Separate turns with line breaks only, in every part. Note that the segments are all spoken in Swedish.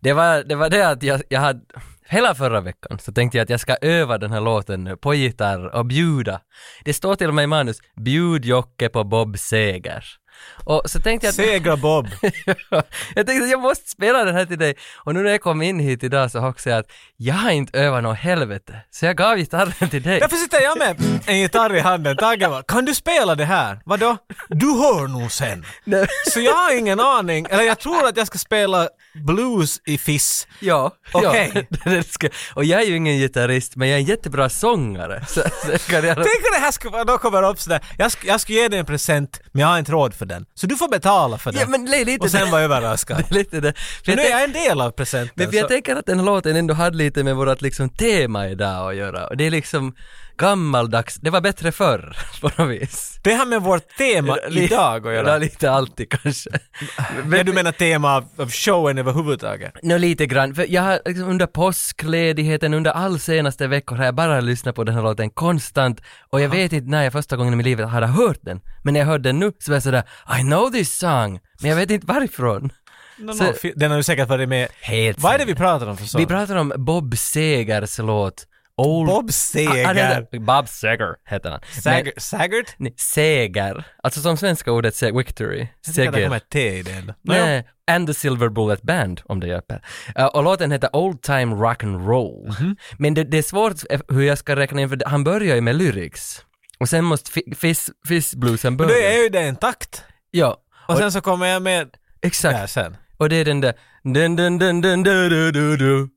Det var det, var det att jag, jag hade, hela förra veckan så tänkte jag att jag ska öva den här låten nu på gitarr och bjuda. Det står till och med i manus, bjud Jocke på Bob Seger. Och så tänkte jag att...
Segra Bob!
jag tänkte att jag måste spela den här till dig. Och nu när jag kom in hit idag så hoppades jag att jag har inte övat något helvete. Så jag gav gitarren till dig.
Därför sitter jag med en gitarr i handen. Tage bara, kan du spela det här? Vadå? Du hör nog sen.
Nej.
Så jag har ingen aning, eller jag tror att jag ska spela blues i Fiss.
Ja,
Okej.
ja. Det ska- och jag är ju ingen gitarrist men jag är en jättebra sångare. Så, så kan jag...
Tänk om det här skulle vara, då kommer det upp sådär, jag, sk- jag ska ge dig en present, men jag har inte råd för den. Så du får betala för den.
Ja men det är lite
Och sen
det.
var jag överraskad.
Det är lite det. För jag
Men nu är
tänk-
jag en del av presenten.
Men för jag
så-
tänker att den här låten ändå hade lite med vårt liksom tema idag att göra. Och det är liksom gammaldags, det var bättre förr på något vis.
det har med vårt tema idag
Ja,
att göra.
lite alltid kanske.
Ja, du menar tema av, av showen överhuvudtaget?
Nå lite grann, för jag har liksom under påskledigheten, under all senaste veckor har jag bara lyssnat på den här låten konstant och jag vet inte när jag första gången i mitt liv hade hört den. Men när jag hörde den nu så var jag sådär I know this song, men jag vet inte varifrån.
No,
Så-
no, fi- den har ju säkert varit med.
Helt
Vad är det
säkert.
vi pratar om för sång?
Vi pratar om Bob Segers låt Old...
Bob
Ah, ah, det
Seger.
heter- Bob Seger heter han.
Sager, Sagert?
Nej, Seger, alltså som svenska ordet se- victory,
Jag tycker att det kommer
Seger.
ett T i det ändå. Nåja.
Nej, and the Silver Bullet Band om det hjälper. Eh, och låten heter Old Time Rock and Roll.
Mhm.
Men det, det är svårt eh, hur jag ska räkna in, för det- han börjar ju med lyrics. Och sen måste fi- fiss, fissbluesen
Då
börja.
är ju det en takt.
Ja,
Och sen så kommer jag med
exakt.
där sen.
Och det är den där... Dun, dun, dun, dun, du, du, du, du.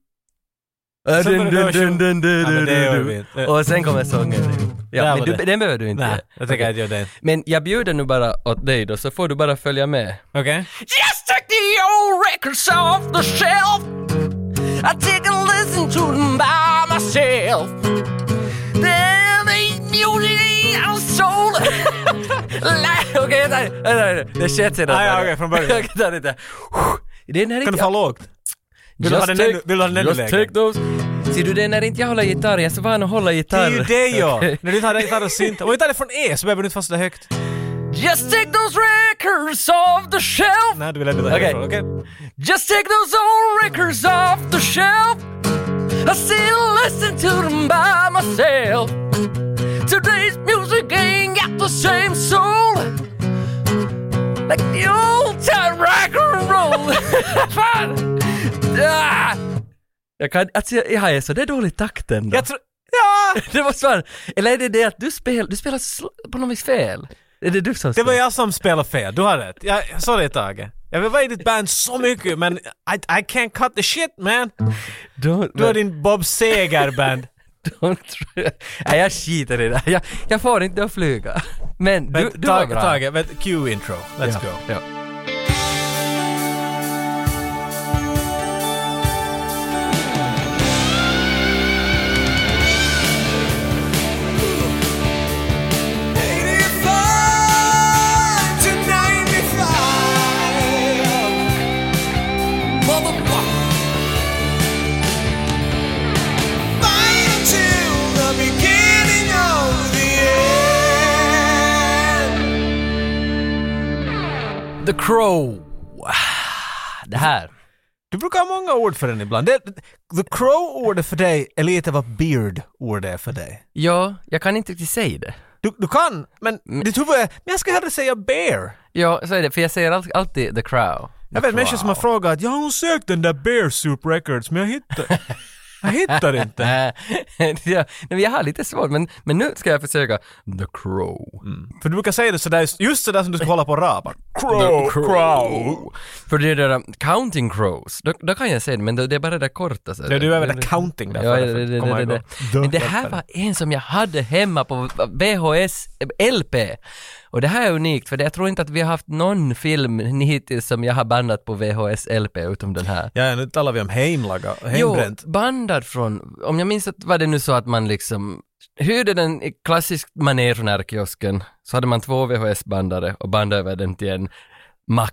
Ah,
Så
dun,
börjar
dun,
det
dun, dun, du,
Ja, men
du,
det gör
du,
vi
du.
inte.
Och sen kommer sången. Ja,
Där
men
var
du,
det.
den behöver du inte.
Nej, jag tänker att jag gör det.
Men jag bjuder nu bara åt dig då, så får du bara följa med.
Okej?
Just take the old records off the shelf. I take a listen to them by myself. There ain't music I'm sold. Okej, okay, nej, nej, nej, det shit sedan.
Ah, ja, okej, från början.
Okej, ta det där. Det är när
Kan
inte
du få lågt? Vill du ha den ännu- vill du ha den ännu
Just
lägre?
take those. Ser du, det är när inte jag håller gitarr, jag är så van att hålla
Det
gitarr.
är ju det ja!
Okej.
När du tar det, tar det synt. Om du tar det från E så behöver du inte vara så där högt.
Just take those records off the shelf.
Nej, du vill ändå ta
Okej.
härifrån. Okej.
Just take those old records off the shelf. I still listen to them by myself. Today's music ain't got the same soul. Like the old time rock and roll. Fan! Ah! Jag kan, alltså jag, jag är så, det är dålig takt ändå.
Jag tror... Ja!
Det var svar. Eller är det det att du spelar, du spelar sl- på något vis fel? Är det du som
Det var
spelar?
jag som spelade fel, du har rätt. Jag, sorry Tage. Jag vill vara i ditt band så mycket men I, I can't cut the shit man.
Don't-
Du har din Bob Seger-band.
Don't try. Nej, jag skiter i det. Jag, jag får inte att flyga. Men du,
Men
du var
Tage,
bra.
Tage, vänta, cue intro. Let's
ja,
go.
Ja. The Crow. Det här.
Du brukar ha många ord för den ibland. Det, the Crow-ordet för dig är lite vad Beard-ordet är för dig.
Ja, jag kan inte riktigt säga det.
Du, du kan, men
Mm.
ditt huvud är, men jag ska hellre säga Bear.
Ja, så är det. För jag säger all, alltid The Crow.
Jag vet människor som har frågat, jag har sökt den där Bear Soup Records, men jag hittar, jag hittar inte.
Nej, ja, nej, men jag har lite svårt, men, men nu ska jag försöka. The Crow.
För du brukar säga det sådär, just sådär som du ska hålla på och rapa. Crow,
The
crow.
För det där um, Counting Crows, då, då kan jag säga det, men det, det är bara det där korta. Så
Nej, du är väl där counting där
Ja,
för
det,
att
det, det,
komma
det,
igång.
det. Men det här var en som jag hade hemma på VHS, eh, LP. Och det här är unikt, för jag tror inte att vi har haft någon film hittills som jag har bandat på VHS, LP, utom den här.
Ja, nu talar vi om heimlaga, hembränt.
Jo, bandad från, om jag minns att var det nu så att man liksom hyrde den i klassisk manér från R-kiosken, så hade man två VHS-bandare och bandade över den till en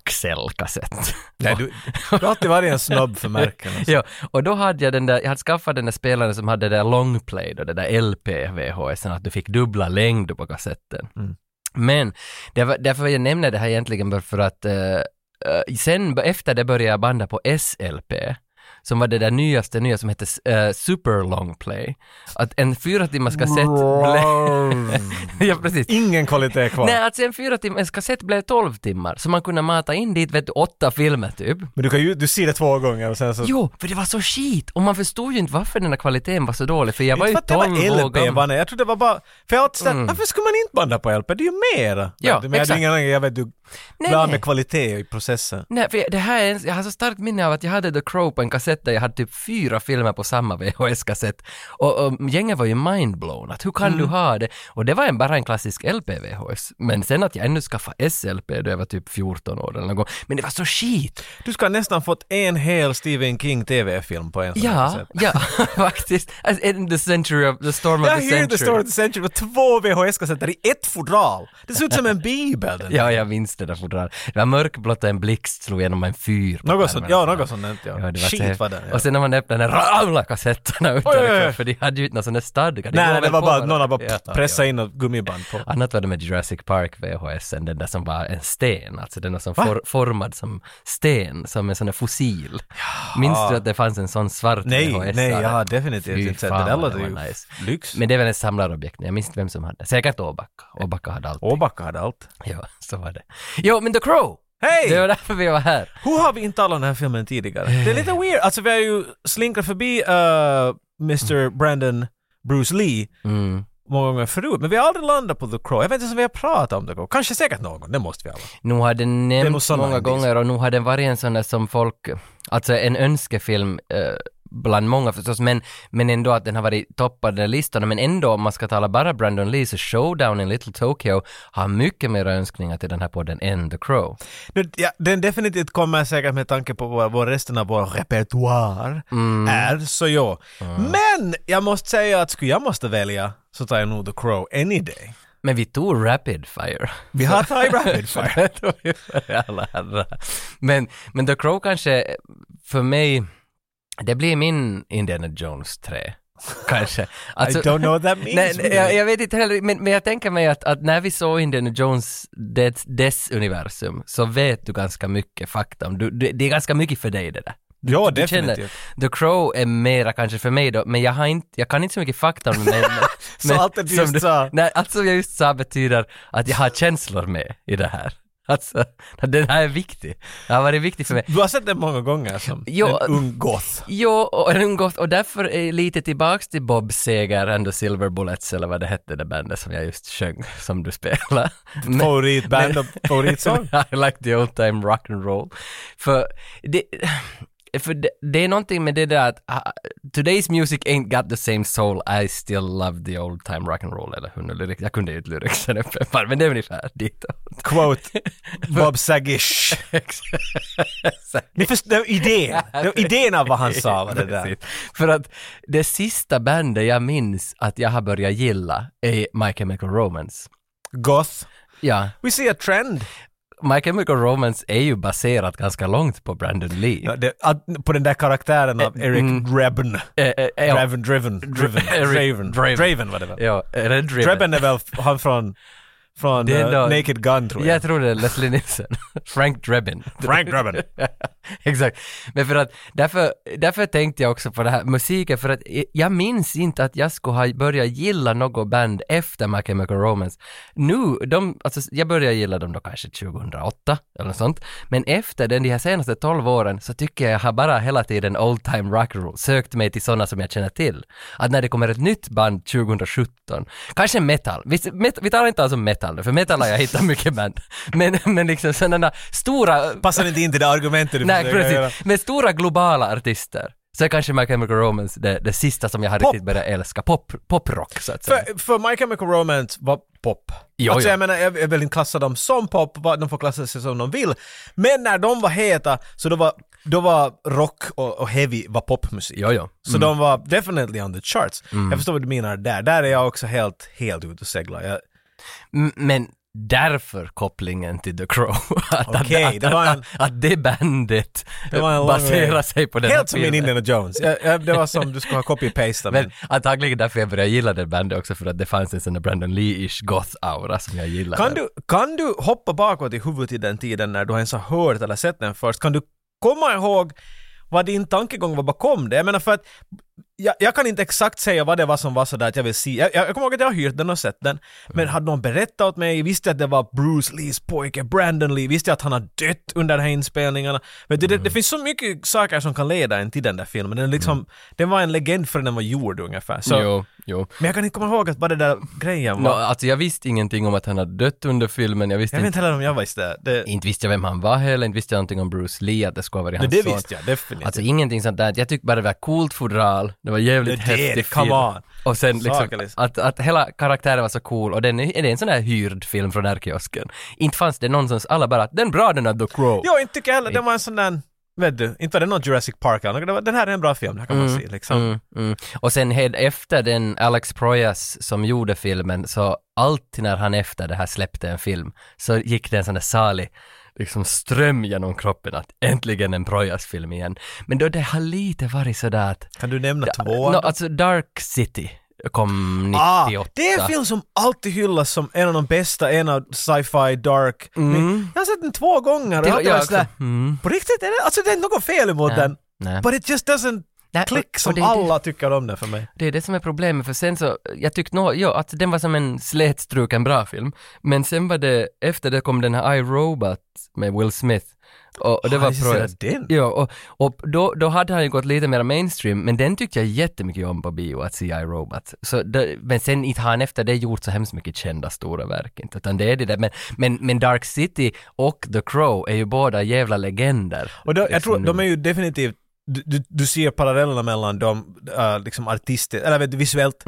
Maxell-kassett.
Nej, du, du har alltid varit en snobb för märken. alltså.
Ja, och då hade jag den där, jag hade skaffat den där spelaren som hade det där longplay då, det där LP VHS, att du fick dubbla längd på kassetten.
Mm.
Men, det var, därför jag nämner det här egentligen bara för att eh, eh, sen b- efter det började jag banda på SLP. som var det där nyaste nya som hette eh, Super Long Play. Att en fyra timmars kassett blev... ja, precis.
Ingen kvalitet kvar.
Nej, alltså en fyra timmars kassett blev 12 timmar, så man kunde mata in dit vet du, åtta filmer typ.
Men du kan ju, du ser det två gånger och sen så...
Jo, för det var så skit! Och man förstod ju inte varför den här kvaliteten var så dålig, för jag var
Inte
ju
för att det var
12 år
LP,
gammal.
Vanne. jag trodde det var bara... För jag har alltid sagt, varför skulle man inte banda på LP? Det är ju mer!
Ja,
men jag hade
exakt.
ingen aning, jag vet du...
Nej,
Bra
nej.
med kvalitet i processen.
Nej, för det här är, en- jag har så starkt minne av att jag hade The Crow på en kassett där jag hade typ fyra filmer på samma VHS-kassett. Och, och gänget var ju mindblown, att hur kan
Mm.
du ha det? Och det var en, bara en klassisk LP-VHS. Men sen att jag ännu skaffade SLP då jag var typ 14 år eller någon gång. Men det var så skit!
Du ska ha nästan fått en hel Stephen King TV-film på en sån här
Ja,
kassett.
ja, faktiskt. Alltså, in the century of, the storm of
Jag
the
hyrde Story
century.
of the Century med två VHS-kassetter i ett fodral! Det ser ut som en bibel! Den.
Ja, jag minns det där fortfarande. Det var mörkblått och en blixt slog genom en fyr. på
Något sånt,
skärmen.
ja något sånt nämnt jag.
Ja, det var
Shit
så-
vad den ja.
Och sen när man öppnade den ramlade kassetterna
Oj, oj, oj.
utanför, för de hade ju inte någon sån där stadga.
Nej, nej, det
väl
var
på
bara att
varandra.
någon har bara
Ja, ja.
pressat in något gummiband på.
Annat var det med Jurassic Park VHS, den där som var en sten, alltså den var som for, formad som sten, som en sån där fossil. Minns du att det fanns en sån svart
Nej,
VHS?
nej, jag har
Fy
definitivt inte sett det.
fan,
Det
vad
låter
det
ju
var nice.
lyx.
Men det är väl ett samlarobjekt, jag minns inte vem som hade. Säkert Åbacka. Åbacka hade allt.
Åbacka hade allt.
Ja, så var det. Jo, men The Crow!
Hej!
Det var därför vi var här.
Hur har vi inte talat om den här filmen tidigare? Det är lite weird. Alltså vi har ju slinkat förbi eh, Mr. Brandon Bruce Lee
Mm.
många gånger förut, men vi har aldrig landat på The Crow. Jag vet inte ens om vi har pratat om The Crow. Kanske säkert någon, det måste vi alla.
Nu har den
Det är nog
nämnts
såna
många
indis.
gånger och nu har den varit en sån där som folk, alltså en önskefilm eh, bland många förstås, men, men ändå att den har varit toppad i listorna, men ändå om man ska tala bara Brandon Lee så Showdown in Little Tokyo har mycket mer önskningar till den här podden än The Crow.
Nu, ja, den definitivt kommer säkert med tanke på vad, vad resten av vår repertoar
Mm.
är, så ja. Men jag måste säga att skulle jag måste välja så tar jag nog The Crow any day.
Men vi tog Rapid Fire.
Vi har tagit Rapid Fire.
Det tog ju för alla herrar. men, men The Crow kanske, för mig, det blir min Indiana Jones 3. Kanske. Alltså-
I don't know what that means.
Nej, nej,
really.
jag, jag vet inte heller, men, men jag tänker mig att, att när vi såg Indiana Jones, det, dess universum, så vet du ganska mycket fakta om, du, du, det är ganska mycket för dig det där.
ja,
Du känner,
definitivt.
The Crow är mera kanske för mig då, men jag, har inte, jag kan inte så mycket fakta om det. Men,
Så allt det du just sa.
Nej, allt som jag just sa betyder att jag har känslor med i det här. Alltså, den här är viktig. Det har varit viktig för mig.
Du har sett den många gånger som
Jo.
en ung goth.
Jo, och, den umgås- och därför är lite tillbaks till Bob Seger and the Silver Bullets, eller vad det hette det bandet som jag just sjöng, som du spelar.
Favoritband och favoritsång.
I like the old time rock and roll. För det, för det, det är någonting med det där att ah, today's music ain't got the same soul, I still love the old time rock and roll, eller hur nu lyrics, jag kunde ju inte lyricsen uppe, men det är ungefär ditåt.
Quote Bob Sagish. Ni förstår, det var idén. Det var idén av vad han sa var det där.
Precis. För att det sista bandet jag minns att jag har börjat gilla är My Chemical Romance.
Goth.
Ja,
We see a trend.
My Chemical Romance är ju baserat ganska långt på Brandon Lee.
Ja, det, att, på den där karaktären av Eric Drebin.
Eh, eh, eh, ja.
Draven, Driven, Driven,
Eric
Draven.
Draven.
Draven var det väl?
Ja, eh, är det Driven?
Drebin är väl f- han från, från
Det är
eh,
då-
Naked Gun tror jag.
Jag tror det är Leslie Nielsen. Frank Drebin.
Frank Drebin.
Exakt. Men för att, därför, därför tänkte jag också på det här musiken, för att i- jag minns inte att jag skulle ha börjat gilla något band efter My Chemical Romance. Nu, de, alltså jag började gilla dem då kanske 2008 eller något sånt, men efter den, de här senaste 12 åren så tycker jag jag har bara hela tiden old time rock roll, sökt mig till sådana som jag känner till. Att när det kommer ett nytt band 2017, kanske metal, vi, met, vi talar inte alls om metal nu, för metal har jag hittat mycket band, men, men liksom sådana stora
Passar inte in till det argumentet du
Nej,
försöker göra.
precis. Men stora globala artister. Så är kanske My Chemical Romance det, det sista som jag har
Pop.
riktigt börjat älska. Pop, poprock så att säga.
För, för My Chemical Romance var pop.
Jo,
alltså
ja.
jag menar, jag jag vill inte klassa dem som pop, vad- de får klassa sig som de vill. Men när de var heta, så då var, då var rock och, och heavy var popmusik.
Jo, jo.
Så de var definitely on the charts.
Mm.
Jag förstår vad du menar där. Där är jag också helt, helt ute och seglar. Jag,
M- Men därför kopplingen till The Crow. Att,
Okej,
att,
det var en-
att, att det bandet
Det var en lång
baserar
väg.
sig på den här
helt som min
filmen.
Indiana Jones. Jag, jag, det var som du skulle ha copy-pastat.
Men antagligen därför jag började gilla det bandet också för att det fanns en sån där Brandon Lee-ish goth-aura som jag gillade.
Kan du, kan du hoppa bakåt i huvudet i den tiden när du ens har hört eller sett den först? Kan du komma ihåg vad din tankegång var bakom det. Jag menar för att jag, jag kan inte exakt säga vad det var som var sådär att jag vill se. Jag, jag, jag kommer ihåg att jag har hyrt den och sett den. Men hade någon berättat åt mig, visste jag att det var Bruce Lees pojke Brandon Lee, visste jag att han har dött under de här inspelningarna. Men det, det, det finns så mycket saker som kan leda en till den där filmen. Den, liksom, den var en legend förrän den var gjord ungefär. Så,
Jo, jo.
Men jag kan inte komma ihåg att vad det där grejen
No,
var.
alltså jag visste ingenting om att han hade dött under filmen, jag visste
Jag vet
inte,
inte heller om jag visste det. det
inte visste jag vem han var heller, inte visste jag någonting om Bruce Lee, att det skulle ha varit
men
hans
det
son.
visste jag definitivt.
Alltså ingenting sånt där, jag tyckte bara det var coolt fodral, det var jävligt
Det är det,
häftig
come
film.
on.
Och sen liksom,
Saker liksom.
att, att hela karaktären var så cool och den är, är det en sån här hyrd film från R-kiosken? Inte fanns det någonstans, alla bara den är bra den här The Crow.
Jo, inte tycker jag heller. Den var en sån där, vet du, inte var det någon Jurassic Park eller något. Det var- Den här är en bra film, den här kan man se liksom.
Mm, mm. Och sen hed- efter den Alex Proyas som gjorde filmen, så alltid när han efter det här släppte en film, så gick det en sån där salig liksom ström genom kroppen att äntligen en Proyas-film igen. Men då det har lite varit sådär att,
Kan du nämna två?
no, alltså Dark City kom 98.
Ah, det är en film som alltid hyllas som en av de bästa, en av sci-fi, dark. Men jag har sett den två gånger
Mm.
och
Det var
alltid
jag
varit sådär,
också. Mm.
på riktigt är det, alltså det är något fel emot
Nej,
den.
nej.
But it just doesn't
Nej,
click
och-
som
och det är det-
alla tycker om den för mig.
Det är det som är problemet, för sen så, jag tyckte nog, ja, att den var som en slätstruken bra film, men sen var det, efter det kom den här I, Robot med Will Smith, och, och det
Ah,
var
just det,
Proyas.
den.
Ja, och, och då, då hade han ju gått lite mer mainstream, men den tyckte jag jättemycket om på bio, att se I, Robot. Så det, men sen inte har han efter det gjort så hemskt mycket kända stora verk, inte, utan det är det där, men, men, men Dark City och The Crow är ju båda jävla legender.
Och då, jag
Liksom
tror,
nu.
de är ju definitivt, du, du, du ser parallellerna mellan de äh, liksom artister, eller vet du, visuellt,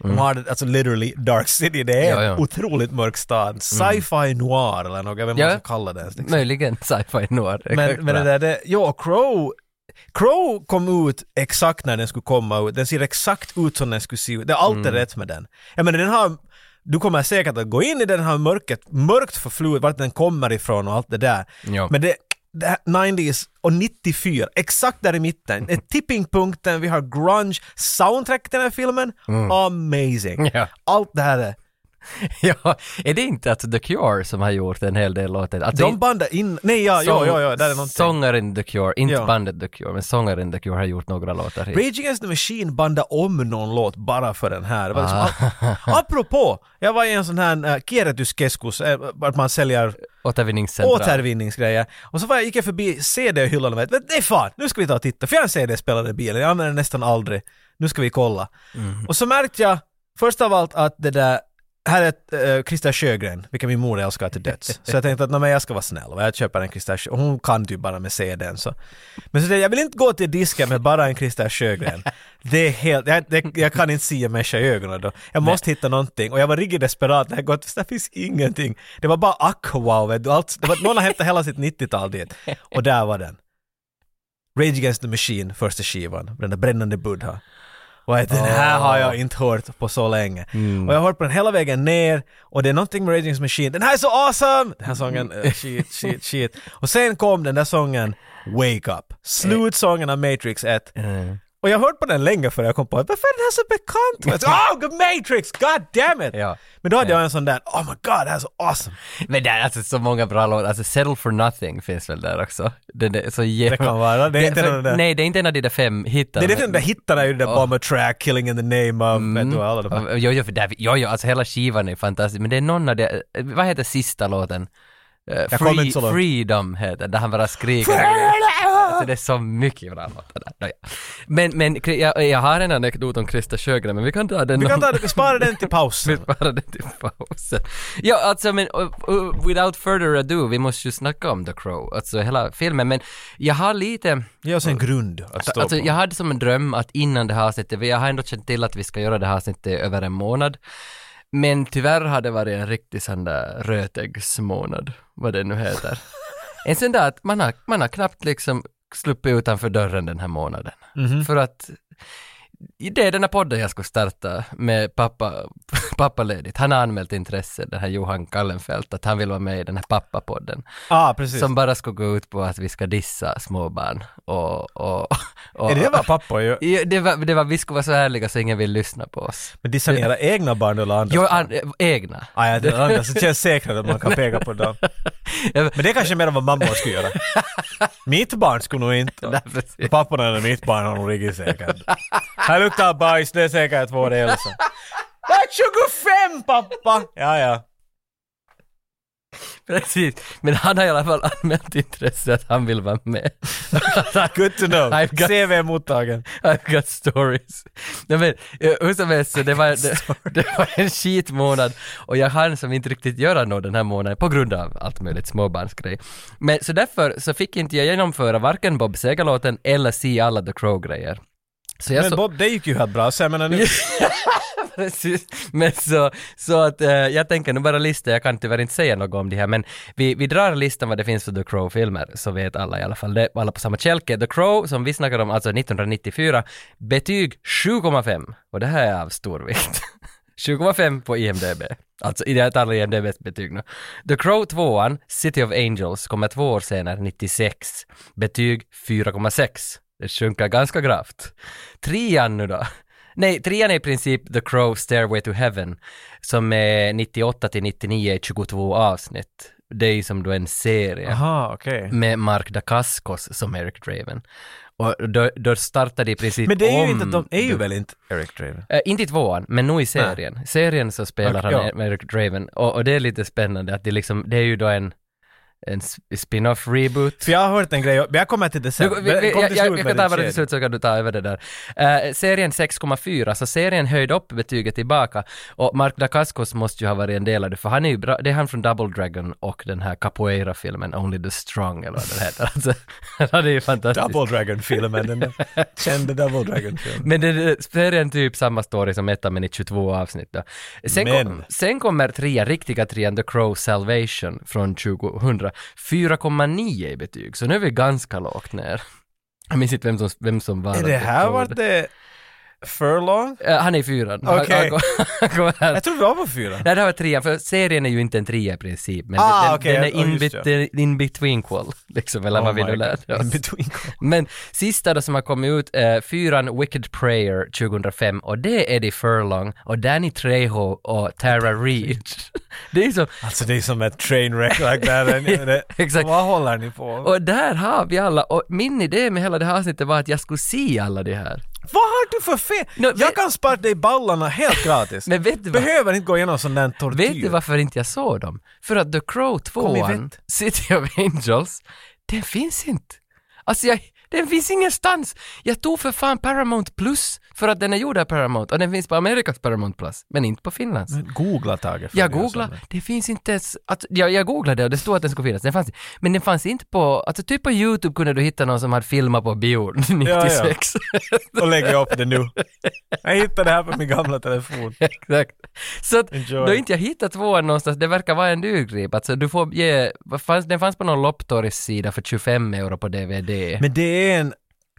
de har det- alltså literally Dark City, det är
Mm, Ja, ja. Mm.
en otroligt mörk stad, sci-fi noir eller något, jag vet inte vad
Ja.
man ska kalla det ens, liksom.
Möjligen sci-fi noir.
Men, men det där, det, ja, Crow, Crow kom ut exakt när den skulle komma ut, den ser exakt ut som den skulle se ut, det är alltid
Mm.
rätt med den. Jag menar den har, du kommer säkert att gå in i den här mörket, mörkt förflutet, vart den kommer ifrån och allt det där.
Ja.
Men det, det här 90s och 94, exakt där i mitten, är tippingpunkten, vi har grunge, soundtrack till den här filmen, amazing.
Mm. Ja.
Allt det här är
Ja, är det inte alltså The Cure som har gjort en hel del låtar? Alltså,
de bandar in, nej ja, ja, ja, ja, där är någonting.
Sångaren The Cure, inte
Ja.
bandet The Cure, men sångaren The Cure har gjort några låtar hit.
Rage Against the Machine bandade om någon låt bara för den här. Det var liksom,
Ah.
apropå, jag var i en sån här äh, kierrätyskeskus, äh, vart man säljer
Återvinningscentral.
återvinningsgrejer. Och så var jag, gick jag förbi CD-hyllan och vet, vet nej fan, nu ska vi ta och titta, för jag har en CD-spelare i bilen, jag använder den nästan aldrig. Nu ska vi kolla. Och så märkte jag, först av allt att det där, här är ett, äh, Krista Sjögren, vilken min mor älskar till döds. Så jag tänkte att nej, men jag ska vara snäll, och jag köper en Krista Sjö- och hon kan typ bara med CDn så. Men så det, jag vill inte gå till disken med bara en Krista Sjögren. Det är helt, jag, det, jag kan inte se en människa i ögonen då. Jag måste hitta någonting och jag var riktigt desperat när jag gått, för det finns ingenting. Det var bara Aqua, vet du. Allt, det var, någon har hämtat hela sitt 90-tal dit. Och där var den. Rage Against the Machine, första skivan, den där brännande Buddha. Och jag, den här har jag inte hört på så länge. Och jag har hört på den hela vägen ner och det är någonting med Rage Against the Machine, den här är så awesome! Den här sången, eh, shit, shit, shit. Och sen kom den där sången Wake Up, slutsången av Matrix 1.
Mm.
Och jag har hört på den länge för jag kom på att varför är den här så bekant? Och jag sa, oh, Matrix, god damn it!
Ja.
Men då hade jag en sån där, oh my god, det här är så awesome!
Men där är alltså så många bra låtar, alltså Settle for Nothing finns väl där också. Den är så jävla...
Det kan vara, det är inte
för-
någon där.
Nej, det är inte en av de där fem hittarna.
Det är det den där hittarna ju, den där Bomber Track, Killing in the name of, vet du, alla de här.
Ja, Jo, jo, för där, jo, jo, alltså hela skivan är fantastisk, men det är någon av de, vad heter sista låten? Eh,
kommer inte så långt.
Freedom heter där han bara skriker. Alltså det är så mycket bra låtar där. Nåja. Men, men Kri- jag, jag har en anekdot om Krista Sjögren, men vi kan ta den
Vi kan
någon-
ta det, vi sparar den till pausen.
vi sparar den till typ pausen. Ja, alltså men uh, uh, without further ado, vi måste ju snacka om The Crow, alltså hela filmen, men jag har lite,
Ge oss en grund att stå
alltså
på.
jag hade som en dröm att innan det här avsnittet, jag har ändå känt till att vi ska göra det här avsnittet i över en månad, men tyvärr har det varit en riktig sån där rötäggsmånad, vad det nu heter. en sån där att
Mhm.
man har, man har knappt liksom sluppit utanför dörren den här månaden. För att det är den här podden jag skulle starta med pappa, pappaledigt. Han har anmält intresse, den här Johan Kallenfelt, att han vill vara med i den här pappapodden.
ah, precis.
Som bara skulle gå ut på att vi ska dissa småbarn och... och, och
Är det vad pappor gör?
Ja, det, var, det var, vi skulle vara så ärliga så ingen vill lyssna på oss.
Men dissar ni era egna barn eller andra?
Jo, an, egna.
Ah, ja, det andra så känns säkert att man kan peka på dem. Men det är kanske mer än vad mammor skulle göra. Mitt barn skulle nog inte.
precis.
Papporna eller mitt barn har nog riktigt säkert. Här luktar bajs, det är säkert vår Elsa. Jag är 25 pappa! Ja, ja.
Precis. Men han har i alla fall anmält intresse att han vill vara med.
Good to know.
I've got-
CV mottagen.
I've got stories. Nej men, eh, hur som helst, så det var, det, det var en skitmånad och jag hann som inte riktigt göra något den här månaden på grund av allt möjligt småbarnsgrej. Men så därför så fick inte jag genomföra varken Bob Seger-låten eller se alla The Crow-grejer. Så jag
Men
så-
Bob, det gick ju helt bra. Så jag menar nu...
Precis. Men så, så att eh, jag tänker nu bara lista, jag kan tyvärr inte säga något om det här men vi, vi drar listan vad det finns för The Crow-filmer så vet alla i alla fall det, alla på samma kälke. The Crow som vi snackade om, alltså 1994, betyg 7,5 och det här är av stor vikt. 7,5 på IMDB. Alltså i det här talar IMDBs betyg nu. The Crow 2, City of Angels, kommer två år senare, 96. Betyg 4,6. Det sjunker ganska gravt. Trean nu då? Nej, trean är i princip The Crow Stairway to Heaven som är 98 till 99 i 22 avsnitt. Det är ju som då en serie
Aha, okej.
med Mark Dacascos som Eric Draven. Och då, då startade i princip
Men det är ju
om
inte att de är ju
The
väl inte Eric Draven?
Eh, inte i tvåan, men nog i serien. Serien så spelar
Okej,
han
ja.
med Eric Draven och, och det är lite spännande att det liksom, det är ju då en, en s- spin-off reboot.
För jag har hört en grej, men jag kommer till det sen.
Du, vi,
Men
vi,
kom
jag,
till slut
jag,
med
jag kan ta bara
din kedja.
till slut så kan du ta över det där. Eh, serien 6,4, så serien höjde upp betyget tillbaka och Mark Dacascos måste ju ha varit en del av det för han är ju bra, det är han från Double Dragon och den här capoeira-filmen Only the Strong eller vad den heter. Alltså, han är ju fantastisk.
Double Dragon-filmen, den där kände Double Dragon-filmen.
Men det- det, serien typ samma story som ettan men i 22 avsnitt då. Sen,
Men.
kom, sen kommer trean, riktiga trean, The Crow Salvation från 2000. 4,9 i betyg, så nu är vi ganska lågt ner. Jag minns inte vem som, vem som var
Är det här
Crow.
vart det Furlong?
Eh, han är i fyran.
Okej.
Han, han, går- han kommer här.
Jag trodde det var fyra.
Nej, det här var trean, för serien är ju inte en trea i princip, men
Ah,
den,
okej,
den är
ja,
in,
just Oh
bit, in betweenqual, liksom, eller vad vi nu lärde oss. Men sista då som har kommit ut, eh, fyran Wicked Prayer 2005 och det är Eddie Furlong och Danny Trejo och Tara Reid. Det är som,
Alltså det är som ett train wreck like that. eh, Det- det-
Exakt.
Vad håller ni på med?
och där har vi alla och min idé med hela det här avsnittet var att jag skulle se alla de här.
Vad har du för fel?
No,
jag
men-
kan sparka dig i ballarna helt gratis.
Men vet du vad?
Behöver inte gå igenom sån där tortyr.
Vet du varför inte jag såg dem? För att The Crow 2,
vet.
City of Angels, den finns inte. Alltså jag, den finns ingenstans. Jag tog för fan Paramount Plus för att den är gjord av Paramount och den finns på Amerikas Paramount Plus, men inte på Finlands.
Men Googla Tage. för
Jag
det är
googlade,
sådär.
det finns inte ens, att, jag, jag googlade och det stod att den skulle finnas, den fanns inte. Men den fanns inte på, alltså typ på YouTube kunde du hitta någon som hade filmat på bio 96.
Och lägger upp det nu. Jag hittade det här på min gamla telefon.
Exakt. Så att,
Enjoy.
då inte jag hittat tvåan någonstans, det verkar vara en dyrgrip. Alltså du får ge, vad fanns, den fanns på någon Lopptorgs sida för 25 euro på DVD.
Men det är en...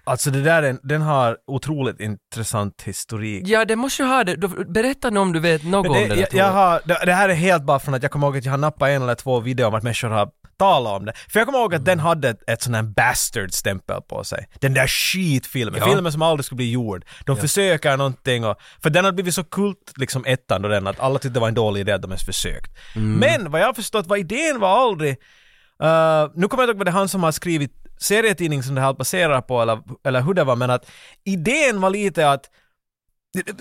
Alltså det där är en, den har otroligt intressant historik.
ja, det måste ju ha det, Då- berätta nu om du vet något
Men
om
det,
den här
jag, jag
tvåan.
har, det, det här är helt bara från att jag kommer ihåg att jag har nappat en eller två videor om att människor har talat om det. För jag kommer ihåg att den hade ett, ett sån här bastard-stämpel på sig. Den där skitfilmen,
Ja.
filmen som aldrig skulle bli gjord. De försöker någonting och... För den hade blivit så kult, liksom ettan då den, att alla tyckte det var en dålig idé att de ens försökt. Men vad jag har förstått var idén var aldrig... eh, nu kommer jag inte ihåg vad det är han som har skrivit serietidning som det här baserar på eller, eller hur det var, men att idén var lite att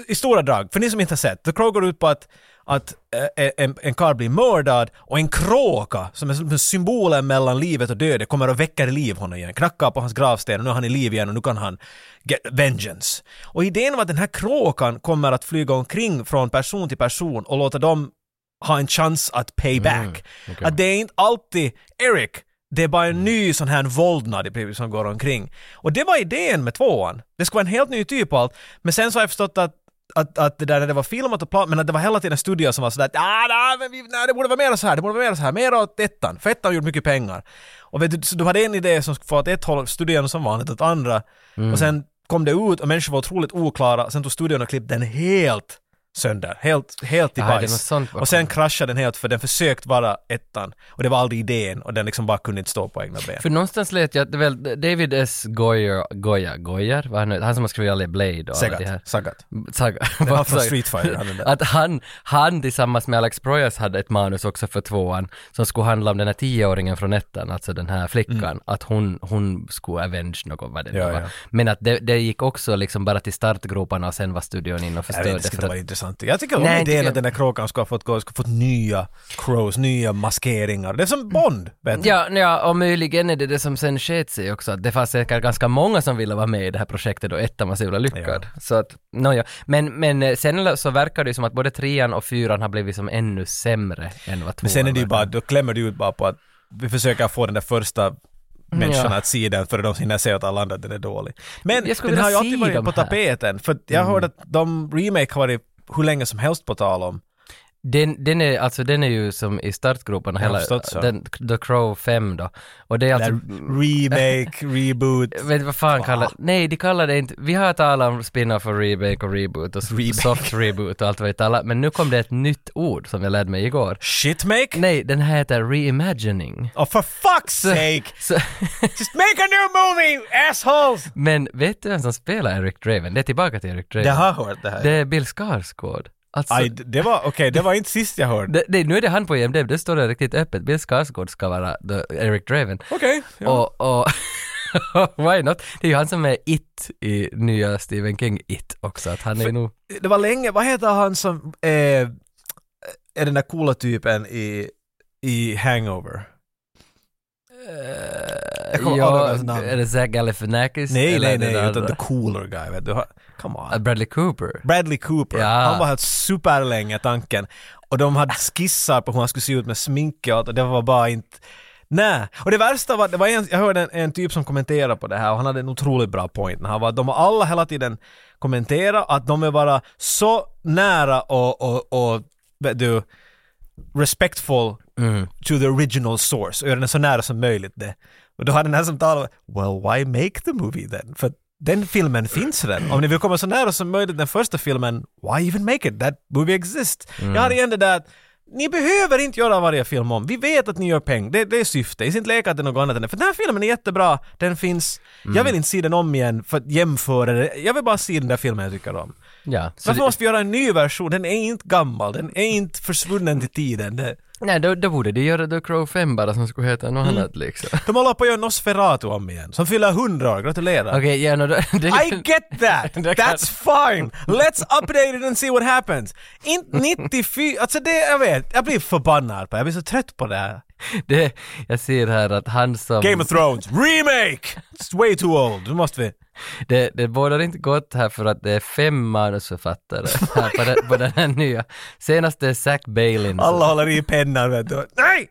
i stora drag, för ni som inte har sett, The Crow går ut på att, att eh, en, en karl blir mördad och en kråka, som är som symbolen mellan livet och döden, kommer och väcker i liv honom igen, knackar på hans gravsten och nu är han i liv igen och nu kan han get vengeance. Och idén var att den här kråkan kommer att flyga omkring från person till person och låta dem ha en chans att pay
Ah,
back. Att det är inte alltid Eric, det är bara en ny sån här våldnad i princip som går omkring. Och det var idén med tvåan. Det skulle vara en helt ny typ av allt. Men sen så har jag förstått att att, att det där när det var filmat och plan, men att det var hela tiden studier som var sådär att ah, nej, men vi, nej, det borde vara mer så här, det borde vara mer så här, mer åt ettan, för ettan gjorde mycket
Mm.
pengar. Och vet du, så du hade en idé som skulle få åt ett håll, studion som vanligt åt andra, och sen kom det ut och människor var otroligt oklara. Sen tog studion och klippte den helt sönder, helt, helt i
Ah, det var
bajs.
sånt bakom.
Och sen kraschade den helt för den försökt vara ettan och det var aldrig idén och den liksom bara kunde inte stå på egna ben.
För någonstans lät jag att det väl David S. Goyer, Goya, Goyer, vad han, nu- han som har skrivit alla Blade och alla de här.
Sagat, Sagat.
Saga.
var
Vad
från
sa jag?
Street Fighter, han den där.
Att han, han tillsammans med Alex Proyas hade ett manus också för tvåan som skulle handla om den här tioåringen från ettan, alltså den här flickan, att hon, hon skulle avenge något, vad det nu
Mm. Ja,
var.
ja.
Men att det, det gick också liksom bara till startgroparna och sen var studion in och
Jag vet
förstörde.
inte, det
för
skulle
att-
vara intressant. Jag tycker om
Nej,
idén
tycker-
att den där kråkan ska ha fått gå, ska ha fått nya crows, nya maskeringar. Det är som Bond, vet du.
Ja, ja, och möjligen är det det som sen sket sig också, att det fanns säkert ganska många som ville vara med i det här projektet och ettan var så jävla lyckad. Så att, nåja. Men, men eh, sen så verkar det ju som att både trean och fyran har blivit som ännu sämre än vad tvåan
Men sen är det ju
var.
bara, då klämmer du ut bara på att vi försöker få den där första människan
Ja.
att se den före de hinner se åt alla andra att den är dålig. Men
Jag skulle
den har ju
vilja
alltid
se
varit
de
på
här. Mm.
tapeten, för att jag hörde att de remake har varit hur länge som helst på tal om.
Den, den, är, alltså, den är ju som i startgroparna
Jag har
hela,
förstått så.
den, The Crow 5 då. Och det är alltså,
Där Typ remake, reboot.
vet du vad fan kallar, nej de kallar det inte, vi har talat om spin-off och remake och reboot och soft reboot och allt vad vi talar, men nu kom det ett nytt ord som jag lärde mig igår.
Shitmake?
Nej, den här heter reimagining.
Oh, for fuck's sake!
Så,
Just make a new movie, assholes!
men vet du vem som spelar Eric Draven? Det är tillbaka till Eric Draven.
Jag har hört det här.
Det är Bill Skarsgård. Alltså,
Aj, det var, okej, det var inte sist jag hörde.
det, det, nu är det han på IMDb, det står det riktigt öppet. Bill Skarsgård ska vara the Eric Draven.
Okej. ja.
Och, och why not? Det är ju han som är It i nya Stephen King It också, att han är ju nog...
det var länge, vad heter han som är, är den där coola typen i, i Hangover? jag kommer aldrig ihåg hans namn.
Eh, är det Zach Galifianakis?
Nej,
Eller
nej,
är det
nej,
den
utan
andra?
the cooler guy, vet du. Ha- Come on.
Bradley Cooper.
Bradley Cooper,
Ja.
han var helt superlänge tanken. Och de hade skissar på hur han skulle se ut med sminket och allt, och det var bara inte... Nej, och det värsta var, det var en, jag hörde en, en typ som kommenterade på det här och han hade en otroligt bra point när han var att de har alla hela tiden kommenterat att de är bara så nära och, och, och vet du, respectful to the original source och göra den så nära som möjligt det. Och då hade den här som talade, well why make the movie then? För den filmen finns redan. Om ni vill komma så nära som möjligt den första filmen, why even make it? That movie exists. Jag hade igen det där att ni behöver inte göra varje film om. Vi vet att ni gör pengar. Det, det är syfte. Det är inte leka att det är något annat än det. För den här filmen är jättebra. Den finns. Jag vill inte se den om igen för att jämföra det. Jag vill bara se den där filmen jag tycker om.
Ja. Så
Varför måste vi göra en ny version? Den är inte gammal. Den är inte försvunnen till tiden. Det,
Nej, då, då borde de göra The Crow 5 bara som skulle heta
Mm.
något annat liksom.
de håller på att göra Nosferatu om igen. Som fyller 100 år. Gratulerar.
Okej, ja, no, då,
I get that!
Det kan-
That's fine! Let's update it and see what happens! Inte 94, alltså det, jag vet, jag blir förbannad på det. jag blir så trött på det här.
det, jag ser här att han som...
Game of Thrones, remake! It's way too old, nu måste vi.
Det, det bådar inte gott här för att det är fem manusförfattare här på, den, på den här nya. Senast det är Zack Bailey. som-
Alla håller i pennan vet du. Nej!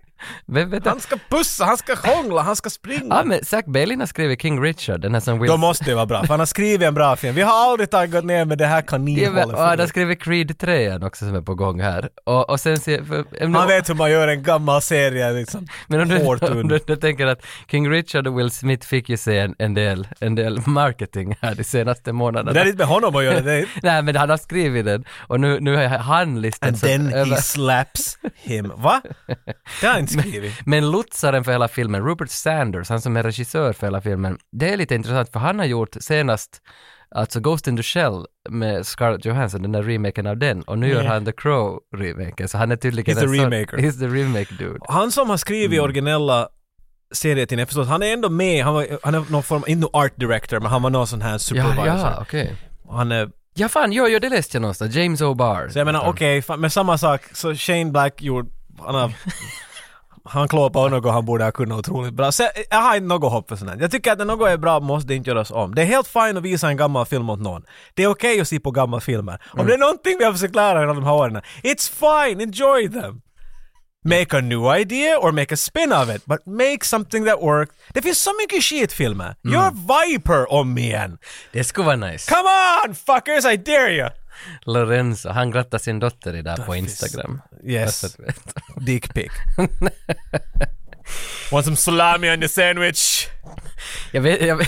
Vem vet
Alltså, Han ska pussa, han ska hångla, han ska
Ja,
springa.
men Zack Bailey har skrivit King Richard, den här som Will...
Då måste det vara bra, för han har skrivit en bra film. Vi har aldrig tagit ner med det här
Ja, men-
kaninhålet.
och han har
förut.
skrivit Creed 3 också som är på gång här. Och, och sen ser... För,
Han vet hur man gör en gammal serie liksom.
Men om du,
hårt
om du,
under.
du tänker att King Richard och Will Smith fick ju se en, en, del, en del marketing här de senaste månaderna.
Det där är inte med honom att göra, det är
Nej men han har skrivit den och nu, nu har han listan
And
som
then he
över-
slaps him. Va? Det har han inte skrivit.
Men lotsaren för hela filmen, Rupert Sanders, han som är regissör för hela filmen, det är lite intressant för han har gjort senast Alltså Ghost in the Shell med Scarlett Johansson, den där remaken av den, och nu gör han The Crow-remaken, så han är tydligen
Mm. He's the
en sån-
remaker.
He's the remake dude.
Han som har skrivit
Mm.
originella serietidningar, jag förstår att han är ändå med, han, var, han är någon form, inte någon art director, men han var någon sån här
Ja,
supervisor.
ja, okej.
Han är,
Ja, fan, jo, jo, det läste jag någonstans, James O'Barr.
så jag menar
Utan-
okej, okay, men samma sak, så Shane Black gjorde, han har, han klår på något han borde ha kunnat otroligt bra. Så, eh, jag- jag har inte något hopp för sånt här. Jag tycker att när något är bra måste det inte göras om. Det är helt fint att visa en gammal film åt någon. Det är okej att se på gamla filmer. Om det är någonting vi har försökt lära er av de här åren, it's fine, enjoy them! Make a new idea or make a spin of it, but make something that worked. Det finns så mycket skitfilmer. Gör Viper om igen!
Det skulle vara nice.
Come on fuckers, I dare you!
Lorenzo, han grattar sin dotter idag på Instagram.
Yes.
Alltså, du vet.
Dick pic. Want some salami on your sandwich?
Jag vet, jag vet.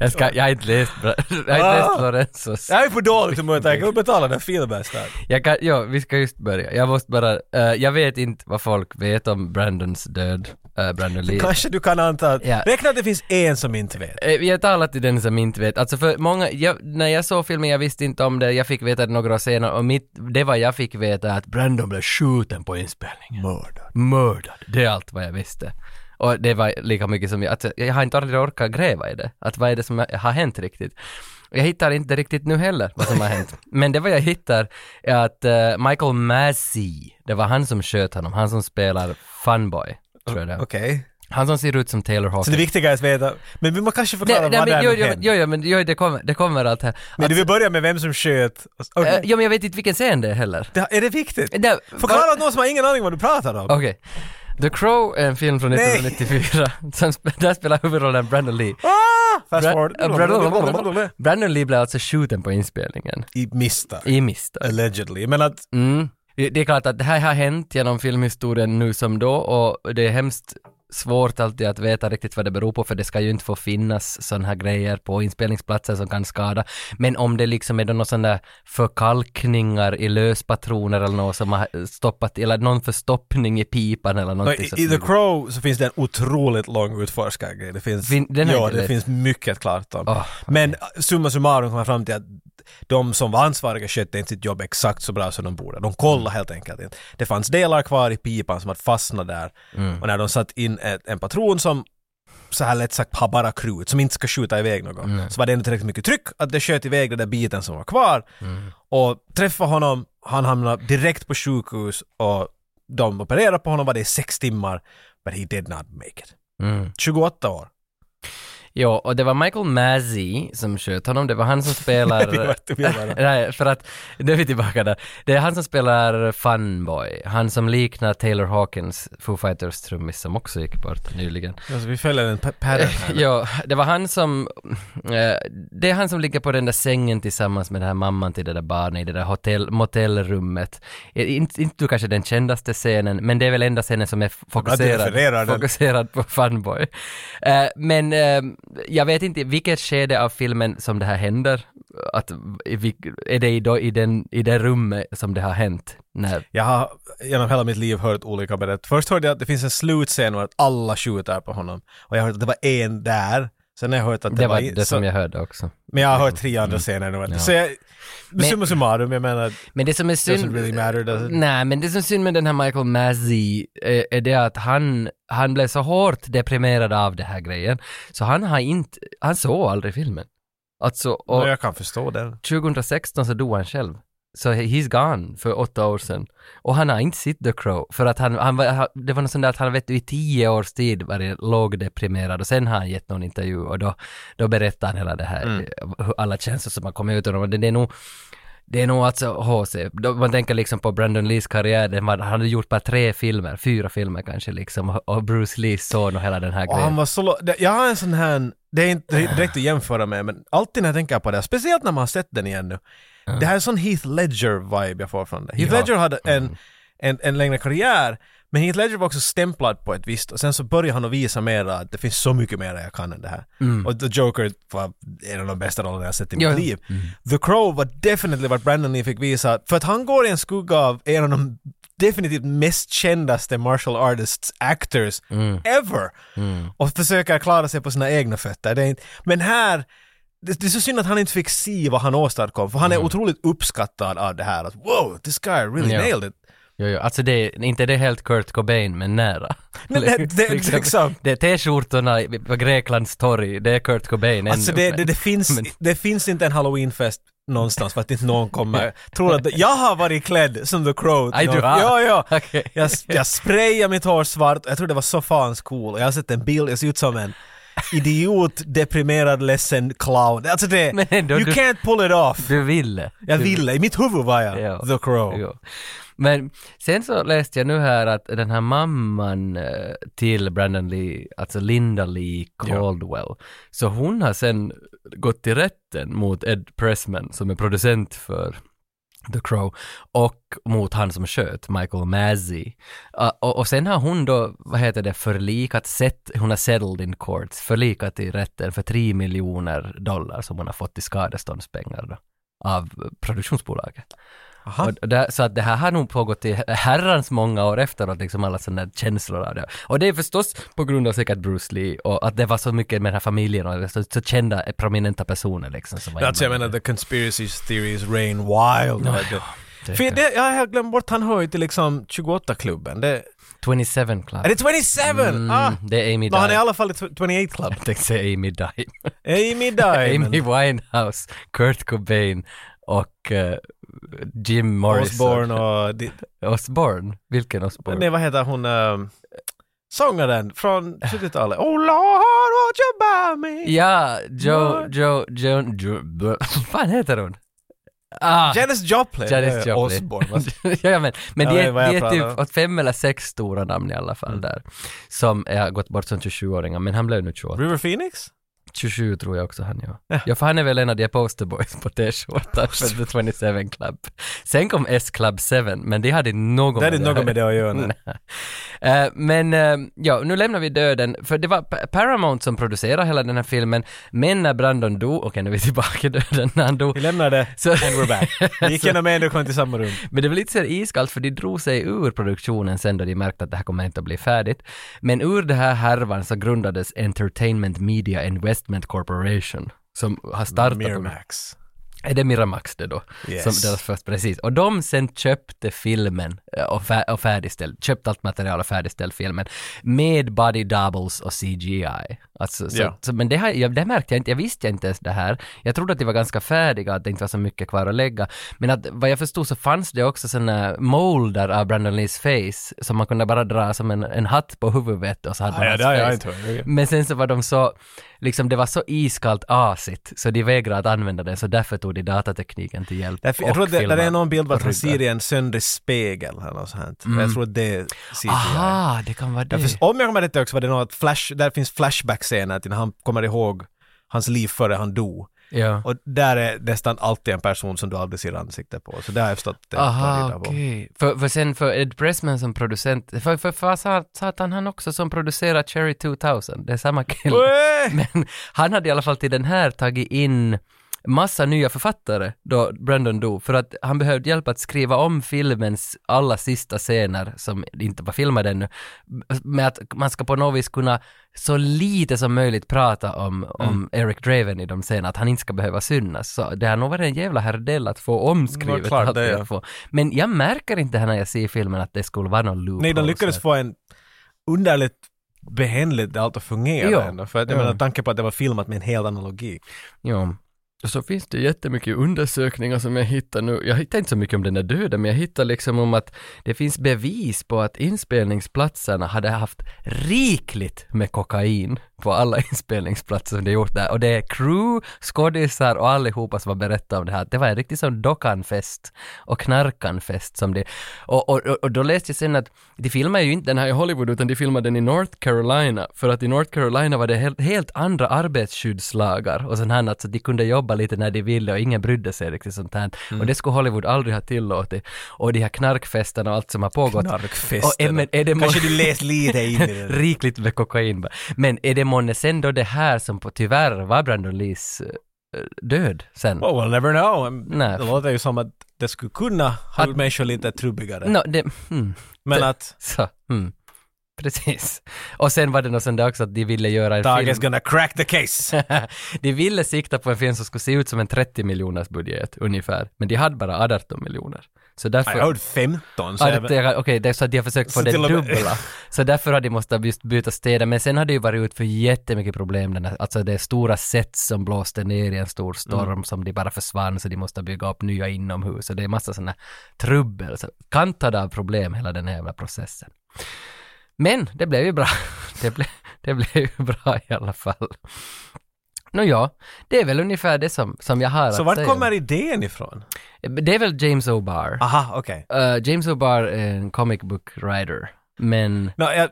Jag, ska, jag har inte läst, bra- jag har inte
Ah!
läst Lorenzos.
Jag är på dåligt humör, jag kan betala den filmen snart.
Jag kan, ja, vi ska just börja. Jag måste bara, eh, jag vet inte vad folk vet om Brandons död, eh, Brandon Lee.
Kanske du kan anta att,
Ja.
räkna att det finns en som inte vet.
Eh, Jag talar till den som inte vet. Alltså för många, jag, när jag såg filmen, jag visste inte om det, jag fick veta det några år senare och mitt, det var jag fick veta att Brandon blev skjuten på inspelningen.
Mördad.
Mördad. Det är allt vad jag visste. Och det var lika mycket som jag, alltså, jag har inte aldrig orkat gräva i det. Att vad är det som har hänt riktigt? Jag hittar inte riktigt nu heller vad som har hänt. Men det vad jag hittar är att eh, Michael Massey, det var han som sköt honom, han som spelar Funboy, tror jag det är.
Okej.
Han som ser ut som Taylor Hawkins.
Så det viktiga är att veta, men vi måste kanske
Nej,
förklara
nej,
vad det
men,
är
jo,
som
jo,
händer.
jo, jo, men jo, det, kommer, det kommer allt här.
Men du vill börja med vem som sköt? och- Okej.
Eh, jo, men jag vet inte vilken scen det är heller.
Det- Är det viktigt?
Nej,
Förklara
va-
åt någon som har ingen aning vad du pratar om.
Okej. The Crow är en film från
Nej.
1994. Som, sp- där spelar huvudrollen Brandon Lee.
Ah! Fast
Brandon,
forward.
Brandon Lee blev alltså skjuten på inspelningen.
I misstag.
I misstag.
Allegedly. Men att,
Mm. Det är klart att det här har hänt genom filmhistorien nu som då och det är hemskt svårt alltid att veta riktigt vad det beror på för det ska ju inte få finnas sådana här grejer på inspelningsplatser som kan skada. Men om det liksom är då någon sån där förkalkningar i löspatroner eller något som har stoppat eller någon förstoppning i pipan eller
no,
någonting.
i,
sånt.
i The Crow så finns det en otroligt lång utforskargrej. Det finns,
Fin- den har
ja,
inte
det
läst.
finns mycket att klart om.
Åh,
Men summa summarum kommer jag fram till att de som var ansvariga skötte inte sitt jobb exakt så bra som de borde. De
Mm.
kollade helt enkelt inte. Det fanns delar kvar i pipan som hade fastnat där.
mm,
Och när de satt in ett, en patron som så här lätt sagt har bara krut, som inte ska skjuta iväg något, så var det ändå tillräckligt mycket tryck att det sköt iväg den där biten som var kvar. Och träffa honom, han hamnade direkt på sjukhus och de opererade på honom, var det i sex timmar, but he did not make it.
Mm.
28 år.
Ja, och det var Michael Mazzi som sköt honom. Det var han som
Vi
spelar...
vart- vi vart-
Nej, för att, nu är vi tillbaka där. Det är han som spelar Funboy, han som liknar Taylor Hawkins, Foo Fighters trummis som också gick bort nyligen.
Alltså, vi följer en pa- pattern här.
ja, det var han som, eh, det är han som ligger på den där sängen tillsammans med den här mamman till det där barnet i det där hotell, motellrummet. Eh, Inte, inte du kanske den kändaste scenen, men det är väl enda scenen som är f-
refererar
fokuserad,
den.
fokuserad på Funboy. Eh, men eh, jag vet inte i vilket skede av filmen som det här händer, att, i vilk- är det i, då, i, den, i det rummet som det har hänt? När,
Jag har genom hela mitt liv hört olika berättelser. Först hörde jag att det finns en slutscen och att alla skjuter på honom. Och jag hörde att det var en där. Sen har jag hört att det,
det var
i-
det
så,
som jag hörde också.
Men jag har
Mm.
hört tre andra scener nu. Så jag, summa summarum, jag menar,
Men det som är synd...
doesn't really matter, does it?
Nej, men det som är synd med den här Michael Mazzi eh, är det att han, han blev så hårt deprimerad av den här grejen, så han har inte, han såg aldrig filmen. Alltså, och
Och jag kan förstå den.
2016 så dog han själv. Så he- he's gone för åtta år sedan. Och han har inte sett The Crow, för att han, han var, han- det var något sånt där att han vet du, i tio års tid varit lågdeprimerad och sen har han gett någon intervju och då, då berättar han hela det här,
Mm.
eh, hur alla känslor som har kommit ut ur honom. Och Det, det är nog det är nog alltså HC, Då- man tänker liksom på Brandon Lees karriär, den var- han hade gjort bara tre filmer, fyra filmer kanske liksom, och- och Bruce Lees son och hela den här
Och han
grejen.
var så lo- det- Jag har en sån här, det är inte direkt att jämföra med, men alltid när jag tänker på det, här, speciellt när man har sett den igen nu. Det här är sån Heath Ledger-vibe jag får från det. Heath
Ja. Mm.
Ledger hade en, en, en längre karriär, men Heath Ledger var också stämplad på ett visst, och sen så började han att visa mera att det finns så mycket mer jag kan än det här. Och The Joker var en av de bästa rollerna jag sett i mitt
Mm. Ja.
liv. The Crow var definitivt vad Brandon Lee fick visa, för att han går i en skugga av en av de definitivt mest kändaste martial artists actors ever och försöker klara sig på sina egna fötter. Det är inte, men här, det, det är så synd att han inte fick se vad han åstadkom, för han är otroligt uppskattad av det här. Att, wow, this guy really
Ja.
nailed it.
Jo, jo. Alltså det är, inte det är helt Kurt Cobain, men nära.
Men det, det,
Liksom.
liksom,
Det är t-skjortorna i- på Greklands torg, det är Kurt Cobain
alltså
ännu.
det, det, det, finns,
Men-
det finns inte en halloweenfest någonstans för att inte någon kommer. Tror att jag har varit klädd som The Crow.
Aj, du har?
ja, ja.
Okej.
Jag, jag sprayade mitt hår svart och jag tror det var så fans cool. Och jag har sett en bild, jag ser ut som en idiot, deprimerad, ledsen clown. Alltså det,
Men ändå,
you
du-
can't pull it off.
Du ville.
Jag
Du-
ville, i mitt huvud var jag
Ja.
The Crow.
Jo. Men sen så läste jag nu här att den här mamman eh, till Brandon Lee, alltså Linda Lee Caldwell, så hon har sen gått till rätten mot Ed Pressman som är producent för The Crow, och mot han som sköt, Michael Mazzi. Uh, och, och sen har hon då, vad heter det, förlikat, sett, hon har settled in courts, förlikat i rätten för 3 miljoner dollar som hon har fått i skadeståndspengar då, av produktionsbolaget.
Aha.
Och det, så att det här har nog pågått i herrans många år efteråt, liksom alla sådana där känslor av det. Och det är förstås på grund av säkert Bruce Lee och att det var så mycket med den här familjen och så, så kända, eh, prominenta personer liksom. Som var
Alltså jag menar
inblandade.
the conspiracy theories rain wild.
Ja,
Det-
det
För
är-
det, jag har glömt bort, han hör ju till liksom 28-klubben. Det,
27 Club.
är det 27?
Mm,
ah!
Det är Amy
Men han är
Diamond.
i alla fall i 28 club.
Jag tänkte säga Amy Diamond.
Amy Diamond.
Amy Winehouse, Kurt Cobain och eh, Jim Morrison.
Osborne och... di-
Osborne? Vilken Osborne?
Nej, vad heter hon? ehm, sångaren från 70-talet. Oh Lord, what you buy me?
Ja, Joe,
Mar-
Joe, Joe, Joe, vad fan heter hon? Ah,
Janis Joplin.
Janis
Eh,
Joplin.
Osborne. va?
ja, men, men
Jag
det
vet vad jag
är, det är
pratar
typ
om.
åt fem eller sex stora namn i alla fall
Mm.
där. Som har gått bort som 27-åringar, men han blev nu 28.
River Phoenix?
27 tror jag också han ja.
Ja.
ja. för han är väl en av de posterboys på t-skjortan för The 27 Club. Sen kom S-Club 7, men det hade något
Det hade inte något med det att göra. nej.
Nej. Eh, men eh, ja, nu lämnar vi döden, för det var Pa- Paramount som producerade hela den här filmen, men när Brandon dog, okej nu är vi tillbaka i döden, när han dog,
Vi lämnar det.
så,
And we're back. Vi gick igenom en och kom till samma rum.
men det var lite så här iskallt för de drog sig ur produktionen sen då de märkte att det här kommer inte att bli färdigt. Men ur det här härvan så grundades Entertainment Media Investment Corporation som har startat...
Miramax.
Är det Miramax det då?
Yes.
Som deras först, precis. Och de sen köpte filmen eh, och, fär, och färdigställde, köpte allt material och färdigställde filmen med body doubles och CGI. Alltså, så,
Ja.
så, men det, här, jag, det märkte jag inte, jag visste inte ens det här. Jag trodde att de var ganska färdiga, att det inte var så mycket kvar att lägga. Men att, vad jag förstod så fanns det också sådana molder av Brandon Lees face som man kunde bara dra som en, en hatt på huvudet och så hade man
Ah, Ja,
hans
det har jag
face.
inte hört.
Men sen så var de så, liksom det var så iskallt asigt så de vägrade att använda den så därför tog de datatekniken till hjälp.
Därför, jag tror att det, där
filmade.
är någon bild på att han
Och ryggar.
ser i en söndrig spegel eller något sånt. Mm. Jag tror att det är CGI.
Aha, det kan vara det.
Jag först, om jag kommer rätt ihåg så var det något flash, där finns flashback-scener till när han kommer ihåg hans liv före han dog.
ja.
Och där är nästan alltid en person som du aldrig ser ansiktet på. Så där har jag förstått det.
Aha,
det där på.
okej. För, för sen för Ed Pressman som producent, för, för, för sa, satan han också som producerar Cherry 2000, det är samma kille.
Oj!
Men han hade i alla fall till den här tagit in massa nya författare då Brandon dog för att han behövde hjälp att skriva om filmens alla sista scener som inte var filmade ännu med att man ska på något vis kunna så lite som möjligt prata om,
Mm.
om Eric Draven i de scenerna, att han inte ska behöva synas. Så det har nog varit en jävla herrdel att få omskrivet
Ja, klart
allt
det,
jag
ja.
får. Men jag märker inte här när jag ser filmen att det skulle vara någon loophole.
Nej, de
så
lyckades
att-
få en underligt behändigt allt att fungera
Jo.
ändå. För att, jag
Jo.
menar, tanken på att det var filmat med en hel annan logik.
Ja. Och så finns det jättemycket undersökningar som jag hittar nu. Jag hittar inte så mycket om den där döden, men jag hittar liksom om att det finns bevis på att inspelningsplatserna hade haft rikligt med kokain på alla inspelningsplatser som de gjort där. Och det är crew, skådisar och allihopa som har berättat om det här. Det var en riktig sån dockanfest och knarkanfest som det... Och, och, och- och då läste jag sen att de filmar ju inte den här i Hollywood, utan de filmade den i North Carolina. För att i North Carolina var det helt, helt andra arbetsskyddslagar och sånt här, att så de kunde jobba lite när de ville och ingen brydde sig riktigt sånt här. Och det skulle Hollywood aldrig ha tillåtit. Och de här knarkfesterna och allt som har pågått.
Knarkfesterna.
Och är- men är det må-
Kanske du läst lite in i det.
Rikligt med kokain. bara. Men är det månne sen då det här som på, tyvärr var Brandon Lees eh, död sen?
Oh, Well, we'll never know.
Nej.
Det låter ju som att det skulle kunna ha gjort människor lite trubbigare.
Nå, det, hmm.
Men att
Så, mm. Precis. Och sen var det något sånt där också att de ville göra en
Dag
film.
is gonna crack the case.
de ville sikta på en film som skulle se ut som en 30 miljoners budget ungefär, men de hade bara 18 miljoner. Så
I
därför...
heard 15. Så
Ja,
jag-
det- det- Okej, det är så att de har försökt få
Så
det
till och med-
dubbla. Så därför har de måste just byta städer. Men sen har det ju varit ut för jättemycket problem. Den här, alltså det är stora set som blåste ner i en stor storm
Mm.
som de bara försvann så de måste bygga upp nya inomhus. Så det är massa sådana trubbel. Så kantad av problem hela den här jävla processen. Men det blev ju bra. Det, ble, det blev ju bra i alla fall. Nåja, det är väl ungefär det som, som jag har
så
att
vart
säga.
kommer idén ifrån?
Det är väl James O'Barr.
Aha, okej.
Eh, James O'Barr är en comic book writer. Men
Nå, jag,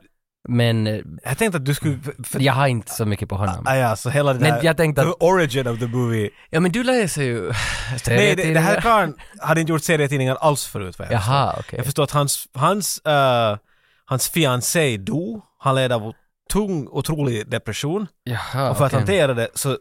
Men eh,
Jag tänkte att du skulle... För, för,
jag har inte så mycket på honom.
ah, ja, så hela det
Nej,
där...
jag tänkte
the
att-
origin of the movie.
Ja men du läser ju
Nej, det, det här
serietidningar.
karln hade inte gjort serietidningar alls förut vad jag förstår.
Jaha, okej.
Jag förstår att hans, hans, eh, hans fiancé dog. Han led av tung, otrolig depression.
Jaha,
och för att
Ah, okej.
hantera det så,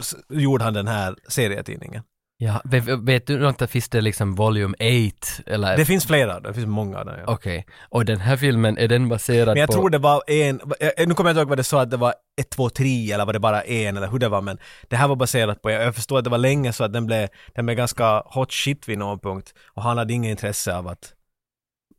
så gjorde han den här serietidningen.
Ja, vet, vet du inte, finns det liksom Volume 8 eller?
Det finns flera, det finns många där. Ja.
Okej. Och den här filmen, är den baserad
Men jag
på...
tror det var en, eh, nu kommer jag inte ihåg vad det sa att det var ett, två, tre eller var det bara en eller hur det var men det här var baserat på, jag förstår att det var länge så att den blev, den blev ganska hot shit vid någon punkt och han hade inget intresse av att,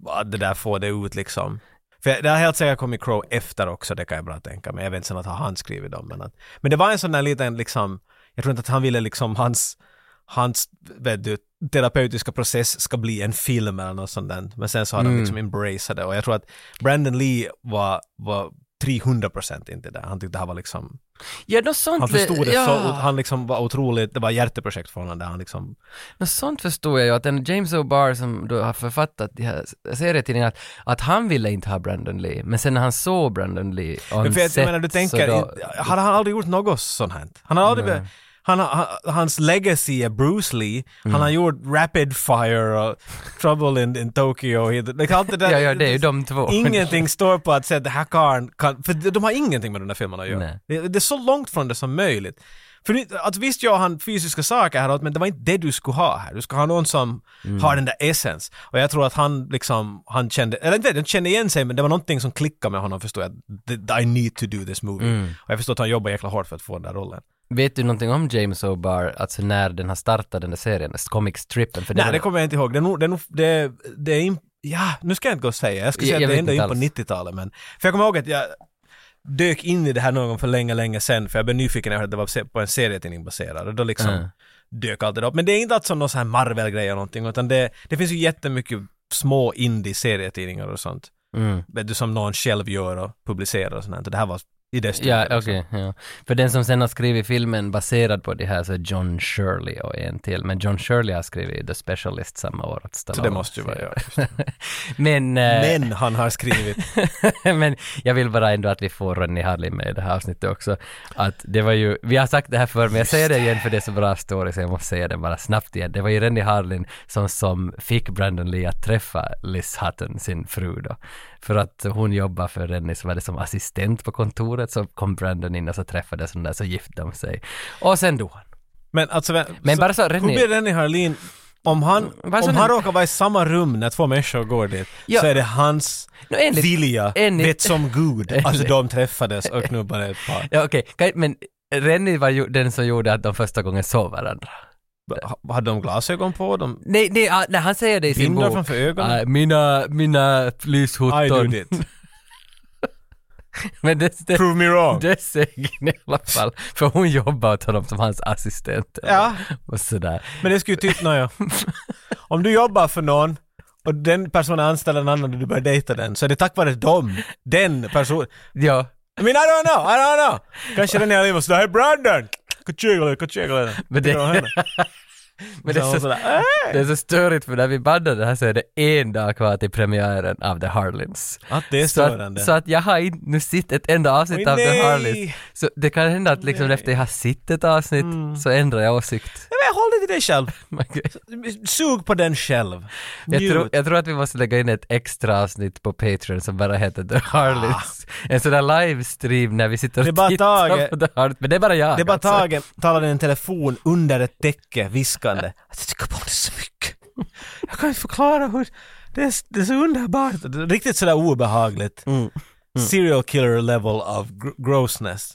att det där får det ut liksom. För jag- det har helt säkert kommit Crow efter också, det kan jag bra tänka mig. Jag vet inte sen att har han skrivit dem men att, men det var en sån där liten liksom, jag tror inte att han ville liksom hans, hans, vet du, terapeutiska process ska bli en film eller något sånt där. Men sen så har de
Mm.
liksom embraced det och jag tror att Brandon Lee var, var 300 procent inte där. Han tyckte det här var liksom,
Ja, något sånt...
han förstod det
ja,
så, han liksom var otroligt, det var ett hjärteprojekt för honom där han liksom,
Något sånt förstod jag ju, att den James O'Barr som då har författat de här serietidningarna, att, att han ville inte ha Brandon Lee, men sen när han såg Brandon Lee on
för jag,
set,
jag menar du
så
tänker,
då,
in- hade han aldrig gjort något sånt här? Han har aldrig, be- han, har- han, hans legacy är Bruce Lee,
Mm.
han har gjort Rapid Fire och Trouble in, in Tokyo, hit- liksom allt det där.
ja, ja, det är ju de två.
Ingenting står på att säga att det här karln kan, för de har ingenting med de där filmerna att göra.
Nej.
Det, det är så långt från det som möjligt. För det- att visst gör han fysiska saker häråt, men det var inte det du skulle ha här. Du ska ha någon som har den där essens. Och jag tror att han liksom, han kände, eller inte, han kände igen sig, men det var någonting som klickade med honom förstår jag. That I need to do this movie. Och jag förstår att han jobbar jäkla hårt för att få den där rollen.
Vet du någonting om James O'Barr, alltså när den har startat den där serien, comic strippen? För
Nej,
var-
det kommer jag inte ihåg. Det är nog, det är nog, det, det är in, ja, nu ska jag inte gå och säga. Jag skulle
Jag-
säga
jag
att det
vet
ändå är
inte
in på
alls.
90-talet, men... För jag kommer ihåg att jag dök in i det här någon gång för länge, länge sen, för jag blev nyfiken när jag hörde att det var se- på en serietidning baserad, och då liksom
Mm.
dök allt det där upp. Men det är inte alltså någon sån här Marvel-grej eller någonting, utan det, det finns ju jättemycket små indie-serietidningar och sånt,
Mm.
vet du, som någon själv gör och publicerar och sånt här. Det här var i det stycket.
Ja,
liksom.
okej. ja. För den som sen har skrivit filmen baserad på det här så är John Shirley och en till. Men John Shirley har skrivit The Specialist samma år. Att
Så det måste ju vara jag.
men, eh,
Men han har skrivit
men jag vill bara ändå att vi får Ronny Harlin med i det här avsnittet också. Att det var ju, vi har sagt det här förr men jag säger det igen för det är så bra story så jag måste säga det bara snabbt igen. Det var ju Ronny Harlin som, som fick Brandon Lee att träffa Liz Hutton, sin fru då. För att hon jobbar för Rennie så var det som assistent på kontoret så kom Brandon in och så träffades hon där så gifte de sig. Och sen dog han.
Men alltså, vä-
Men bara så, Renny-
hur blir Renny Harlin, om han,
Bara så
om han
nu-
råkar vara i samma rum när två människor går dit,
Ja.
så är det hans
Nå, enligt-
vilja,
enligt-
vet som gud, alltså de träffades och knubbade ett par.
Ja okej, Kaj- men Rennie var ju den som gjorde att de första gången såg varandra.
Ha- Hade de glasögon på? De
Nej, nej, ah, nej han säger det i sin
bindlar
bok.
framför ögonen?
Ah, mina, mina
I
lyshotton.
did it.
Men det, det,
Prove me wrong.
det säger hon i alla fall. För hon jobbar åt honom som hans assistent. eller-
Ja.
Och sådär.
Men det skulle ju typ, nåja. Om du jobbar för någon och den personen anställer en annan och du börjar dejta den, så är det tack vare dem, den personen.
Ja.
I mean, I don't know, I don't know. Kanske den här livet så hej Brandon! Kachigla, kachigla.
Men det- Men det, är så, det är så störigt för när vi bandade det här så är det en dag kvar till premiären av The Harlins.
Att det är
Så
störande.
att, så att jag har inte nu sett ett enda avsnitt
Oj,
av The
nej.
Harlins. Så det kan hända att liksom efter jag har sett ett avsnitt
Mm.
så ändrar jag åsikt.
Nej, men håll dig till dig själv. Sug på den själv.
Jag
Njut.
tror, jag tror att vi måste lägga in ett extra avsnitt på Patreon som bara heter The Harlots. En sån där livestream när vi sitter
Ah. Det är
och
bara
tittar
Tage.
på The Harlots. Men det är bara jag.
det är bara
alltså.
Tage talade i en telefon under ett täcke viskande. Jag tycker bara det så mycket. Jag kan inte förklara hur... Det är, det är så underbart. Det är Riktigt sådär obehagligt.
Mm.
Serial killer level of gr- grossness.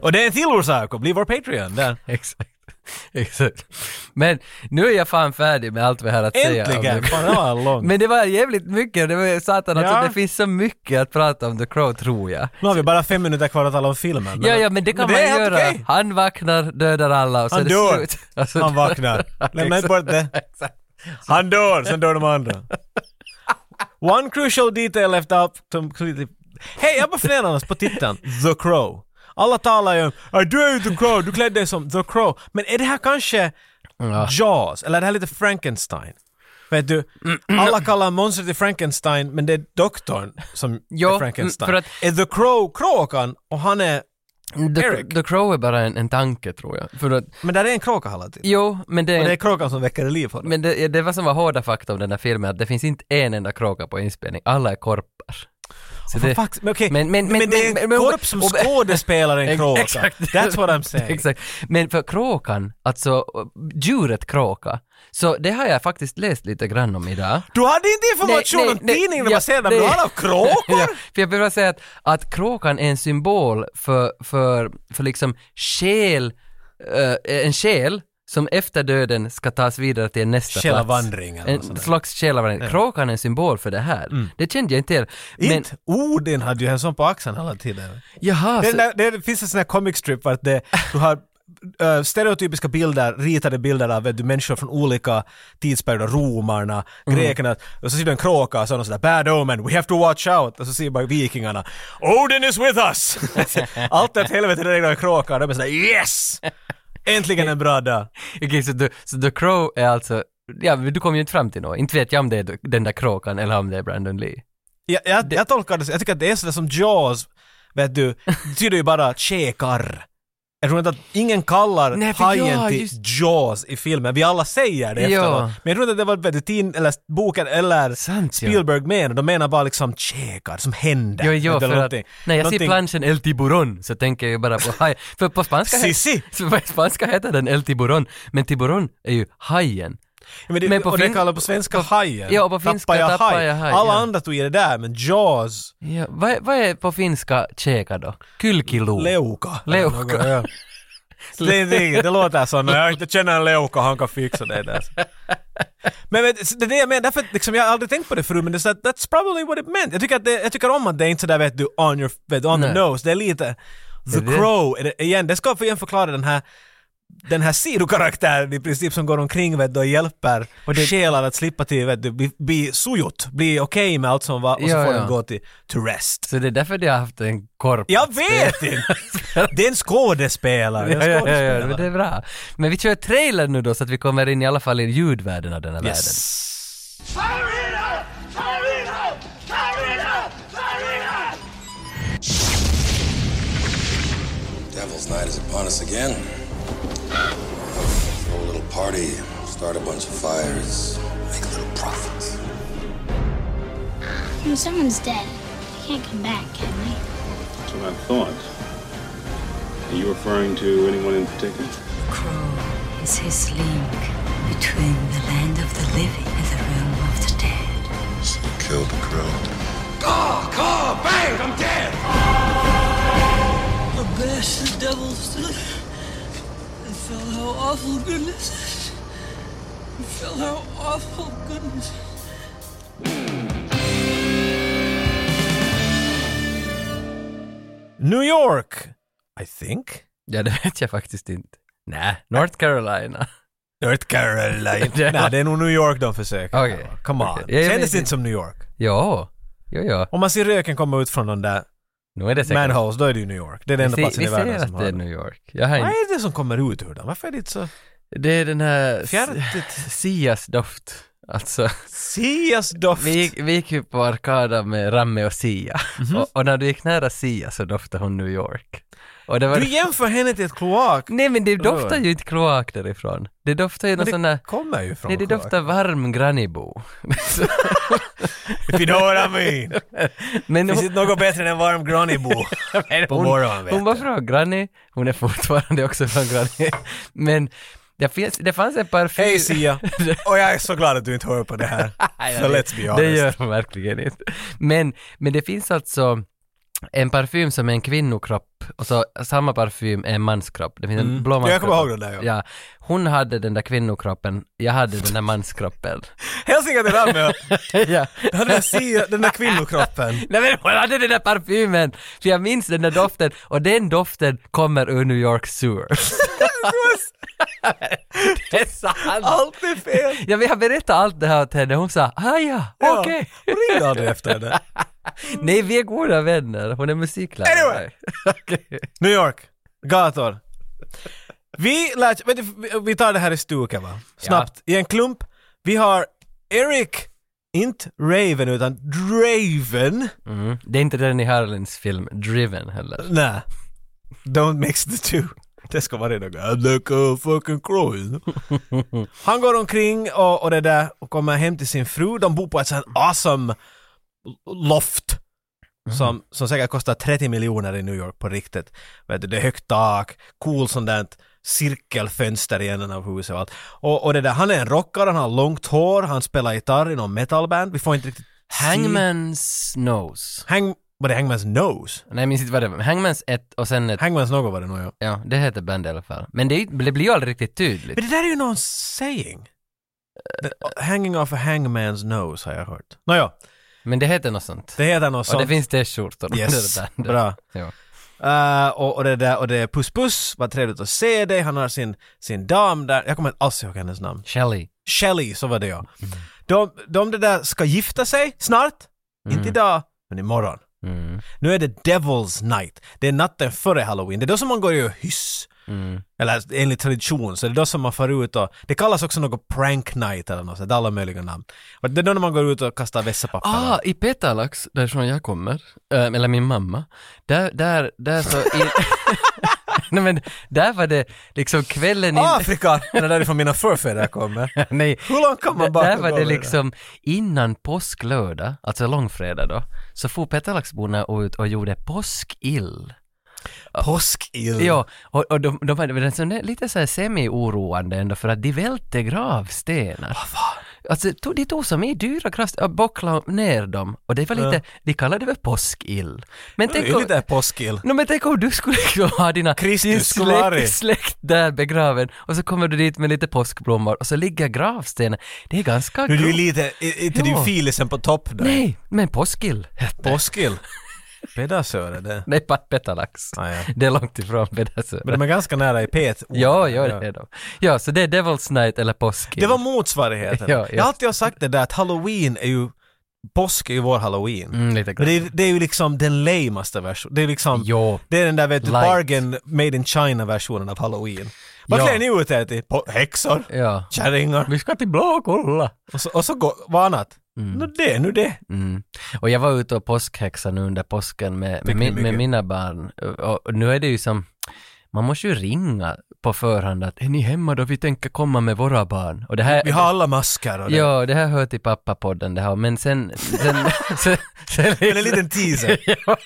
Och det är en till orsak att bli vår Patreon där.
Exakt. Exakt. Men nu är jag fan färdig med allt vi har att säga. om
Äntligen!
The-
Fan, det var långt.
Men det var jävligt mycket, det var ju satan alltså,
Ja.
det finns så mycket att prata om The Crow tror jag.
Nu har vi bara fem minuter kvar att tala om filmen.
Ja, ja, men det kan
är
man
helt
göra.
okej.
Han vaknar, dödar alla och så
Han
är det
dör.
slut. Alltså,
Han vaknar. Lämna inte bort det.
Exakt.
Han dör, sen dör de andra. One crucial detail left out completely... Hej, jag bara funderar annars på titeln. The Crow. Alla talar ju om "Ah, du är ju The Crow, du klädde dig som The Crow. Men är det här kanske
Ja.
Jaws? Eller är det här lite Frankenstein? Vet du, alla kallar monstret i Frankenstein men det är doktorn som
Jo,
är Frankenstein.
mm, för att-
Är The Crow kråkan och han är...
The,
Eric.
The Crow är bara en, en tanke tror jag. För att,
Men där är en kråka hela tiden.
jo, men det,
Och det
är
är kråkan som väcker liv honom.
men det, det var som var hårda fakta om den här filmen, att det finns inte en enda kråka på inspelning, alla är korpar. Så
Men,
det-
fuck, men, okej,
men- men-
men,
men-
det är en
men- men-
korp som
och-
skådespelar en
Ex-
kråka.
exakt.
That's what I'm saying.
Exakt. Men för kråkan, alltså djuret kråka, så det har jag faktiskt läst lite grann om idag.
Du hade inte information
Nej, nej,
om
nej,
tidningen
ja,
du var sedan, men
nej.
du hade av kråkor?
Ja, för jag vill bara säga att, att kråkan är en symbol för, för, för liksom själ, eh, en själ som efter döden ska tas vidare till nästa plats.
Själavandring eller något
En
sånt
slags själavandring. Kråkan är en symbol för det här. Det kände jag inte till.
där.
Men,
Inte Odin hade ju en sån på axeln hela tiden.
jaha,
Det,
Ah, så,
där, det finns en sån här comic strip vart det, du har eh, stereotypiska bilder, ritade bilder av vet du, människor från olika tidsperioder, romarna, grekerna, och så ser du en kråka och så är de sådär “Bad omen, we have to watch out” och så ser man vikingarna “Odin is with us!” Allt åt helvete, det regnar kråkar, de är sådär “Yes!” Äntligen en bra dag!
Okej, så, the, så The Crow är alltså, ja men du kom ju inte fram till något. Inte vet jag om det är den där kråkan eller om det är Brandon Lee.
Jag, jag, jag tolkar det så, jag tycker att det är sådär som Jaws, vet du, det betyder ju bara käkar. Jag tror inte att ingen kallar
Nej, för
hajen
ja,
till
just-
Jaws i filmen, vi alla säger det
Ja.
efteråt. Men jag tror inte att det var vet du, tin, eller boken eller
Sant ja.
Spielberg menar, de menar bara liksom käkar som händer.
Jo, jo,
Vet du,
för att
någonting-
när jag ser
någonting-
planschen El Tiburón så tänker jag ju bara på haj. För på spanska, he-
Sissi!
så på spanska heter den El Tiburón, men Tiburón är ju hajen.
Ja, Men det,
Men på
och det
fin-
kallar på svenska hajen.
Ja, på finska tappar jag haj,
Alla
ja.
andra tog i det där, men Jaws,
Ja, vad, är- vad är på finska käka då? Kylkilu?
leuka. eller
Leuka.
något, ja. Det, det, det låter som när jag inte känner en leuka, han kan fixa det där. Men vet, du, det är det jag menar, därför att liksom, jag har aldrig tänkt på det förut men det är så att that's probably what it meant. Jag tycker, att det, jag tycker om att det är inte sådär vet du, on, your, vet, on the
Nej.
nose, det är lite The
Det är det.
Crow, är det, igen, det ska för- igen förklara den här den här sidokaraktären i princip som går omkring vet, du, och hjälper och det, själar att slippa till, vet, du, bli, bli sojot, bli okej med allt som var och så
Ja,
får
ja.
den gå till to rest.
Så det är därför de har haft en korp.
Jag vet inte! Det är en skådespelare. Det
Ja,
är en
ja, ja,
skådespelare.
ja, men det är bra. Men vi kör trailer nu då så att vi kommer in i alla fall i ljudvärlden av den här världen.
Yes.
Fire it up! Fire it up! Fire it up! Fire it up!
Devil's Night is upon us again. Throw a little party, start a bunch of fires, make little profits.
When someone's dead, they can't come back, can they?
That's what I thought. Are you referring to anyone in particular?
Crow is his link between the land of the living and the realm of the dead.
So kill the crow.
A bastard devil's son. And felt how awful goodness is. And felt how awful goodness is.
New York, I think.
Ja, det vet jag faktiskt inte. Nej, North Carolina.
North Carolina.
Det-
Nej, det är nog New York de försöker.
Okej.
Come on.
Okej. Jag
Kändes
vet-
inte som New York.
Jo, jo, jo.
Om man ser röken komma ut från de där
Nu är det säkert.
manholes, då är det ju New York. Det är den enda
Vi
platsen i
ser- vi
världen
ser
som
att det är
har det.
New York. Jag har
Vad
inte...
är det som kommer ut ur dem? Varför är det inte så...
Det är den här...
Fjärtigt.
Sias doft. Alltså,
Sias doft!
vi gick, vi gick ju på Arkada med Ramme och Sia.
Mhm.
Och, och när du gick nära Sia så doftade hon New York. Och det var...
Du jämför henne till ett kloak.
Nej men det doftar
Oj.
ju inte kloak därifrån. Det doftar ju någon
Men
sån
det
där...
kommer ju från
Nej, det
kloak.
doftar varm grannibo. Så-
If you know what I mean.
men
Finns
hon,
inte något bättre än varm grannybo på morgonen vet
hon var
du.
från Granny, hon är fortfarande också från Granny. Men det, finns, det fanns ett par...
Hej Sia! Och jag är så glad att du inte hör på det här.
Nej,
Så
det-
let's be
Det
honest.
gör de verkligen inte. Men, men det finns alltså en parfym som är en kvinnokropp och så samma parfym är en manskropp. Det finns en blå
Mm. Ja,
manskropp.
jag kommer ihåg den där, ja.
ja. Hon hade den där kvinnokroppen, jag hade den där manskroppen.
Hälsningar till Ramme!
ja.
Den där, Sia, den där kvinnokroppen.
Nej men hon hade den där parfymen! För jag minns den där doften och den doften kommer ur New York sewers. det är sant!
Allt är fel!
Ja, vi har berättat allt det här åt henne, hon sa ah, ja,
Ja.
okej.
Hon ringde aldrig efter det. där.
Nej, vi är goda vänner. Hon är musiklärare.
Anyway.
Okej.
New York, gator. Vi lär, vet du, vi- vi tar det här i stuket va? Snabbt, i en klump. Vi har Eric, inte Raven utan Draven.
Mm. Det är inte Rennie Harlins film Driven heller.
Nej. Don't mix the two. Det ska vara det något. I'm like a fucking crying. Han går omkring och, och det där och kommer hem till sin fru. De bor på ett sånt awesome loft. Som, som säkert kostar 30 miljoner i New York på riktigt. Vet du, det är högt tak, cool sånt där cirkelfönster i änden av huset och allt. Och, och det där, han är en rockare, han har långt hår, han spelar gitarr i någon metalband. Vi får inte riktigt se-
Hangman's Nose.
Hang... Var det Hangman's Nose?
Nej, jag minns inte vad det var. Hangman's 1 och sen ett...
Hangman's något var det nog ja.
Ja, det heter band i alla fall. Men det, är- det blir ju aldrig riktigt tydligt.
Men det där är ju någon saying.
Eh,
The- hanging off a hangman's nose har jag hört. Nåja,
Men det heter något sånt.
det heter något
och
sånt.
det finns t-skjortor
yes,
under bandet.
bra.
Ja.
Eh, och, och, det där, och det är puss puss, vad trevligt att se dig. Han har sin, sin dam där. Jag kommer inte alls ihåg hennes namn.
Shelly.
Shelley, så var det ja. De, de det där ska gifta sig snart. Inte idag, men imorgon.
Mm.
Nu är det Devil's Night. Det är natten före Halloween. Det är då som man går i och hyss.
Mm.
Eller enligt tradition, så det är då som man far ut och... Det kallas också något prank night eller något sånt, det är alla möjliga namn. Och det är då när man går ut och kastar vässapapper.
Ah, i Petalax, därifrån jag kommer, eh, eller min mamma, där, där, där så... I, nej men, där var det liksom kvällen in...
Afrika! Det är därifrån mina förfäder kommer.
nej,
Ah! Hur långt kan man
d- där
bakåt
var
gå
det
med det?
liksom innan påsklördag, alltså långfredag då, så for Petalaxborna ut och gjorde påskill.
Påskill.
Ja, och, och de, de hade väl en sån där, lite så här semi-oroande ändå för att de välte gravstenar. Alltså to, de tog som i dyra gravstenar och bocklade ner dem och det var lite, de kallade det väl påskill. Men
Det är
tänk
ju
om,
lite påskill.
no, men tänk om du skulle liksom ha dina,
Kristus
din
skulle vara arg.
släkt, släkt där begraven och så kommer du dit med lite påskblommor och så ligger gravstenar. Det är ganska
Nu är du
grovt.
lite, i- inte din
Ja.
filisen på topp där.
Nej, men påskill.
Påskill. Pedasöre det.
Nej, pa- petalax.
Ah, ja.
Det är långt ifrån Bedasö.
Men de är ganska nära i P1.
Ja, ja, det är de. Ja, så det är Devil's Night eller påskill.
Det var motsvarigheten.
Ja, ja.
Jag har alltid har sagt det där att halloween är ju... Påsk är ju vår halloween.
Mm, lite
Men
grann.
det, är- det är ju liksom den lamaste versionen. Det är liksom...
Jo.
Det är den där vet du,
Light.
bargain made in China-versionen av halloween. Vad
Ja. Mm.
klär ni ut er till? På häxor?
Ja.
Kärringar?
Vi ska till Blåkulla.
Och så, och så går, vad annat? Nu det, nu det.
Mm. Och jag var ute och påskhäxa nu under påsken med, med,
ni
min- med
mycket?
mina barn. Och, och nu är det ju som, man måste ju ringa på förhand att är ni hemma då? Vi tänker komma med våra barn. Och det här,
Vi har alla maskar och det.
Ja, det här hör till pappapodden det här. Men sen... sen, sen, sen
Eller en liten teaser.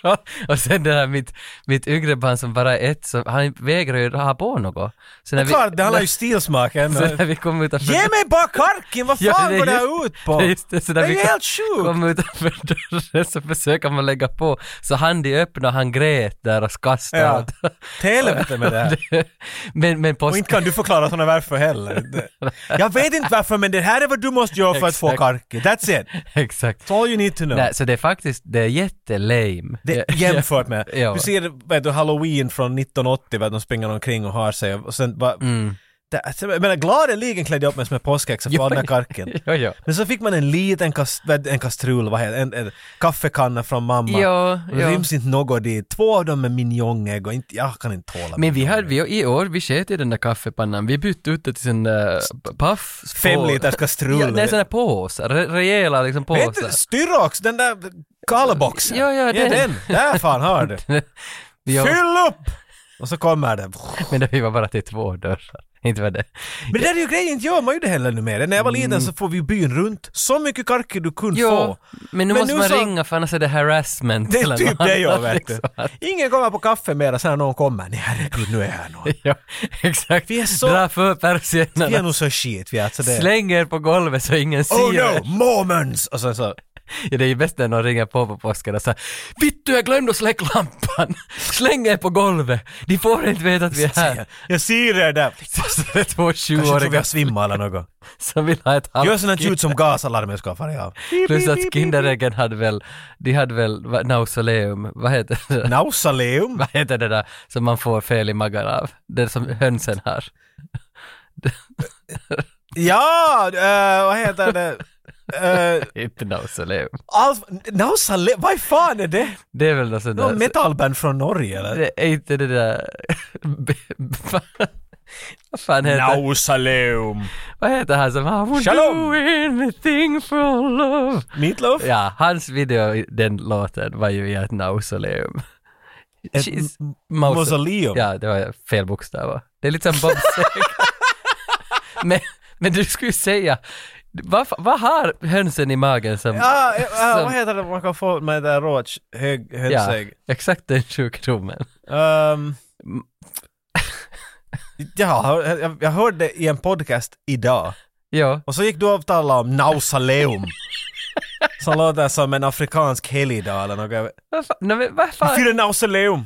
ja, och sen det här mitt, mitt yngre barn som bara är ett, så han vägrar ju ha på något. Så när vi-
Klart, det handlar ju stilsmak ännu.
Så när vi kom utanför...
Ge mig bara karken! Vad fan
Ja, det är
går det här
just-
ut på?
det är just det, så där
det är
vi
ju
kan-
helt sjukt!
kom utanför dörren så försöker man lägga på. Så han de öppnade och han grät där och kastade.
Ja.
allt.
Till helvete med det här.
men men
Och
påsk...
inte kan du förklara sådana varför heller. Det- Jag vet inte varför men det här är vad du måste göra för att få
Exakt.
karken. That's it.
Exakt.
That's all you need to know.
Nej, så det är faktiskt, det är jättelame.
Det, jämfört med,
Ja.
du ser vet du, halloween från 1980, vet, de springer omkring och har sig och sen bara... Det, alltså, jag menar gladeligen klädde jag upp mig som en påskhäxa för
Mm. Ja,
all den här
ja.
karken.
Ja, ja.
Men så fick man en liten kast, vet, en kastrull, vad heter det? en, en kaffekanna från mamma.
Ja,
det
ja.
ryms inte något dit. Två av dem är minjongägg och inte, jag kan inte tåla
Men vi
mignon.
hade, vi, i år, vi sket i den där kaffepannan. Vi bytte ut det till eh, sån där paff...
Fem liters kastrull.
Ja, nej, såna här påsar. re- Rejäla liksom
Vet du,
påsar.
Styrox, den där kallboxen.
Ja, ja,
Ge
den.
den. Där fan har du.
Ja,
Fyll upp! Och så kommer den.
men det var bara till två dörrar. Inte var det.
Men det där är ju grejen, inte gör man ju det heller numera. När jag var
Mm.
liten så får vi byn runt. Så mycket karker du kunde
Ja,
få.
men nu
Men
måste
nu
man
så-
ringa för annars är det harassment.
Det är
eller
typ
något
det jag
annat,
vet du.
liksom.
Ingen kommer på kaffe mera sen när någon kommer. Nej herregud, nu är jag någon.
Ja, exakt.
Vi är så-
Dra för
Vi är
persiennerna.
nog så shit vi är. Alltså det.
Släng er på golvet så ingen ser
Oh
er.
no, moments! Och sen så,
Ja, det är ju bäst när någon ringer på på påsken och säger Vittu, jag glömde att släcka lampan! Släng er på golvet! De får inte veta att vi är här.
jag ser er där.
Så det är två
Kanske tror vi har
sjuåringar
svimmat eller något.
som vill ha ett
Gör sådant
halvt
ljud som gasalarmet ska fara av.
Plus att Kinderäggen hade väl, de hade väl va- nausoleum, vad heter det?
Nausaleum?
Vad heter det där som man får fel i magen av? Det som hönsen har.
Ja, eh, vad heter det? Eh,
Inte nausoleum.
Alf, Nausale, vad fan är det?
Det är väl något sånt
Någon
där.
metalband från Norge eller?
Det är inte det där... Vad fan heter
Nausaleum.
vad heter han som I would
Shalom.
do anything for love.
Meatloaf?
Ja, hans video i den låten var ju i ett mausoleum.
Ett
She's-
m-
mause-
mausoleum?
Ja, det var fel bokstäver. Det är lite som Bob Seger. men, men du skulle ju säga, vad, fa- vad har hönsen i magen som...
Ah, eh, ah,
som-
vad heter det man kan få med det där råch, hög,
ja,
hönsägg?
exakt den sjukdomen.
Ehm,
Mm.
ja, jag, jag hörde det i en podcast idag.
Ja,
Och så gick du och talade om Nausaleum. Som låter som en afrikansk helgdag eller något.
vad fan, nej, men vad fan?
Fyra Nausaleum.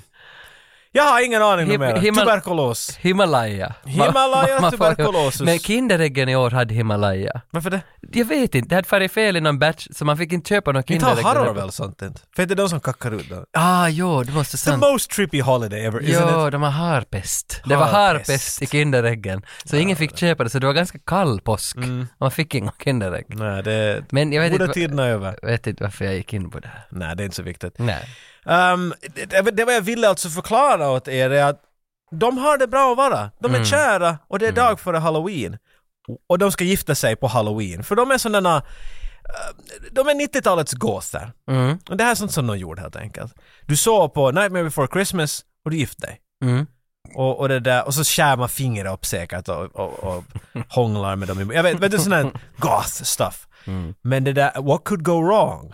Jag har ingen aning
Him-
numera.
himmel-
Tuberkulos.
Himalaya.
Himalaya
Man- man får-
tuberculosis.
Men Kinderäggen i år hade Himalaya.
Varför det?
Jag vet inte, det hade farit fel i någon batch så man fick inte köpa någon
Inte har
Kinderäggen.
harrar väl sånt inte? För det är de som kackar ut dem.
Ah, jo, det måste
The
sant.
most trippy holiday ever, isn't
Jo,
it?
de har harpest. Det var
Harpest.
harpest i Kinderäggen. Så ingen fick köpa det, så det var ganska kall påsk.
Mm.
Och man fick inga Kinderägg.
Nej, det...
Men jag vet
Båda
inte, va-
tiderna är över.
vet inte varför jag gick in på det här.
Nej, det är inte så viktigt.
Nej.
Ehm, det, det vad jag ville alltså förklara åt er är att de har det bra att vara. De är kära och det är dag före halloween. Och de ska gifta sig på halloween. För de är sådana... eh, De är 90-talets gåser.
Mm.
Och det här är sånt som de gjorde helt enkelt. Du såg på Nightmare before Christmas och du gifte dig.
Mm.
Och, och, det där, och så skär man fingrar upp säkert och, och, och hånglar med dem. i- Jag vet, vet du sån här goth stuff. Men det där, what could go wrong?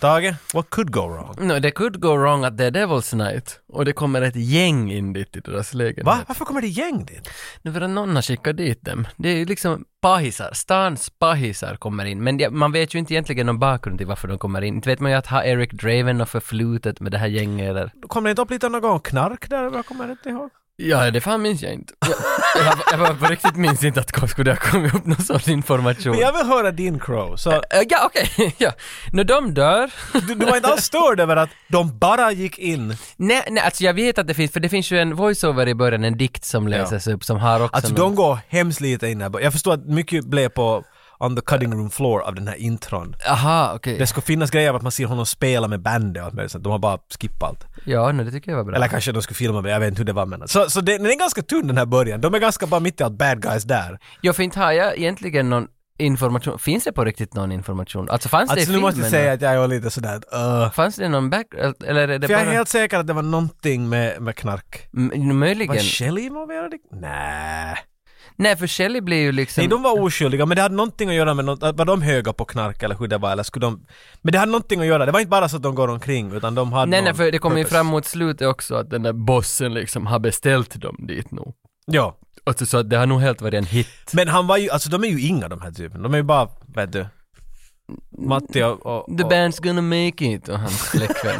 Tage, what could go wrong?
No, det could go wrong att det är Devil's Night och det kommer ett gäng in dit i deras lägenhet.
Va? Varför kommer det gäng dit?
Nu för att någon har skickat dit dem. Det är ju liksom pahisar, stans pahisar kommer in. Men det, man vet ju inte egentligen någon bakgrund till varför de kommer in. Inte vet man ju att har Eric Draven och förflutet med det här gänget eller?
Kommer det inte upp lite någon gång knark där? Jag kommer inte ihåg.
Ja, det fan minns jag inte. Jag, jag, jag bara på riktigt minns inte att det skulle ha kommit upp någon sån information.
Men jag vill höra din crow. Så
Äh, Ja, okej. ja. Nu de dör.
du, du var inte alls störd över att de bara gick in.
nej, nej, alltså jag vet att det finns, för det finns ju en voiceover i början, en dikt som läses upp som har också
Alltså
någon-
de går hemskt lite in där. Jag förstår att mycket blev på on the cutting room floor av den här intron.
Aha, okej.
Det ska finnas grejer av att man ser honom spela med bandet och allt möjligt sånt. De har bara skippat allt.
Ja, nej, det tycker jag var bra.
Eller kanske de skulle filma med, jag vet inte hur det var men. Så, så det, den är ganska tunn den här början. De är ganska bara mitt i allt bad guys där.
Ja, för inte har jag egentligen någon information. Finns det på riktigt någon information? Alltså fanns det i
Alltså nu
filmen?
måste jag säga att jag är lite sådär att, uh.
Fanns det någon back... Eller är det
För
bara...
jag är helt säker att det var någonting med, med knark.
M- möjligen.
Var Shelley involverad? i- Nej.
Nej, för Shelley blir ju liksom...
Nej, de var oskyldiga, men det hade någonting att göra med något, att var de höga på knark eller hur det var, eller skulle de... Men det hade någonting att göra, det var inte bara så att de går omkring, utan de hade
Nej, nej,
någon
för det kommer ju
purpose.
fram mot slutet också att den där bossen liksom har beställt dem dit nu.
Ja.
Alltså, så att det har nog helt varit en hit.
Men han var ju, alltså de är ju inga de här typerna, de är ju bara, vet du... Matti och... och,
The
och
band's gonna make it och hans flickvän.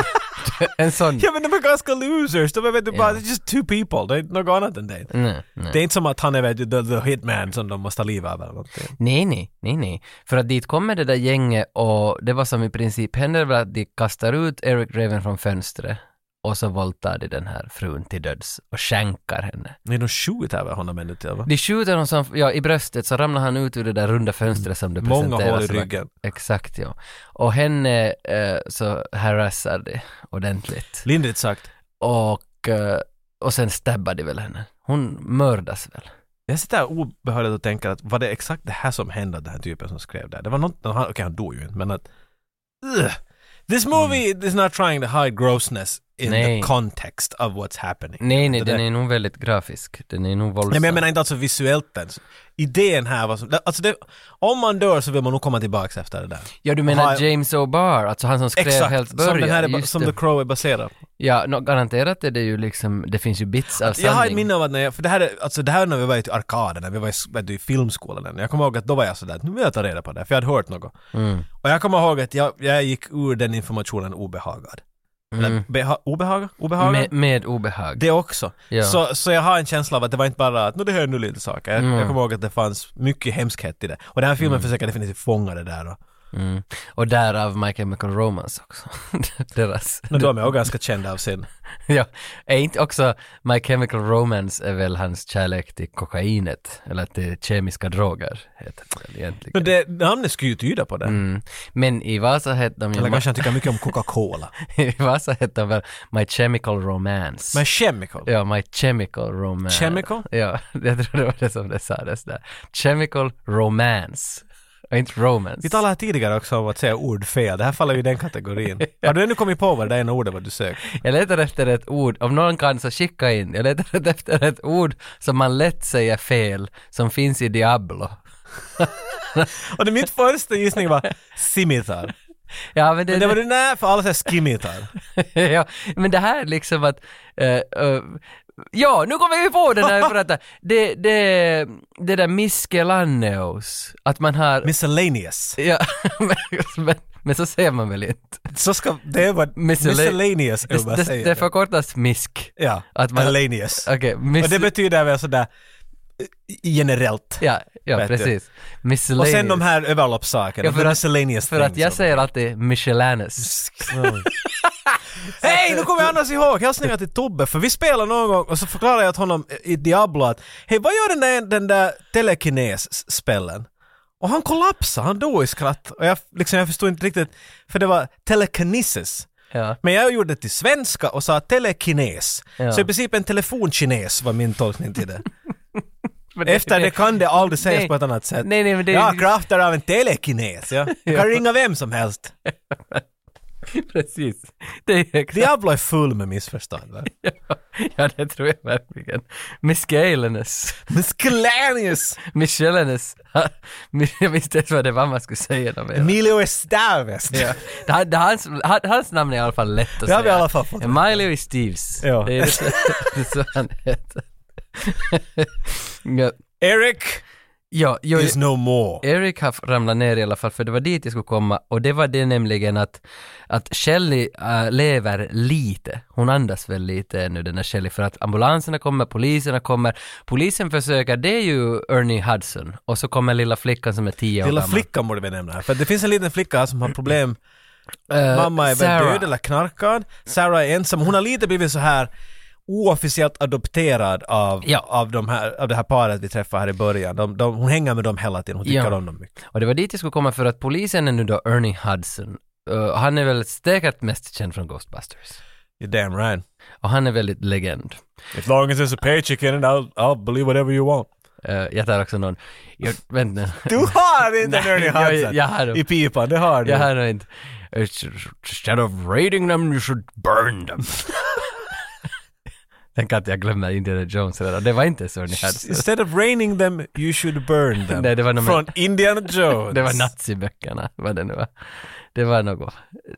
en sån...
ja men de är ganska losers, de är vet du
Mm. Ja.
bara,
Mm.
they're just two people, det är något annat än det.
Nej, nej.
Det är inte som att han är vet du, the, the hitman som de måste ha liv av eller någonting.
Nej, nej, nej, nej. För att dit kommer det där gänget och det var som i princip händer väl att de kastar ut Eric Draven från fönstret och så våldtar de den här frun till döds och skänkar henne.
Nej, de skjuter över honom ännu till va?
De skjuter honom som, ja, i bröstet så ramlar han ut ur det där runda fönstret som det alltså,
Många
presenteras.
hål i
som.
ryggen.
Exakt, ja. Och henne eh, så harassar de ordentligt.
Lindrigt sagt.
Och, eh, och sen stabbar de väl henne. Hon mördas väl.
Jag sitter här obehörigt och tänker att var det exakt det här som hände den här typen som skrev det? Det var något, han- okej han dog ju inte men att... Ugh. This movie is not trying to hide grossness in
Mm. Nej.
the context of what's happening.
Nej, nej,
Det
den
där-
är nog väldigt grafisk. Den är nog våldsam.
Nej men jag menar inte alltså visuellt ens. Idén här var som, alltså det, om man dör så vill man nog komma tillbaks efter det där.
Ja, du menar
Har jag-
James O'Barr, alltså han som skrev helt
Exakt,
början.
som, den här är, ba-
just
som
det.
The Crow är baserad på.
Ja, nå, garanterat är det ju liksom, det finns ju bits av sanning.
Jag har ett minne av att när jag, för det här, är- alltså det här är när vi var i arkaden, när vi var i, vet du, i filmskolan. än. Jag kommer ihåg att då var jag sådär, nu vill jag ta reda på det, för jag hade hört något.
Mm.
Och jag kommer ihåg att jag, jag gick ur den informationen obehagad.
Mm.
Eller, beha, obehagad? Obehagad?
med, med obehag.
det också.
Ja.
Så, så jag har en känsla av att det var inte bara att nu det här är
Mm.
nu lite saker. Jag, jag kommer ihåg att det fanns mycket hemskhet i det. Och den här filmen försöker definitivt fånga det där. Och,
Och därav My Chemical Romance också. Deras...
Men de är också ganska kända av sin.
Ja, är inte också My Chemical Romance är väl hans kärlek till kokainet, eller till kemiska droger, heter det väl egentligen.
Men det, namnet skulle ju tyda på det.
Mm. Men i Vasa hette de ju...
Eller kanske han tycker mycket om Coca-Cola.
I Vasa hette de väl My Chemical Romance.
Men Chemical.
Ja, My Chemical Romance.
Chemical?
Ja, jag tror det var det som det sades där. Chemical Romance. Och inte romance.
Vi talade här tidigare också om att säga ord fel. Det här faller ju i den kategorin. Har du ännu kommit på vad det ena ordet var du sökte?
Jag letar efter ett ord, om någon kan så skicka in. Jag letar efter ett ord som man lätt säger fel, som finns i Diablo.
Och det min första gissning var simitar.
Ja, men det,
Men det var du nej, för alla säger skimitar.
ja, men det här är liksom att... eh, eh, ja, nu kommer vi på den här för att det, det, det där miscellaneous, att man har...
Miscellaneous.
ja, men, men, men så säger man väl inte?
Så ska, det är vad miscellaneous är
Det,
vad jag
det, det
säger.
förkortas misk.
Ja,
att man-
miscellaneous.
Okej,
Och det
mis-
betyder väl sådär eh, generellt.
Ja, ja
Vet du.
precis.
Och
Miscellaneous.
sen de här överloppssakerna.
Ja, för
the
att-
miscellaneous
För att
things
jag
och-
säger alltid Michelanus.
Hej, nu kommer jag annars ihåg. Hälsningar till Tobbe, för vi spelade någon gång och så förklarade jag till honom i Diablo att hej, vad gör den där, den där telekines-spellen? Och han kollapsade, han dog i skratt. Och jag, liksom, jag förstod inte riktigt, för det var telekinesis.
Ja.
Men jag gjorde det till svenska och sa telekines.
Ja.
Så i princip en telefonkines var min tolkning till det.
Men
Efter det kan det aldrig sägas
Nej.
på ett annat sätt.
Nej, nej, men det-
Jag har krafter av en telekines, ja. Jag kan ringa vem som helst.
Precis. Det är exakt.
Diablo är full med missförstånd. va?
Ja, det tror jag verkligen. Mischelanus.
Miscellaneous!
Michelanus. Jag visste inte vad det var man skulle säga. Dem. hela.
Emilio Estevez.
Ja. Det, han- det, hans, han- hans namn är i alla fall lätt att
Det
säga.
har vi i alla fall fått.
Miley Steves.
Ja.
Det är så, det är så han heter. ja,
Eric
ja, jo,
is no more.
Eric har ramlat ner i alla fall, för det var dit jag skulle komma och det var det nämligen att, att Shelly äh, lever lite, hon andas väl lite ännu den här Shelly för att ambulanserna kommer, poliserna kommer, polisen försöker, det är ju Ernie Hudson och så kommer lilla flickan som är tio år
Lilla
gammal.
flickan borde vi nämna här, för det finns en liten flicka här som har problem.
Eh,
Mamma är väl
Sarah.
död eller knarkad. Sarah är ensam. Hon har lite blivit så här oofficiellt adopterad av,
Ja.
av, de här, av det här paret vi träffade här i början. De, de, hon hänger med dem hela tiden, hon tycker
Ja.
om dem mycket.
Och det var dit jag skulle komma för att polisen är nu då Ernie Hudson. Eh, han är väl säkert mest känd från Ghostbusters.
You're damn right.
Och han är väldigt legend.
As long as there's a paycheck in it I'll, I'll believe whatever you want.
Eh, jag tar också någon, jag, vänta nu.
Du har inte en Ernie
jag-
Hudson
jag har dem.
i pipan, det har du.
Jag har nog inte. Instead of raiding them you should burn them. Tänk att jag glömmer Indiana Jones redan. Det var inte så ni hade.
Instead of raining them, you should burn them.
Nej, det var nog-
Från Indiana Jones.
Det var naziböckerna, vad det nu var. Det var något.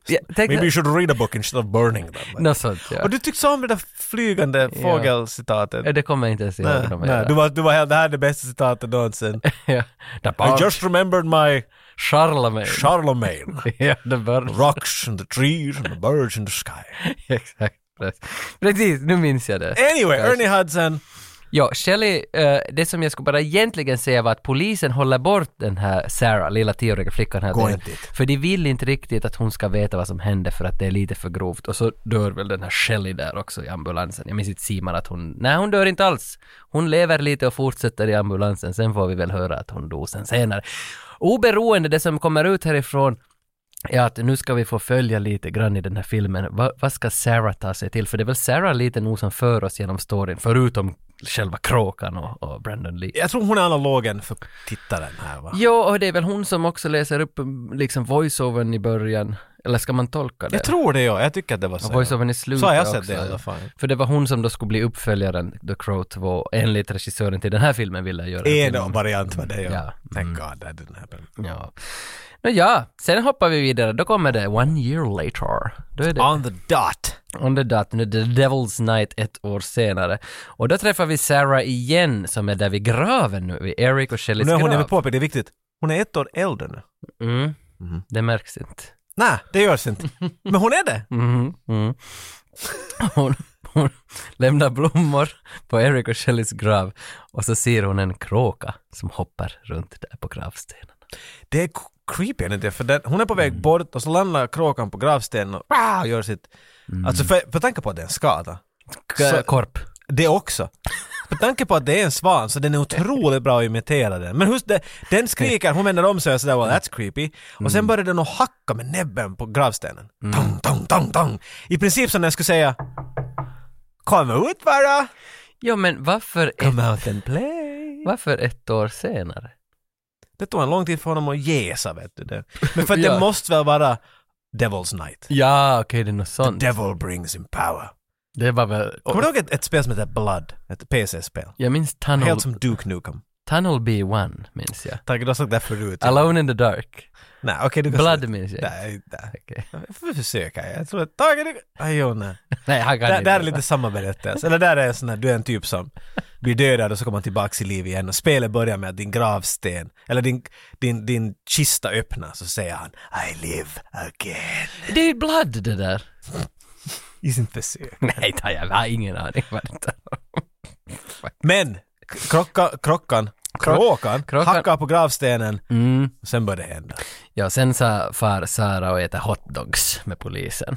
Ja, tänk,
Maybe you should read a book instead of burning them.
något sånt ja.
Och du tyckte om det där flygande
Ja.
fågelcitatet.
Ja, Det kommer jag inte ens ihåg.
Nej,
om jag
nej,
gör.
du var, du var helt, det här är det bästa citatet någonsin.
ja. Det
I
var
just remembered my
Charlemagne.
Charlemagne.
ja, det var
Rocks and the trees and the birds in the sky.
Exakt. Precis, nu minns jag det.
Anyway, Ernie Hudson.
Ja, Shelley, eh, det som jag skulle bara egentligen säga var att polisen håller bort den här Sarah, lilla tioåriga flickan här.
Gå
delen.
inte dit.
För de vill inte riktigt att hon ska veta vad som hände för att det är lite för grovt. Och så dör väl den här Shelley där också i ambulansen. Jag minns inte Simon att hon, nej hon dör inte alls. Hon lever lite och fortsätter i ambulansen. Sen får vi väl höra att hon dog sen senare. Oberoende det som kommer ut härifrån är att nu ska vi få följa lite grann i den här filmen. Va, vad ska Sarah ta sig till? För det är väl Sarah lite nog som för oss genom storyn, förutom själva kråkan och, och Brandon Lee.
Jag tror hon är analogen för tittaren här va?
Ja, och det är väl hon som också läser upp mm, liksom voiceovern i början. Eller ska man tolka det?
Jag tror det ja, jag tycker att det var så.
Och voiceovern i slutet
Så har jag sett
också,
det i
ja.
alla fall.
För det var hon som då skulle bli uppföljaren, The Crow 2, enligt regissören till den här filmen ville göra. en film
En
om-
variant var det ja.
Ja. Mm.
Thank God that didn't happen.
Ja. Nå ja, sen hoppar vi vidare. Då kommer det One Year Later. Då är det
On the dot.
On the Dot, nu The Devil's Night ett år senare. Och då träffar vi Sarah igen, som är där vid graven nu, vid Eric och Shellys
Och nu är
grav.
hon, jag vill påpeka, det är viktigt, hon är ett år äldre nu.
mm. Det märks inte.
Nej, det görs inte. Men hon är det!
Mhm, mm. Hon, hon lämnar blommor på Eric och Shellys grav och så ser hon en kråka som hoppar runt där på gravstenen.
Det är k- creepy, är det inte? För den, hon är på väg bort och så landar kråkan på gravstenen och ah, gör sitt... Alltså för, för tanke på att det är en skada.
K-
Så-
korp.
Det också. Med tanke på att det är en svan så den är otroligt bra att imitera den. Men hur, den skriker, hon vänder om sig och sådär well that's creepy. Och sen börjar den att hacka med näbben på gravstenen. Tong, tong, tong, tong. I princip som när jag skulle säga Kom ut bara!
Ja men varför ett,
Come out and play!
varför ett år senare?
Det tog en lång tid för honom att jäsa vet du det. Men för att
Ja.
det måste väl vara Devil's Night.
Ja, okej det är något sånt.
Devil brings in power.
Det var väl...
Kommer du ihåg ett, ett spel som heter Blood? Ett PC-spel.
Jag minns Tunnel,
Helt som Duke Nukem.
Tunnel B1, minns jag.
Tack, du har sagt det förut.
Alone in the Dark.
Nej, okej du kan
Blood minns jag.
Nej, nej.
Okej.
Varför försöker jag? Jag tror att Tage, du... Aj, jo, nej.
Nej, han kan
Där,
inte.
där är lite samma berättelse. Eller där är en sån där, du är en typ som blir dödad och så kommer han tillbaks i liv igen. Och spelet börjar med att din gravsten, eller din, din, din kista öppnas och så säger han I live again.
Det är Blood det där.
I sin försök.
Nej, ta- jag har ingen aning vad det är.
Men, k- krocka, krockan, kråkan,
kråkan.
hackar på gravstenen
Mm.
och sen börjar det hända.
Ja, sen sa far Sara och äta hotdogs med polisen.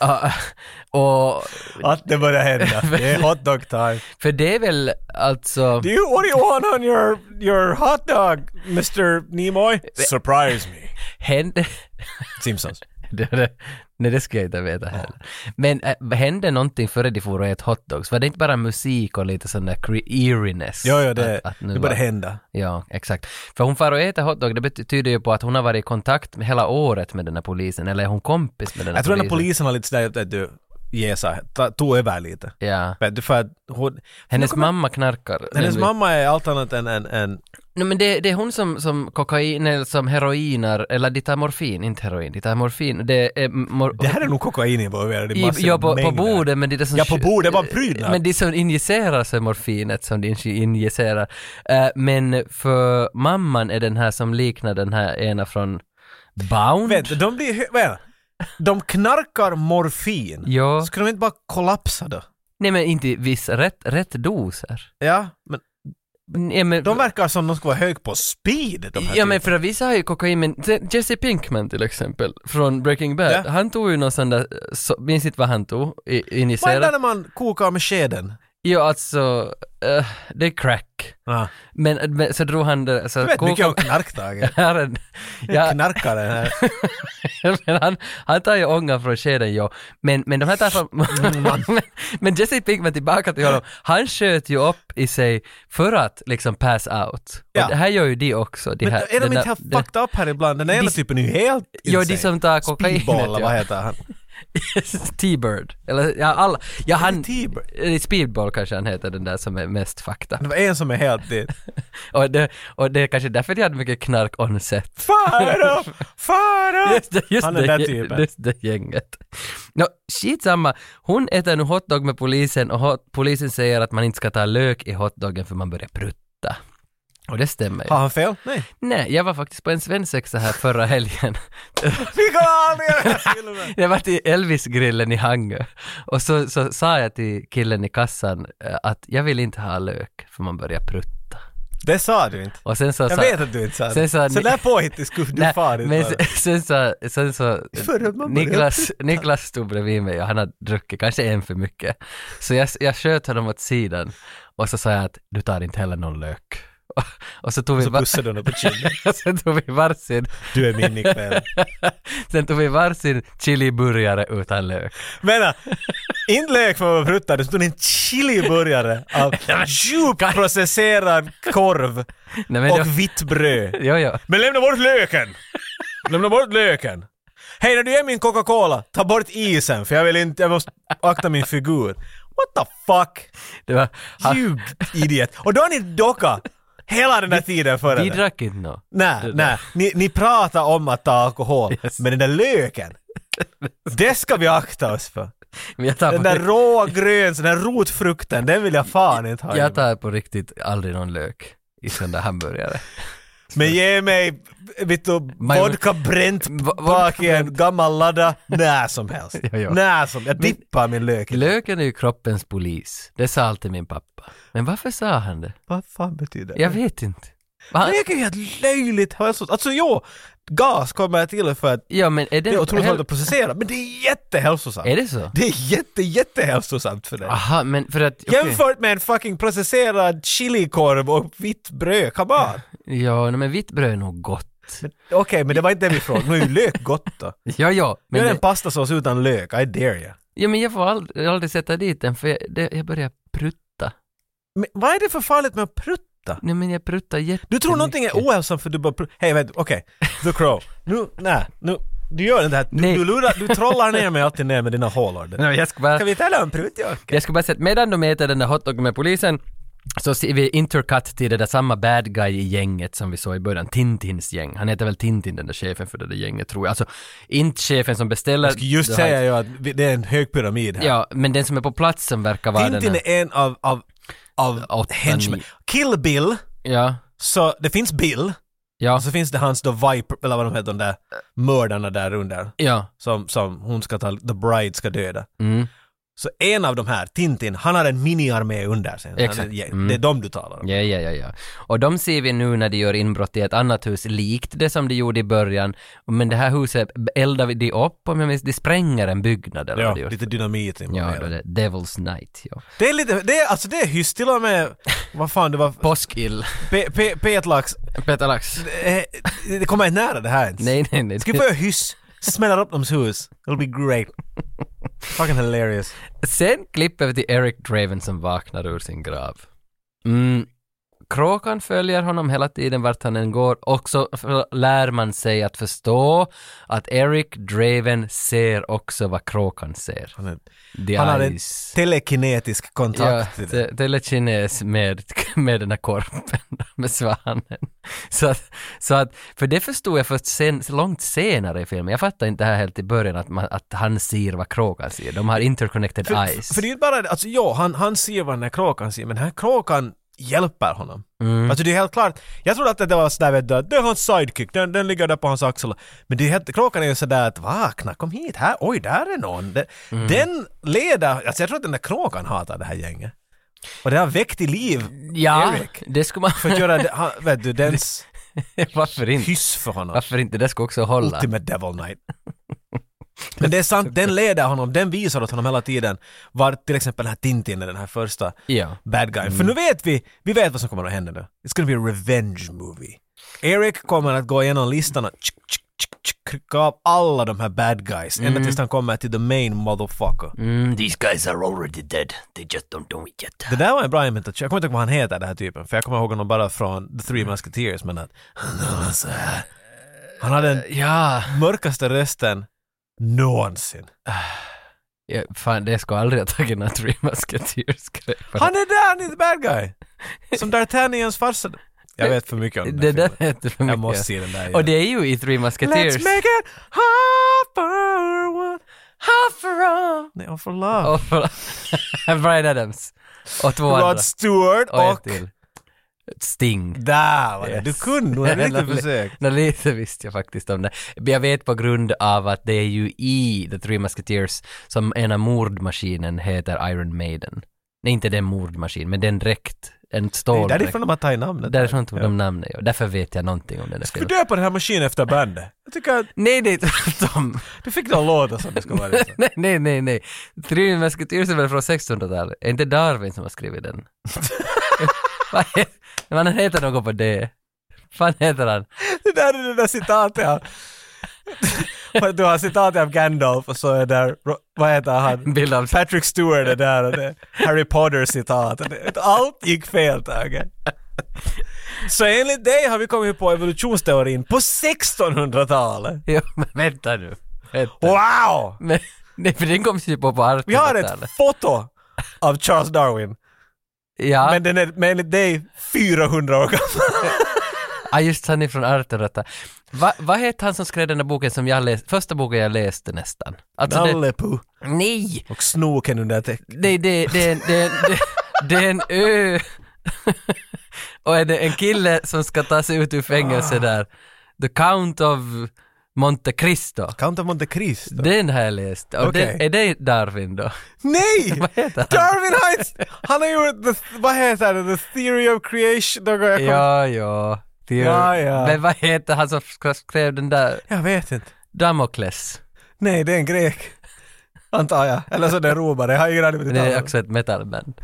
Ja, och,
Att det börjar hända. Det är hot dog time.
för det är väl alltså...
Do you, what do you want on your, your hot dog, Mr. Nimoy? Surprise me.
Hände...
Simpsons.
det, det, nej, det skulle jag inte veta heller. Men äh, hände någonting före de for och ät hotdogs? Var det inte bara musik och lite sån där cre- eeriness?
Ja, ja, det,
Att- att nu
det börjar
var-
hända.
Ja, exakt. För hon far och äter hotdog, det betyder ju på att hon har varit i kontakt med hela året med den här polisen, eller är hon kompis med den här
Jag tror den här
polisen?
polisen har lite sådär att du jäsa, ta- tog över lite.
Ja.
Vet du, för att hon,
Hennes
Nu kommer-
mamma knarkar.
hennes
nämligen.
mamma är allt annat än, än, än
Nej men det, det är hon som, som kokain, eller som heroinar, eller de tar morfin, inte heroin, de tar morfin. Det är... Mor-
det här är nog kokain involverad i
I,
massor
ja, på, på
mängder.
bordet, men det är det som...
Ja, på bordet, bara prydnad.
Men det som injicerar sig morfinet som de inji- injicerar. Eh, men för mamman är den här som liknar den här ena från Bound.
Vänta, de blir, hö- vad är det? de knarkar morfin.
Ja.
Skulle de inte bara kollapsa då?
Nej men inte viss, rätt, rätt doser.
Ja, men
Nej, men,
de verkar som de ska vara hög på speed. De här
ja men
typerna.
för vissa har ju kokain, men se- Jesse Pinkman till exempel från Breaking Bad,
Ja.
han tog ju någon sån där, så, minns inte vad han tog, i-
Vad är det
injicerat.
när man kokar med skeden?
Ja alltså, eh, det är crack.
Ja.
Men, men så drog han det, så
Du vet mycket om
kokade-
knark, Tage.
här är- ja,
Knarkaren här.
men han, han tar ju ångan från skeden ja. Men, men de här tar från...
Mm.
men, men Jesse Pinkman tillbaka till honom, han sköt ju upp i sig för att liksom pass out.
Ja.
Och det här gör ju de också. De
Men
här,
är de
den
inte
där-
helt
den-
fucked up här ibland? Den ena
De-
typen är ju helt
Ja, de
insane.
som tar kokainet.
Speedball, vad
ja.
heter han?
T-bird. Eller ja, alla. Ja, han...
T-bird.
eh, Speedball kanske han heter, den där som är mest fakta.
Det var en som är helt dit.
Och det, och det är kanske därför de hade mycket knark on set.
Faro! Faro!
Just det, just
Han
det,
är den
gä-
där typen.
just det gänget. No, skitsamma, hon äter nu hotdog med polisen och hot, polisen säger att man inte ska ta lök i hotdogen för man börjar prutta. Och det stämmer ju.
Har han fel? Nej.
Nej, jag var faktiskt på en svensexa här förra helgen.
Vi kommer aldrig göra den här filmen!
Jag var till Elvis-grillen i Hangö och så, så sa jag till killen i kassan eh, att jag vill inte ha lök för man börjar prutta.
Det sa du inte.
Och sen så
Jag
sa-
vet att du inte sa det.
sen sa
Så
ni-
där påhittig skulle du
Nej,
far
men
inte vara.
sen, sen så, sen så
Förra man började
Niklas, Niklas stod bredvid mig och han hade druckit kanske en för mycket. Så jag, jag sköt honom åt sidan och så sa jag att du tar inte heller någon lök. Och, och så tog vi,
Så
var,
pussade hon på kinden.
sen tog vi varsin,
Du är min ikväll.
sen tog vi varsin chiliburgare utan lök.
Mena, inte lök för att vara pruttad, det stod en chiliburgare av djupt processerad korv
Nej, men då-
och vitt bröd.
Jo, jo.
Men lämna bort löken! Lämna bort löken! Hej, när du ger min Coca-Cola, ta bort isen för jag vill inte, jag måste akta min figur. What the fuck?
Det var, han,
You idiot! Och då har ni docka hela den här tiden före
vi
det.
drack inte nå.
Nej, nej. Ni, ni pratar om att ta alkohol,
Yes.
men den där löken, det ska vi akta oss för.
Men jag
Den där
tar, på,
råa grön, den där rotfrukten, den vill jag fan inte ha.
jag tar på riktigt aldrig någon lök i sån där hamburgare.
Men ge mig vet du, vodka bränt
Vo-
bak i en gammal ladda när som helst.
Ja, ja.
När som Jag
Men-
dippar min lök. i-
Löken är ju kroppens polis. Det sa alltid min pappa. Men varför sa han det?
Vad fan betyder det?
Jag vet inte. Va?
Men det är ju helt löjligt hälsosamt. Alltså jo, gas kommer till för att
Ja men är det...
det är otroligt
hel-
svårt att processera, men det är jättehälsosamt.
Är det så?
Det är jätte, jättehälsosamt för dig.
Aha, men för att... okej.
Jämfört med en fucking processerad chilikorv och vitt bröd, come on!
Ja, nej, men vitt bröd är nog gott.
Okej, men det var inte det vi frågade. Nu är ju lök gott då.
Ja, ja. Men,
Gör en
det,
pastasås utan lök, I dare you.
ja, men jag får aldrig, aldrig sätta dit den för jag, det, jag börjar prutta.
Men vad är det för farligt med att prutta?
Nej men jag pruttar jättemycket.
Du tror någonting är ohälsosamt för du bara prutta. Hej, vänta, okej. The Crow. Nu, nej, nu. Du gör inte det här. Du,
Nej.
du, lurar, du trollar ner mig alltid ner med dina hålor.
Nej, jag ska bara...
Kan vi tala om pruttjorkar?
Jag skulle bara säga att medan de äter den där hotdogen med polisen så ser vi intercut till det där samma bad guy i gänget som vi såg i början, Tintins gäng. Han heter väl Tintin den där chefen för det där gänget tror jag. Alltså, inte chefen som beställer...
Jag skulle just
det
säga
här-
ju att vi- det är en hög pyramid här.
Ja, men den som är på plats som verkar vara den
Tintin
här...
är en av, av, av
Åtta,
henchmen.
nio.
Kill Bill,
Ja,
så det finns Bill.
ja,
Och så finns det hans då Viper, eller vad de heter, de där mördarna där under.
ja.
Som, som hon ska ta, The Bride ska döda.
Mm.
Så en av de här, Tintin, han har en miniarmé under sig. Han är-
Exakt.
ja,
Mm.
Det är de du talar om.
Ja, ja, ja, ja. Och de ser vi nu när de gör inbrott i ett annat hus, likt det som de gjorde i början. Men det här huset eldar vi de upp, om jag minns, de spränger en byggnad eller vad de
Ja,
gjorde.
lite dynamit
Ja,
involverat.
då är det Devil's Night, ja.
Det är lite, det är, alltså det är hyss till och med, vad fan det var,
Påskill.
Pe- Pe- Petlax,
Peter Lax.
eh, det kommer inte nära det här ens.
Nej, nej, nej.
Ska vi börja hyss? Smäller upp dems hus. It'll be great. Fucking hilarious.
Sen klipper vi till Eric Draven som vaknar ur sin grav. Mm. Kråkan följer honom hela tiden vart han än går och så f- lär man sig att förstå att Eric Draven ser också vad kråkan ser.
Han, är,
The
han har en
eyes.
telekinetisk
Ja,
kontakt till det.
te- telekines med, med den här korpen, med svanen. Så att, så att, för det förstod jag först sen, så långt senare i filmen. Jag fattade inte det här helt i början, att, man, att han ser vad kråkan ser. De har interconnected
För,
eyes.
för det är ju inte bara det, alltså ja, han, han ser vad den här kråkan ser, men den här kråkan hjälper honom. Alltså det är helt klart, jag trodde att det var sådär vet du, att det är hans sidekick, den, den ligger där på hans axel. Men det är helt, kråkan är ju sådär att vakna, kom hit, här, oj där är någon. Den, den leder, alltså jag tror att den där kråkan hatar det här gänget. Och det har väckt i liv
Ja,
Eric.
det skulle man...
För att göra, det, han, vet du, dens
varför inte?
hyss för honom.
Varför inte? Det ska också hålla.
Ultimate Devil Knight. Men det är sant, den leder honom, den visar åt honom hela tiden vart till exempel den här Tintin är den här första
Ja.
bad guy.
Mm.
För nu vet vi, vi vet vad som kommer att hända nu. It's gonna be a revenge movie. Eric kommer att gå igenom listan och tsk, tsk, tsk, tsk, klicka av alla de här bad guys ända tills han kommer till the main motherfucker.
Mm, these guys are already dead. They just don't know it yet.
Det där var en bra imitation. Jag kommer inte ihåg vad han heter den här typen, för jag kommer ihåg honom bara från The Three Musketeers, men att han var så här. Han hade den
Eh, Ja,
mörkaste rösten någonsin.
ja fan det ska aldrig ha tagit några Three Musketeers
Han är där, han är the bad guy! Som D'Artagnans farsa. Jag vet för mycket om den
Det
där
där
filmen.
hette för mycket.
Jag måste se den där igen.
Och det är ju i Three Musketeers.
Let's make it half for one, half for all. Nej, och for love.
Och för... Brian Adams. Och två andra.
Rod Stewart
Och
och...
ett till. Sting.
Där var det. Du
Yes.
kunde, du hade
Nå,
riktigt
li-
försökt.
nå, lite visste jag faktiskt om det. Men Jag vet på grund av att det är ju i The Three Musketeers som ena mordmaskinen heter Iron Maiden. Nej, inte den mordmaskin, men den dräkt. En
Det är
ståldräkt.
därifrån de har tagit namnet.
Därifrån tog de namnet, ja. Därför vet jag någonting om den där
Du
filmen.
döper den här maskinen efter bandet. Jag tycker att
Nej, det är tvärtom.
du fick någon låta som det ska vara. liksom.
nej, nej, nej, nej. Three Musketeers är väl från 1600-talet? Är inte Darwin som har skrivit den? Vad he- Man heter något på det. Fan heter han?
Det där är det där citatet av... Du har citatet av Gandalf och så är där, vad heter han?
Bild av...
Patrick Stewart är där och det är Harry Potter-citat. och det- Allt gick fel Tage. Så enligt dig har vi kommit på evolutionsteorin på 1600-talet.
Jo, men vänta nu. Vänta.
Wow!
Men, nej, för den kom ju på på
Vi har ett
1800-talet.
foto av Charles Darwin,
Ja,
men den är men enligt dig 400 år gammal.
ah, just han är från 1800-talet. Va- Vad hette han som skrev den där boken som jag läste, första boken jag läste nästan? Alltså det,
Nalle Puh
nej!
och snoken under täcket.
Nej, det, det, är en- det, är en- det, det är en ö. Och är det en kille som ska ta sig ut ur fängelse där. The Count of Monte Cristo.
Count of Monte Cristo.
Den har jag läst. Och
Okej.
det, är det Darwin då?
Nej!
Vad heter han?
Darwin Heights! Han har gjort, the, vad heter det, The Theory of Creation. Då går jag kom-
Ja, ja. heter ju...
Ja, ja.
Men vad heter han som sk- skrev den där
Jag vet inte.
Damokles?
Nej, det är en grek. Antar jag. Eller så är det en romare. Jag har ingen aning vad
Det
det
är
är.
också ett metalband.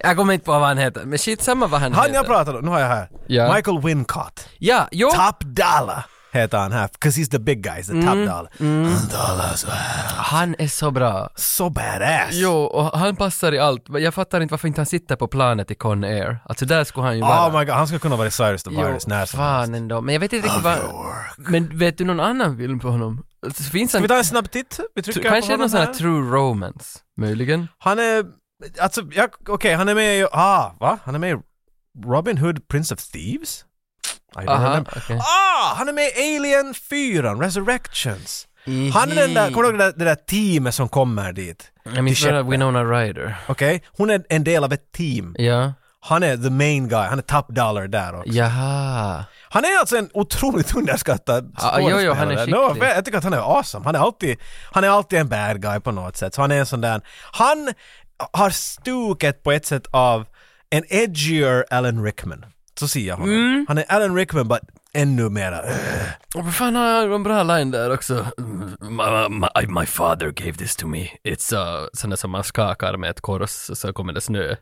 Jag kommer inte på vad han heter, men skitsamma vad han,
Han
heter.
jag pratar om, nu har jag här.
Ja. Oh.
Michael Wincott.
Ja, jo!
Top dollar heter han här. 'Cause he's the big guy, he's
Mm.
the top dollar. Han talar så här.
Han är så bra.
Så badass.
Jo, och han passar i allt. Jag fattar inte varför inte han sitter på planet i Con Air. Alltså där skulle han ju vara.
Oh my god, han skulle kunna vara i Cyrus the Virus när som helst.
fan ändå. Men jag vet inte riktigt vad... Men vet du någon annan film på honom? Alltså, Finns
Ska
han...
vi ta en snabb titt? Vi
tr-
trycker på
Kanske någon
honom
sån här
här.
true romance? Möjligen?
Han är, alltså, jag- okej, han är med i, ah, va? Han är med i Robin Hood, Prince of Thieves? I don't
Aha,
remember.
okej.
Ah, han är med i Alien 4, Resurrections. Ah, Han är den där, kommer du ihåg det där, det där teamet som kommer dit?
Jag minns
till
bara
skeppet?
Winona Ryder.
Okej, hon är en del av ett team.
Ja.
Han är the main guy, han är top dollar där också.
Jaha.
Han är alltså en otroligt underskattad
Ja, jo, jo, han är
skådespelare. No,
skicklig.
jag tycker att han är awesome. Han är, alltid, han är alltid en bad guy på något sätt. Så han är en sån där... Han har stuket på ett sätt av en edgier Alan Rickman. Så ser jag honom.
Mm.
Han är Alan Rickman, but ännu mera...
Och vad fan har jag en bra line där också? Mm, My, my, my father gave this to me. It's uh, sådana som man skakar med ett kors så kommer det snö.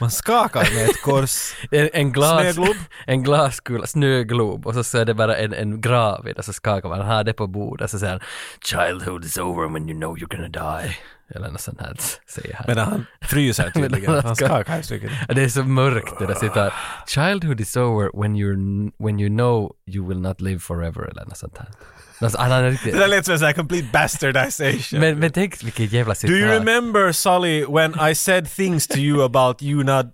Man skakar med ett kors.
En, en glas...
Snöglob?
En glaskula, snöglob och så, så är det bara en, en grav i det så skakar man, han har det på bordet så säger han “Childhood is over when you know you're gonna die” eller något sånt här säger han.
Medan han fryser tydligen.
Medan
Han
han
skakar ju tydligen.
Ja, Det är så mörkt det där sitter. “Childhood is over when, you're, when you know you will not live forever” eller något sånt här. Alltså, han har riktigt...
Det där lät som en sån här complete bastardization.
Men, men tänk vilket jävla citat.
Do you remember, Sully, when I said things to you about you not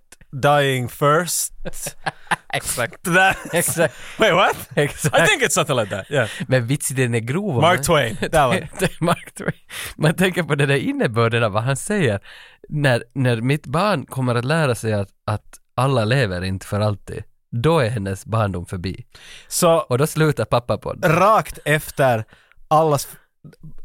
dying first?
Exakt.
That-
Exakt.
Wait, what? I
Exakt.
think it's something like that. Yeah.
Men vitsen den är grov. om
Mark
man-
Twain. That one.
Det är Mark Twain. Man tänker på den där innebörden av vad han säger. När, när mitt barn kommer att lära sig att, att alla lever inte för alltid, då är hennes barndom förbi.
Så
Och då slutar pappa på det.
rakt efter allas f-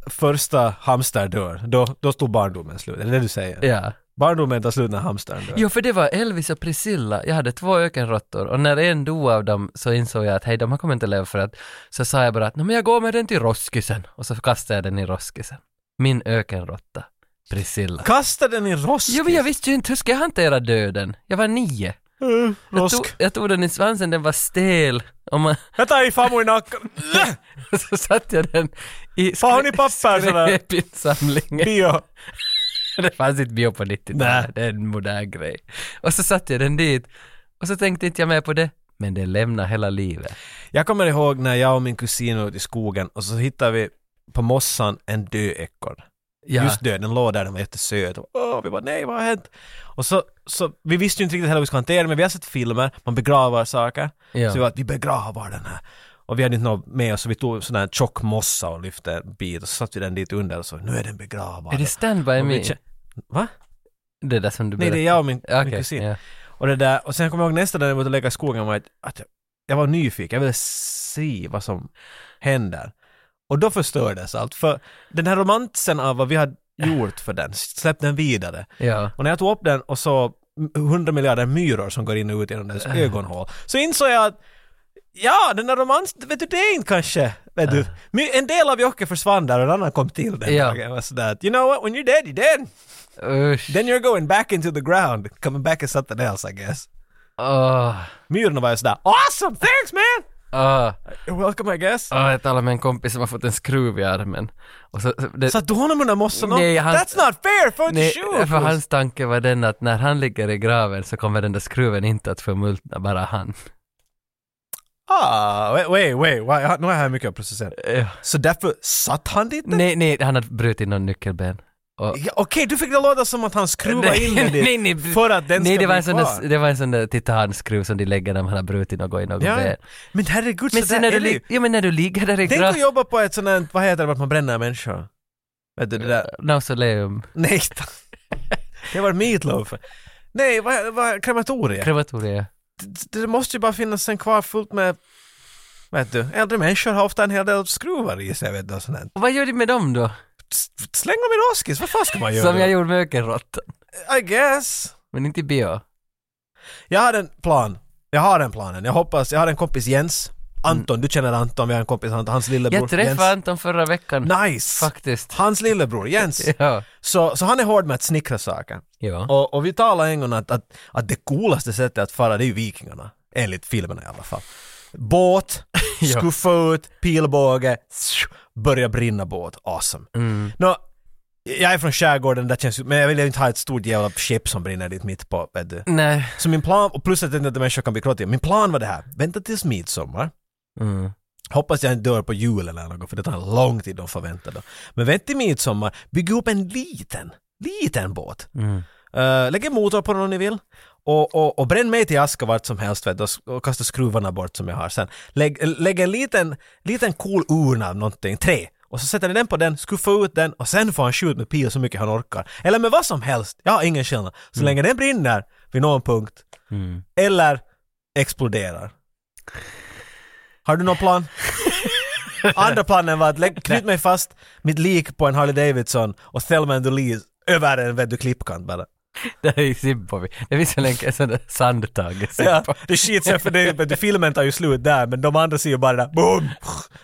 första hamster dör, då, då stod barndomen slut. Är det det du säger?
Ja.
Barndomen tar slut när hamstern dör.
Jo, för det var Elvis och Priscilla. Jag hade två ökenråttor och när en dog av dem så insåg jag att hej, de här kommer inte leva för att... Så sa jag bara att "Nå, men jag går med den till roskisen och så kastade jag den i roskisen. Min ökenråtta, Priscilla.
Kasta den i roskis.
Jo, men jag visste ju inte hur ska jag hantera döden. Jag var nio.
Mm,
Jag
rosk.
tog, jag tog den i svansen, den var stel. Och man,
Jag tar i farmor i nacken.
så satte jag den i
Vad har ni papper sådär?
skräpinsamlingen.
Bio.
Det fanns inte bio på
Nej.
90-talet, det är en modern grej. Och så satte jag den dit. Och så tänkte inte jag mer på det. Men det lämnar hela livet.
Jag kommer ihåg när jag och min kusin var ute i skogen och så hittade vi på mossan en död ekorre.
Ja,
Just död, den låg där, den var jättesöt. Och, Åh, vi bara nej, vad har hänt? Och så, så, vi visste ju inte riktigt heller hur vi skulle hantera det, men vi har sett filmer, man begravar saker.
Ja.
Så vi var att vi begravar den här. Och vi hade inte något med oss, så vi tog sån här tjock mossa och lyfte en bit och så satte vi den dit under och så, nu är den begravad.
är det Stand By
Och vi
Me?
kä- Va?
Det där som du
Nej, det är jag och min, min kusin.
ja.
Och det där, och sen kommer jag ihåg nästa dag när jag var ute och lekte i skogen var att, att jag, jag var nyfiken, jag ville se vad som händer. Och då förstördes allt, för den här romansen av vad vi hade gjort för den, släpp den vidare.
ja.
Och när jag tog upp den och så hundra miljarder myror som går in och ut genom dess ögonhål, så insåg jag att ja, den där romansen, vet du, det är inte kanske, vet du. My- En del av Jocke försvann där och en annan kom till den
Ja.
dagen. Och sådär, att, you know what, when you're dead, you're dead.
Usch.
Then you're going back into the ground, coming back as something else I guess.
Åh.
Myrorna var ju sådär “Awesome! Thanks man!
Åh.
You're welcome I guess!”
Åh, Jag talade med en kompis som har fått en skruv i armen. Och så, så- det,
Satte du honom under mossen och-
Nej, han-
“That's not fair! Får inte
Nej,
shoot!”
för hans tanke var den att när han ligger i graven så kommer den där skruven inte att förmultna, bara han.
Ah, wait, wait, wait. Wow, jag har- nu har jag här mycket att processera.
Ja.
Så därför satt han dit? den?
Nej, nej, han har brutit någon nyckelben. Och,
Ja, Okej, du fick det låta som att han skruvade in den dit för att den
nej,
ska
det var,
bli
en sån där,
kvar.
det var en sån där titanskruv som de lägger när man har brutit något i något
Ja.
ben.
Men herregud,
Men
så
sen
där
när du,
är det
li-
ju.
ja, men när du ligger där i
Tänk att
graven,
jobba på ett sånt där, vad heter det, att man bränner människor? Vet du det där?
mausoleum,
Nej, ta- det var Meatloaf. Nej, vad, vad, krematoriet?
krematorium.
det det måste ju bara finnas en kvar fullt med Vet du, äldre människor har ofta en hel del skruvar i sig vet du, och sånt där.
Och vad gör du med dem då?
S- Släng dem i roskis, vad fan ska man göra?
Som jag gjorde med ökenråttan.
I guess.
Men inte i bio.
Jag hade en plan. Jag har den planen. Jag hoppas, jag har en kompis Jens. Anton, du känner Anton, vi har en kompis Anton, hans lillebror
Mm. Jag träffade
Jens.
Anton förra veckan.
Nice!
Faktiskt.
Hans lillebror Jens.
Ja.
Så, så han är hård med att snickra saker.
Ja.
Och, och vi talade en gång att, att, att det coolaste sättet att fara det är ju vikingarna. Enligt filmerna i alla fall. Båt,
Ja.
skuffa ut, pilbåge, ssh, börja brinna båt. Awesome.
Mm.
Nå, jag är från skärgården, där känns, ju- men jag vill ju inte ha ett stort jävla skepp som brinner dit mitt på. Vet du.
Nej.
Så min plan, och plus att jag inte människor kan bli klottiga, min plan var det här, vänta tills midsommar.
Mm.
Hoppas jag inte dör på julen eller något, för det tar lång tid de förväntar då. Men vänta till midsommar, bygg upp en liten, liten båt.
Mm.
Eh, lägg en motor på den om ni vill. Och, och, och bränn mig till aska vart som helst vet, du, och, s- och kasta skruvarna bort som jag har sen. Lägg, lägg en liten, liten cool urna av någonting, tre. Och så sätter ni den på den, skuffa ut den och sen får han skjuta med pil så mycket han orkar. Eller med vad som helst, jag har ingen skillnad. Så länge den brinner vid någon punkt
Mm.
eller exploderar. Har du någon plan? Andra planen var att lägg, knyt mig fast mitt lik på en Harley Davidson och Thelma and Louise över en vet du, klippkant bara.
Det är ju Simpovi. Det finns väl en en sån där sandtag.
Ja,
Simpovi.
det skiter sig för det, vet du, filmen tar ju slut där men de andra ser ju bara där, boom!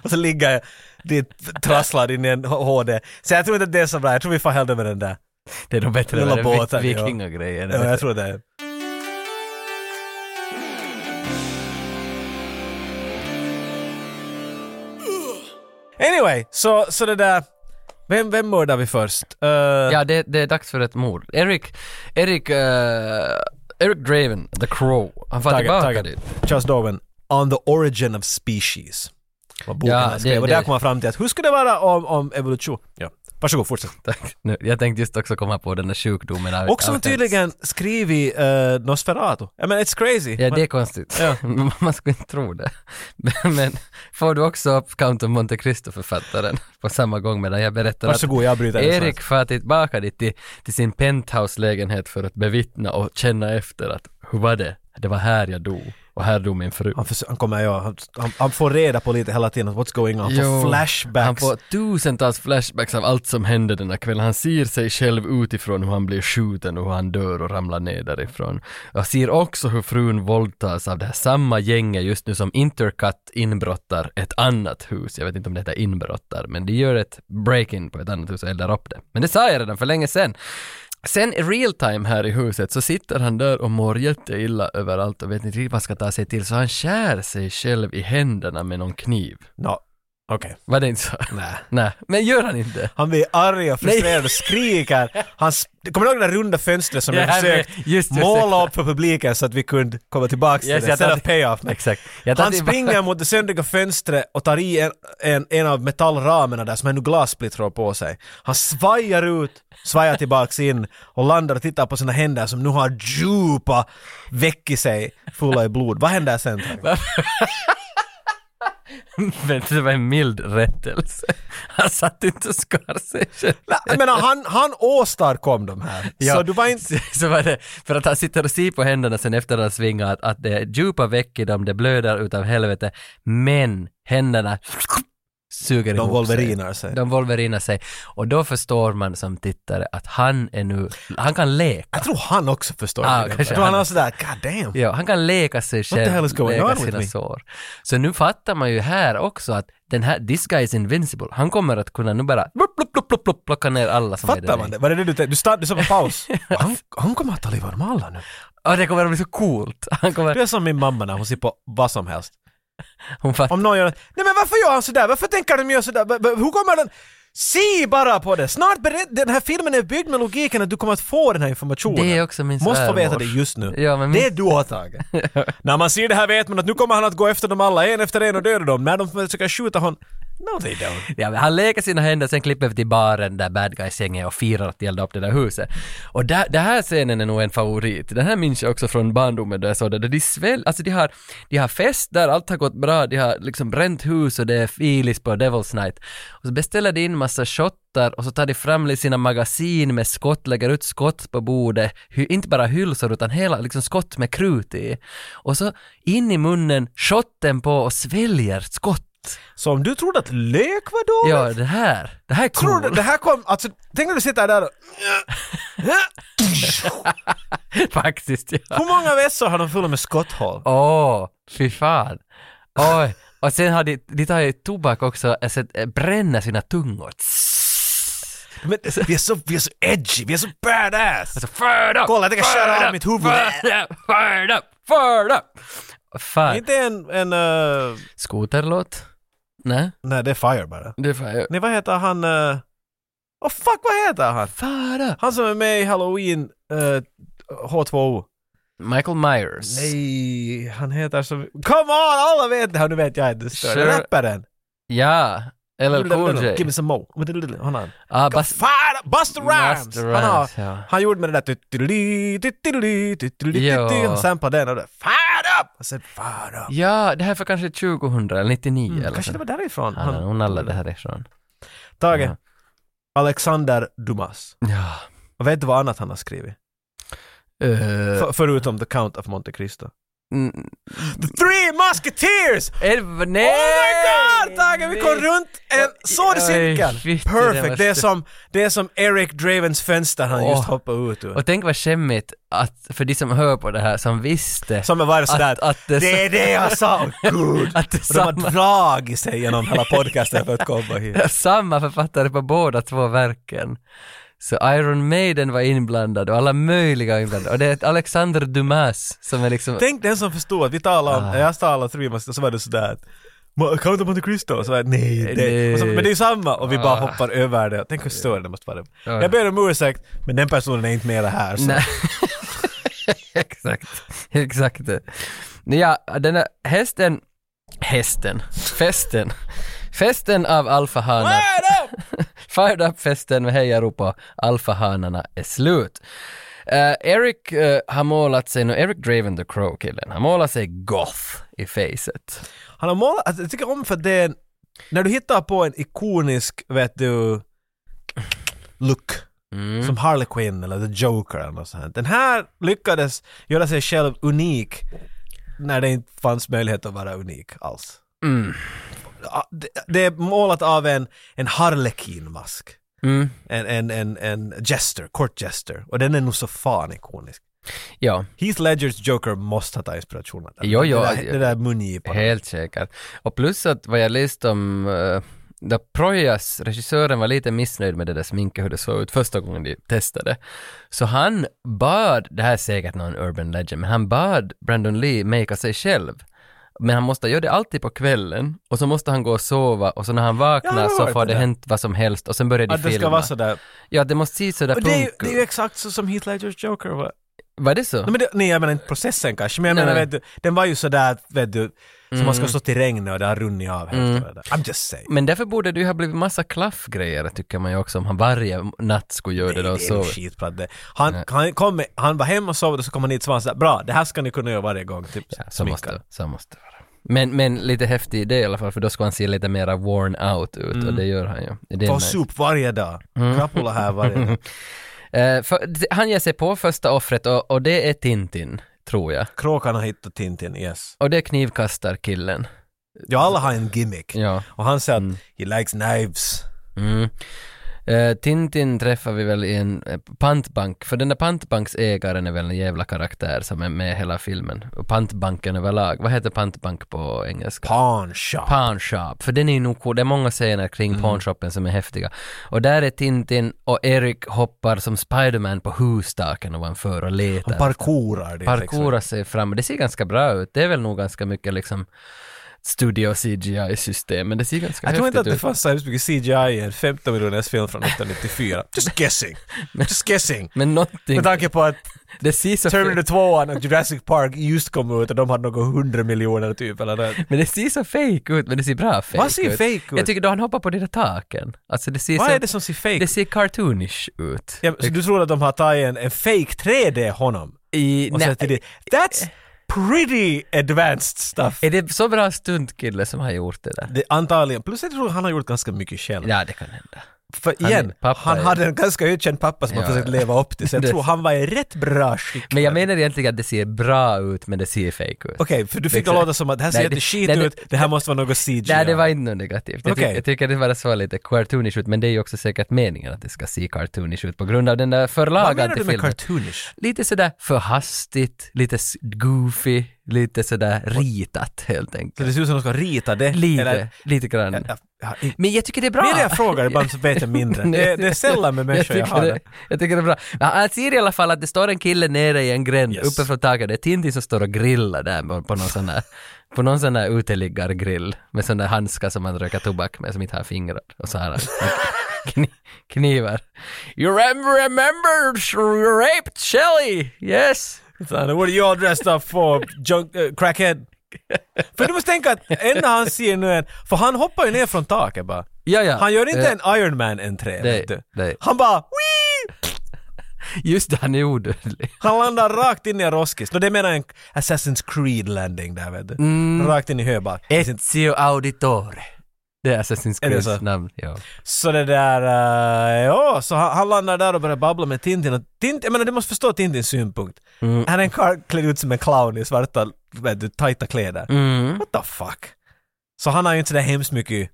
Och så ligger jag dit trasslad in i en HD. Så jag tror inte att det är så bra, jag tror vi får hellre med den där.
Det är nog bättre
Lilla
än den
båten, ja.
vikingagrejen.
Ja, jag tror det. är- Anyway, så, så det där... Vem, vem mördar vi först? Eh,
Ja, det, det är dags för ett mord. Eric, Eric, eh, Eric Draven, The Crow, han far
Taget,
tillbaka
taget.
dit.
Charles Darwin, On the Origin of Species. Vad boken
Ja,
han skrev.
det-
och där
det-
kom han fram till att hur skulle det vara om, om evolution? Ja. Varsågod, fortsätt.
Tack. Nu, jag tänkte just också komma på den där sjukdomen. av-
Och som
av-
tydligen skrivit uh, Nosferatu. I mean, it's crazy.
Ja,
Men-
det är konstigt.
Ja.
Man skulle inte tro det. Men, men får du också upp Count of Monte Cristo-författaren på samma gång medan jag berättar
Varsågod, jag bryter
att
det
Erik far tillbaka dit till, till sin penthouse-lägenhet för att bevittna och känna efter att hur var det? Det var här jag dog och här dog min fru.
Han, förs- han kommer, ja, han, han, han får reda på lite hela tiden, what's going on, han får
Jo,
flashbacks.
Han får tusentals flashbacks av allt som hände den här kvällen. Han ser sig själv utifrån hur han blir skjuten och hur han dör och ramlar ner därifrån. Jag ser också hur frun våldtas av det här samma gänget just nu som Intercut inbrottar ett annat hus. Jag vet inte om det heter inbrottar, men de gör ett break-in på ett annat hus och eldar upp det. Men det sa jag redan för länge sedan. Sen i real time här i huset så sitter han där och mår jätteilla överallt och vet inte riktigt vad han ska ta sig till så han skär sig själv i händerna med någon kniv.
No. Okej.
Var det inte så?
Nej.
Nej, men gör han inte?
Han blir arg och frustrerad och skriker. Han, sp- kommer du ihåg det där runda fönstret som jag
Ja,
försökt
men- just, just,
måla upp för publiken så att vi kunde komma tillbaka till
Yes,
det?
jag
Sen
tar-
att payoff. men-
Exakt. Jag tar
Han
tillbaka-
springer mot det söndriga fönstret och tar i en, en, en av metallramarna där som ännu glassplittrar på sig. Han svajar ut, svajar tillbaks in och landar och tittar på sina händer som nu har djupa veck i sig fulla i blod. Vad händer sen? Tage?
Men det var en mild rättelse. Han satt inte och skar sig själv.
Jag menar, han, han åstadkom de här.
Ja.
Så du var inte...
Så var det, för att han sitter och ser på händerna sen efter han svingar att, att det är djupa veck i dem, det blöder utav helvete, men händerna suger
De
ihop sig.
wolverinar sig.
De wolverinar sig. Och då förstår man som tittare att han är nu, han kan leka.
Jag tror han också förstår
Ah,
det.
kanske
Jag tror han
han-
har sådär, god damn.
Ja, han kan leka sig
the hell
själv,
is going
leka
on with
sina
me?
sår. Så nu fattar man ju här också att den här, this guy is invincible. Han kommer att kunna nu bara plupp, plupp, plupp, plupp, plupp, plocka ner alla som är
Fattar
där
man
i.
det? Var det det du tänkte? Du, stannade- du sa på paus. Han, han kommer att ta livet av dem alla nu.
Ja, det kommer att bli så coolt. Han
Du
kommer,
är som min mamma när hon ser på vad som helst.
hon fattar.
Om någon gör Nej men varför gör han sådär? Varför tänker de göra sådär? Va- va- Hur kommer den... Se bara på det! Snart bered... Den här filmen är byggd med logiken att du kommer att få den här informationen.
Det är också min
Måste få
svärmor.
veta det just nu.
Ja, men min-
Det är du har tagit. när man ser det här vet man att nu kommer han att gå efter dem alla, en efter en och döda dem. När de försöker skjuta honom... No they don't.
Ja, men han leker sina händer, sen klipper vi till baren där bad guys-gänget och firar att de eldade upp det där huset. Och där, den här scenen är nog en favorit. Den här minns jag också från barndomen där jag såg det. Där de sväll, alltså de har, de har fest där, allt har gått bra, de har liksom bränt hus och det är filis på Devil's Night. Och så beställer de in massa shottar och så tar de fram sina magasin med skott, lägger ut skott på bordet. Hy, inte bara hylsor utan hela liksom skott med krut i. Och så in i munnen, shotten på och sväljer skott.
Så om du trodde att lök var dåligt?
Ja, det här. Det här är
Tror du,
cool.
det här kom, alltså, tänk när du sitter där och...
Faktiskt, ja.
Hur många vässor har de fulla med skotthål?
Åh, fy fan. Oj. Och sen har de, de tar ju tobak också, alltså, eh, bränner sina tungor.
Men, vi, är så, vi är så edgy, vi är så badass!
Alltså, förd upp!
Kolla, jag tänker
förd
köra av
upp,
mitt huvud.
Förd upp, förd upp, förd upp! Fan.
Inte en... en eh,
Skoterlåt? Nej,
nej, det är Fire bara.
det får jag
Nej, vad heter han... eh, Åh oh, fuck, vad heter han?
Förd upp!
Han som är med i Halloween eh, H2O.
Michael Myers.
Nej, han heter som... Come on, alla vet det! Nu vet jag inte. Sure.
Sure.
Rapparen!
Ja, LL Cool
Give me
J.
some more. Han har en...
Ah, Bas-
Fan, Buster Rhymes!
Busta
han, har,
Rhymes, ja.
han gjorde med det där tut-tut-tut, tut-tut-tut, tut-tut-tut,
Ja.
han samplade den och det Fire up! Och sen fire up!
Ja, det här är för kanske 2000 eller 99 eller
Mm, Kanske
så.
det var därifrån
Han har nog nallat det härifrån.
Tage,
Ja.
Alexander Dumas.
Ja.
Och vet du vad annat han har skrivit?
Uh,
För, förutom The Count of Monte Cristo. Mm. The Three Musketeers!
nej!
Oh my god Tage, vi kom runt en sådan
Oj,
cirkel!
shit, det
Perfect!
var
Det är,
st-
som, det är som Eric Dravens fönster han
Åh.
just hoppade ut ur.
Och tänk vad skämmigt att, för de som hör på det här, som visste
Som är varje sådär,
att, att det,
det är det jag sa, oh, gud!
att det
Och de har
samma,
dragit sig genom hela podcasten för att komma hit.
samma författare på båda två verken. Så Iron Maiden var inblandad och alla möjliga var inblandade. Och det är Alexander Dumas som är liksom...
Tänk den som förstod att vi talar om,
Ah.
jag talar om Three Musketeers, så var det sådär "Ma- Count of Monte Cristo, så var det, nej, det.
Nej.
Och så, men det är ju samma och vi bara
Ah.
hoppar över det. Tänk hur större det måste vara.
Ja.
Jag ber om ursäkt, men den personen är inte med här. Så.
Nej. exakt, exakt det. Ja, den här hästen, hästen, festen, festen av alfahanar.
Fire up!
Fired Up-festen med hejarop och alfahanarna är slut. Eh, Eric eh, har målat sig, nu Eric Draven the Crow-killen, har målat sig goth i facet.
Han har målat, alltså, jag tycker om för det, är en- när du hittar på en ikonisk, vet du, look. Som Harley Quinn eller The Joker eller något sånt. här. Den här lyckades göra sig själv unik när det inte fanns möjlighet att vara unik alls. Ja, Det, det är målat av en, en harlekinmask.
Mm.
En, en, en, en jester, kort jester. Och den är nog så fan ikonisk.
Ja,
Heath Ledgers Joker måste ha tagit inspiration av den.
Jo, jo,
det där, det där mungipan.
helt säkert. Och plus att vad jag läste om, uh, där Projas, regissören var lite missnöjd med det där sminket, hur det såg ut första gången de testade. Så han bad, det här är säkert någon urban legend, men han bad Brandon Lee makea sig själv. Men han måste göra det alltid på kvällen och så måste han gå och sova och så när han vaknar
Ja, jag
så
hört
får
det
det
där.
hänt vad som helst och sen börjar de
Att det
filma.
ska vara sådär.
Ja, det måste se sådär
Och det är, ju,
punk
det är ju exakt så som Heath Ledgers Joker var.
Var det så?
Nej, men det, nej jag menar inte processen kanske, men jag
Nej,
menar
nej.
vet du, den var ju sådär, vet du, som man ska stå till regnet och det har runnit av helt. och det där. I'm just saying.
Men därför borde det ju ha blivit massa klaffgrejer tycker man ju också om han varje natt skulle göra det
Det
då och
är
sova.
nog skitbra det. Han, han, kom med, han var hemma och sov och så kom han dit och så var han sådär, bra, det här ska ni kunna göra varje gång. Typ,
Ja, så
sminkad.
måste, så måste det vara. Men, men lite häftig idé i alla fall för då ska han se lite mera worn out ut och det gör han ju. Det är
Ta
nice.
sop varje dag. Krapula här varje dag.
Eh, för, d- han ger sig på första offret och, och det är Tintin, tror jag.
Kråkan har hittat Tintin, yes.
Och det är knivkastarkillen.
Ja, alla har en gimmick.
Ja.
Och han säger att he likes knives.
Mm. Eh, Tintin träffar vi väl i en eh, pantbank, för den där pantbanksägaren är väl en jävla karaktär som är med i hela filmen. Och pantbanken överlag, vad heter pantbank på engelska?
Pawn shop.
Pawn shop, för den är ju nog cool. Det är många scener kring
Mm.
pawnshopen som är häftiga. Och där är Tintin och Erik hoppar som Spiderman på hustaken ovanför och letar.
han parkourar det.
Parkourar sig fram. Det ser ganska bra ut. Det är väl nog ganska mycket liksom studio CGI-system, men det ser ganska
Jag tror inte att
häftigt
det
ut.
fanns så hemskt mycket CGI i en 15 miljoners film från 1994. Just guessing. Just guessing.
Men någonting,
Med tanke på att
det ser så fint
Terminator 2 och Jurassic Park just kom ut och de hade några hundra miljoner typ eller nåt.
Men det ser så fake ut, men det ser bra fake
Vad ser
ut.
fake ut?
Jag tycker då han hoppar på de där taken. Alltså det ser
Vad
så,
är det som ser fake
det
ut?
ser cartoonish ut.
Ja, men så du tror att de har tagit en, en fake 3D honom?
I,
Och
nej,
sett i det. That's pretty advanced stuff.
är det så bra stuntkille som har gjort det där?
Det, antagligen. Plus jag tror han har gjort ganska mycket själv.
Ja, det kan hända.
För
Han-
igen, han,
pappa är-
hade en ganska ökänd pappa som
Ja,
han försökte leva upp till, så jag
Det-
tror han var i rätt bra skick.
Men jag menar egentligen att det ser bra ut, men det ser fake ut.
Okej, för du fick det
Liksom-
låta som att det här ser
Nej, det-
jätteskit
nej, det-
ut, det här måste vara något CGI.
Nej, det var inte något negativt. Jag, ty-
Okej.
jag tycker det bara så lite cartoonish ut, men det är ju också säkert meningen att det ska se cartoonish ut på grund av den där
Vad
förlagan
menar
till
du med
filmen.
cartoonish?
Lite sådär för hastigt, lite s- goofy, lite sådär ritat helt
Så
enkelt.
det ser ut som att de ska rita det?
Lite,
Eller,
lite grann.
jag, jag, jag,
Men jag tycker det är bra.
Mer jag frågar, ibland så vet jag mindre. Det, det är sällan med människor jag,
tycker
har
det-
det.
Jag tycker det är bra. Ja, Han ser i alla fall att det står en kille nere i en gränd
Yes.
uppe från taket. Det är Tintin som står och grillar där på- på någon sån där, på någon sån där uteliggargrill med sån där handskar som man röker tobak med som inte har fingrar. Och så har han kni- knivar. You remember, remember you raped Shelly? Yes.
Utan, What are you all dressed up for? Junk, eh, crackhead? För du måste tänka att en han ser nu en, för han hoppar ju ner från taket bara.
Ja, ja.
Han gör inte
Eh,
en Iron Man entré
Nej,
vet du.
nej.
Han bara Wii!
Just det, han är odödlig.
Han landar rakt in i en roskis. Nå det menar en Assassin's Creed landing där vet du.
Mm.
Rakt in i höbak.
Ezio Auditore. Det är Assassin's
Är det
Creeds
så?
namn. Ja.
Så det där, eh, ja, så han, han landar där och börjar babbla med Tintin. Och Tintin jag menar du måste förstå Tintins synpunkt. Han är en karl klädd ut som en clown i svarta, vet du, tajta kläder.
Mm.
What the fuck? Så han har ju inte sådär hemskt mycket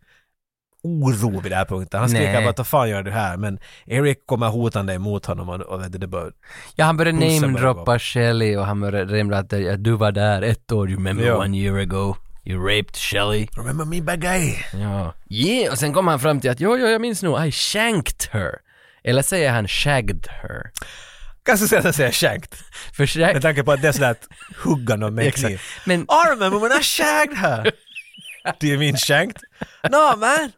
oro vid den här punkten. Han skriker
Nej.
bara vad fan gör du här? Men Eric kommer hotande emot honom och, och vet du, det bara...
Ja, han började
Pulsen
namedroppa
började
Shelly och han började rimla att ja, du var där ett år, you remember
Ja.
one year ago, you raped Shelly.
Remember me bagay?
Ja. Yeah, och sen kom han fram till att jo, jo, jag minns nog, I shanked her. Eller säger han shagged her?
Kanske säga att jag säger shankt.
För shag...
Med tanke på att det är sådär att hugga någon med en
Exakt.
kniv.
Men-
I remember when I shagged her! Do you mean shanked? No man!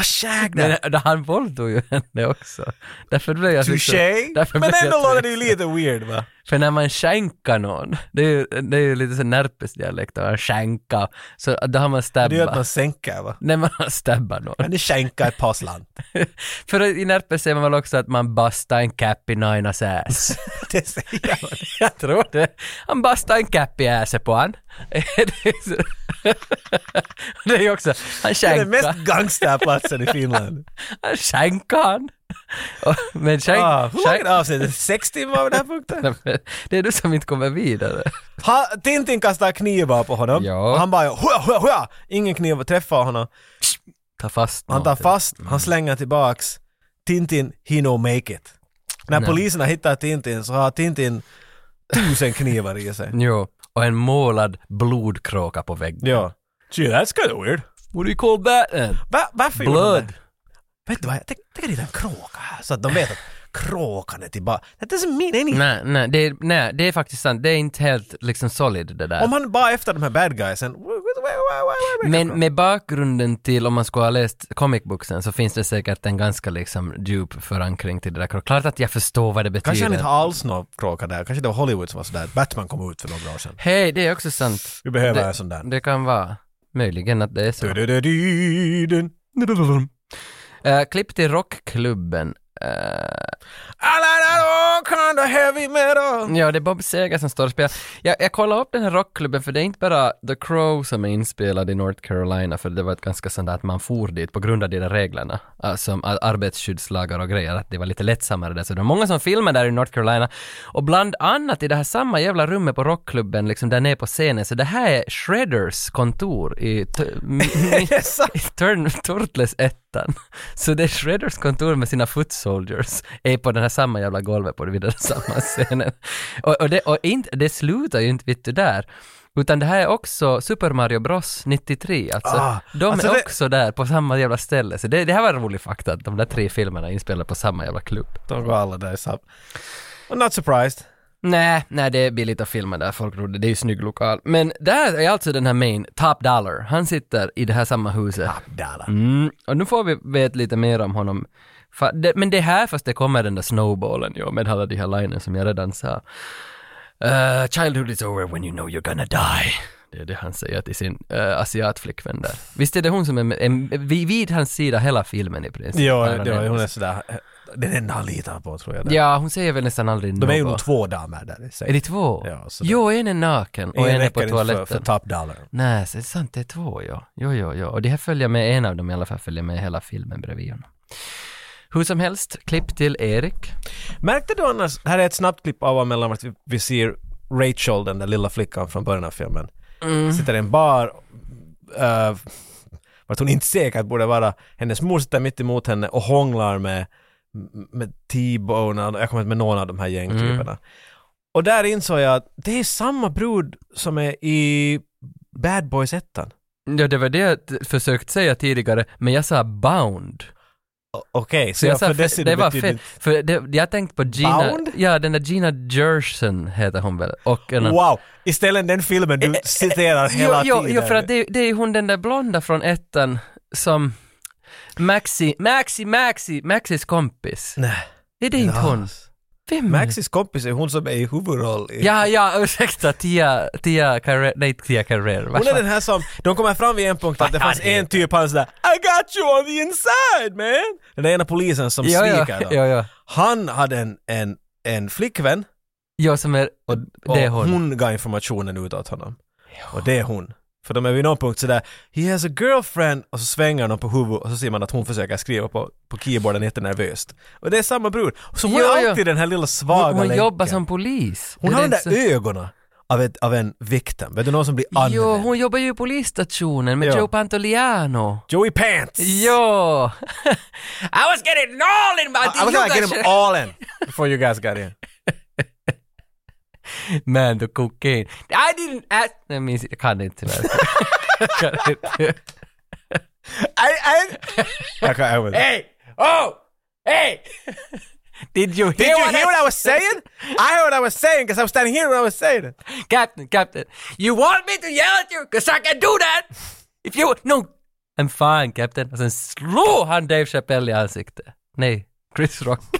I shagged her!
Men han våldtog ju henne också. Därför blev jag
Touché!
därför
Men
blev
ändå
jag
låter det ju
tveksam.
lite weird va?
För när man shankar någon, det är ju, det är ju lite så närpesdialekt, att shanka, så då har man
Det är ju att man
stabbat.
sänker va?
När man har stabbat någon.
Men det skänkar ett par slant.
För i Närpes säger man väl också att man bastar en cap i Nainas ass.
Det säger man.
jag tror det. Han bastar en cap i assen på han. Det är så- det är ju också, han
Det är den mest
skänkar.
gangsterplatsen i Finland.
Han skänkar han. Och- Men skänk...
Ah, hur långt
skänk-
är avsnittet? Sex timmar vid den här punkten?
Nej, men Det är du som inte kommer vidare.
Ha, Tintin kastar knivar på honom
Ja.
och han bara hua, hua, hua. Ingen kniv träffar honom.
Ta fast
Han tar
någonting.
fast, han slänger tillbaks. Tintin, he no make it. När poliserna hittar Tintin så har Tintin tusen knivar i sig.
Jo, och en målad blodkråka på väggen.
Ja. Gee, that's kinda weird.
What do you call that then?
Va, varför gjorde de
Blood.
det? Vet du vad, jag tänk- tänker lite en kråka här så att de vet att kråkan är tillbaka. That doesn't mean anything.
Nej, nej det, är, nej, det är faktiskt sant. Det är inte helt liksom solid det där.
Om han bara efter de här bad guysen... wh- wh- wh- wh- wh- wh-
Men med bakgrunden till om man skulle ha läst comicbooksen så finns det säkert en ganska liksom djup förankring till det där. Klart att jag förstår vad det betyder.
Kanske han inte har alls någon kråka där. Kanske det var Hollywood som var sådär. Batman kom ut för några år sedan.
Hej, det är också sant.
Vi behöver
Det-
en sån där.
Det kan vara möjligen att det är så.
Du-du-du-du-dun.
Eh, klipp till rockklubben. Eh,
Alla där all kind of heavy metal.
ja, det är Bob Seger som står och spelar. Jag, jag kollade upp den här rockklubben för det är inte bara The Crow som är inspelad i North Carolina för det var ett ganska sånt där att man for dit på grund av de där reglerna. eh, Som ar- arbetsskyddslagar och grejer, att det var lite lättsammare där. Så det var många som filmade där i North Carolina. Och bland annat i det här samma jävla rummet på rockklubben, liksom där nere på scenen, så det här är Shredders kontor i... T- m-
Det är sant.
i Turn, Turtles ettan. Så det är Shredders kontor med sina foot soldiers är på den här samma jävla golvet på den vidare samma scenen. Och, och, det, och inte, det slutar ju inte vet du där. Utan det här är också Super Mario Bros 93, alltså
Ah,
de
alltså
är
det-
också där på samma jävla ställe. Så det, det här var rolig fakta, att de där tre filmerna är inspelade på samma jävla klubb.
De går alla där sam. I'm not surprised.
Nej, nej det är billigt att filma där, folk trodde det är ju snygg lokal. Men där är alltså den här main, Top Dollar, han sitter i det här samma
Ah,
huset.
Dala.
Mm, och nu får vi veta lite mer om honom. Fa- det, men det här fast det kommer den där snowballen ju, med alla de här linjerna som jag redan sa. Eh, childhood is over when you know you're gonna die. Det är det han säger till sin uh, asiatflickvän där. Visst är det hon som är med, en, vid, vid hans sida hela filmen i princip?
Ja,
Här han
ja,
är-
hon är sådär. Den enda han litar på tror jag. där.
Ja, hon säger väl nästan aldrig
De
något.
är ju nog två damer där i sig.
Är det två?
Ja, så det-
jo, en är naken och en är på
räcker inte
toaletten.
För, för top dollar.
Nej, så är det sant, det är två ja. Jo, jo, jo. Och det här följer med, en av dem i alla fall följer med hela filmen bredvid honom. Hur som helst, klipp till Erik.
Märkte du annars, här är ett snabbt klipp av och mellan vart vi- vi ser Rachel, den där lilla flickan från början av filmen,
Mm.
sitter i en bar, uh, vart hon inte säkert borde vara. Hennes mor sitter mitt emot henne och hånglar med, med T-Bone, jag kommer inte med någon av de här gängtyperna.
Mm.
Och där insåg jag att det är samma brud som är i Bad Boys 1.
Ja, det var det jag t- försökt säga tidigare, men jag sa bound.
Okej, så jag
sa
för
fe-
det,
det var
betyder
fel, för det, jag tänkte på Gina,
Bound?
ja den där Gina Gerson heter hon väl, och en,
Wow! Istället den filmen du citerar hela
Eh, jo,
tiden.
jo, jo, för att det, det är hon den där blonda från ettan som Maxi, Maxi, Maxi, Maxis kompis.
Nej.
Är det inte hon? Vem?
Maxis kompis är hon som är i huvudroll i...
Mm. Ja, ja, ursäkta, Tia, Tia Carrera, nej Tia Carrera,
Hon är den här som, de kommer fram vid en punkt att det fanns en typ, han är sådär I got you on the inside man! Den där ena polisen som
ja, ja,
sviker
ja,
dem.
ja,
Han hade en, en, en flickvän
ja, som är,
och
det är hon.
gav informationen ut åt honom. Och det är hon. För de är vid någon punkt sådär He has a girlfriend och så svänger de på huvudet och så ser man att hon försöker skriva på, på keyboarden jättenervöst. Och det är samma brud. Så hon
Ja,
är
ja.
alltid den här lilla svaga
hon, hon
länken.
jobbar som polis.
Hon
Det
har
är
de där
så-
ögonen av, ett, av en victim. Vet du någon som blir använd?
Jo, hon jobbar ju i polisstationen med
Ja.
Joe Pantoliano.
Joey Pants!
Jo! I was getting all in my...
Ah, I, I was gonna get them all in before you guys got in.
Man, the cocaine. I didn't ask... Nej, minns, jag kan inte tyvärr. Jag kan inte.
I, I, I, can't- I was,
hey! Oh! Hey! Did you hear,
did you hear what I was saying? I heard what I was saying because I was standing here when I was saying it.
Captain, Captain, you want me to yell at you? Because I can do that! If you... No! I'm fine, Captain. Och sen slog han Dave Chappelle i ansiktet. Nej, Chris Rock.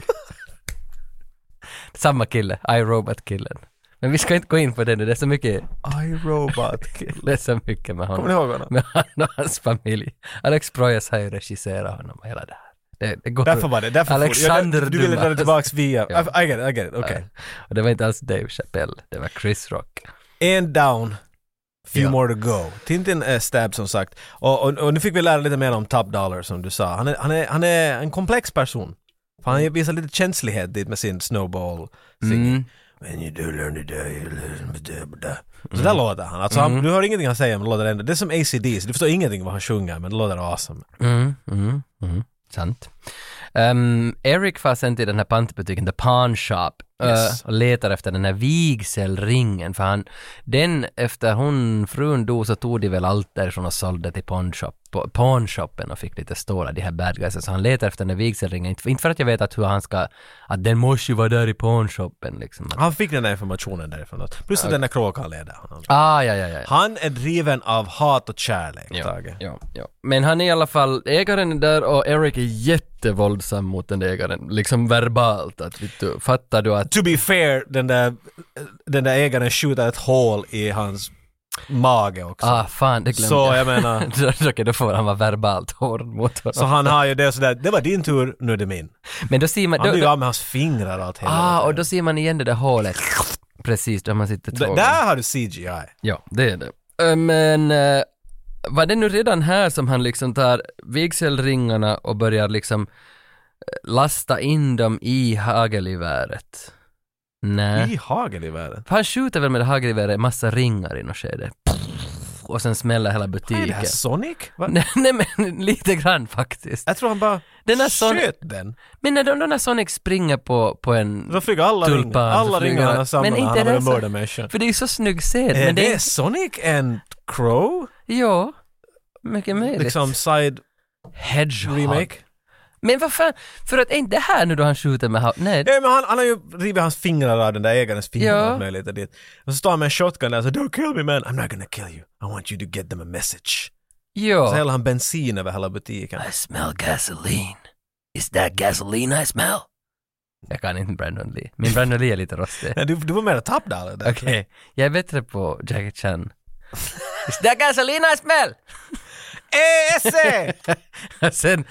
Samma kille, iRobot-killen. Men vi ska inte gå in på det nu, det är så mycket,
I robot.
det är så mycket med honom.
Kommer ni ihåg honom?
Med han och hans familj. Alex Proyas har ju regisserat honom och hela det här. Det, det går
Därför var det. Därför
Alexander
Du ville dra det
Dumas.
tillbaks via...
Ja.
I, I get it, I get it. Okay.
Och det var inte alls Dave Chappelle, det var Chris Rock.
And down. Few
Ja.
more to go. Tintin är stab som sagt. Och, och, och nu fick vi lära lite mer om Top Dollar som du sa. Han är, han är, han är en komplex person. För han visar lite känslighet dit med sin snowball singing.
Mm.
When you do learn to die, you learn to die, blah. Så där låter han. Alltså
Mm.
han, du hör ingenting han säger men det låter ändå. Det är som ACDC, du förstår ingenting vad han sjunger men det låter awesome.
Mm, mm, mm. Sant. Ehm, Eric far sen till den här pantbutiken, The Pawn Shop, eh,
Yes.
och letar efter den här vigselringen, för han, den, efter hon, frun dog så tog de väl allt därifrån och sålde till pawnshop, pa- pawnshopen och fick lite stålar, de här bad guysen, så han letar efter den här vigselringen, inte, inte för att jag vet att hur han ska, att den måste ju vara där i pawnshopen liksom.
Han fick den där informationen därifrån också. Plus att den där kråkan leder honom.
Ah, ja, ja, ja.
Han är driven av hat och kärlek, Tage.
Ja, ja. Men han är i alla fall, ägaren är där och Eric är jättevåldsam mot den där ägaren, liksom verbalt. Att, vet du, fattar du att...
To be fair, den där, den där ägaren skjuter ett hål i hans mage också.
Ah, fan, det glömde
Så, jag menar-
Okej, då får han vara verbalt hård mot honom.
Så han har ju det sådär, det var din tur, nu är det min.
Men då ser man...
Han
Då,
blir ju
då,
av med hans fingrar och allt hela
ah, och
tiden.
då ser man igen det där hålet. Precis, där man sitter två
D-
gånger.
Där har du CGI.
Ja, det är det. Ö, Men eh, var det nu redan här som han liksom tar vigselringarna och börjar liksom eh, lasta in dem i hagelgeväret? Nej.
I hagel i världen.
Han skjuter väl med det hagelgeväret en massa ringar i något skede. Och sen smäller hela
Vad är det
butiken.
här, Sonic? Va?
Nej, nej men lite grann faktiskt.
Jag tror han bara
Den där Son-
sköt den.
Men när, de, när Sonic springer på, på en...
Då flyger alla
Tulpan,
ringar. Alla
så flyger
ringarna
han-
samman.
Men inte
Han har
det
varit
så-
mördarmänniska.
För det är ju så snygg scen.
Är
men det är...
Sonic and Crow?
Ja, mycket möjligt.
Liksom side
Hedgehog.
remake?
Men vad fan, för att är inte det här nu då han skjuter med ha... Nej.
Nej men han, han har ju rivit hans fingrar av den där ägarens fingrar
Ja.
ja. möjligt och dit. Och så står han med en shotgun där och så “Don't kill me man, I'm not gonna kill you, I want you to get them a message”. Så
Ja.
häller han bensin över hela butiken.
I smell gasoline. Is that gasoline I smell? Jag kan inte Brandon Lee. Min Brandon Lee är lite rostig.
Nej, du, du var mer Top Dollar där.
Okej, jag är bättre på Jackie Chan. Is that gasoline I smell?
Eh, ESE!
Sen,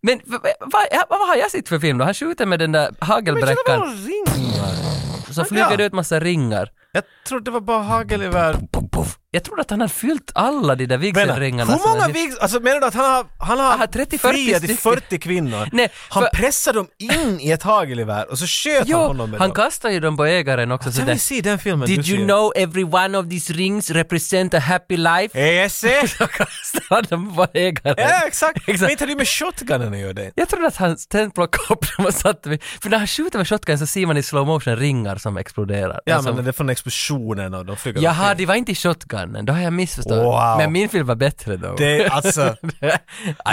men v- v- vad vad har jag sett för film då? Han skjuter med den där hagelbräckan
ringar?
så flyger
ja.
det ut massa ringar.
Jag trodde det var bara hagelgevär.
Puff, puff. Jag trodde att han hade fyllt alla de där
Vänta,
vigselringarna.
hur
som
många
han-
vigs... Alltså menar du att han har, han har
Han har 30-40
friat till
stycken.
40 kvinnor?
Nej,
han
för-
pressade dem in i ett hagelgevär och så sköt han
Jo,
honom med Alltså,
han
dem.
kastar ju dem på ägaren också.
Sen
sådär.
vi se den filmen
Did
du
you
ser.
know every one of these rings represent a happy life?
Yes, yes.
Då kastar han dem på ägaren.
ja, Eh, exakt.
Exakt.
Men inte hade ju med shotgunen att göra det.
Jag trodde att han sen plockade upp dem och satte vid... För när han skjuter med shotgun så ser man i slow motion ringar som exploderar.
Ja,
Alltså,
men det är från explosionen och de flyger
Jaha,
omkring.
det var inte i shotgunen, då har jag missförstått.
Wow.
Men min film var bättre då.
Det är alltså... Det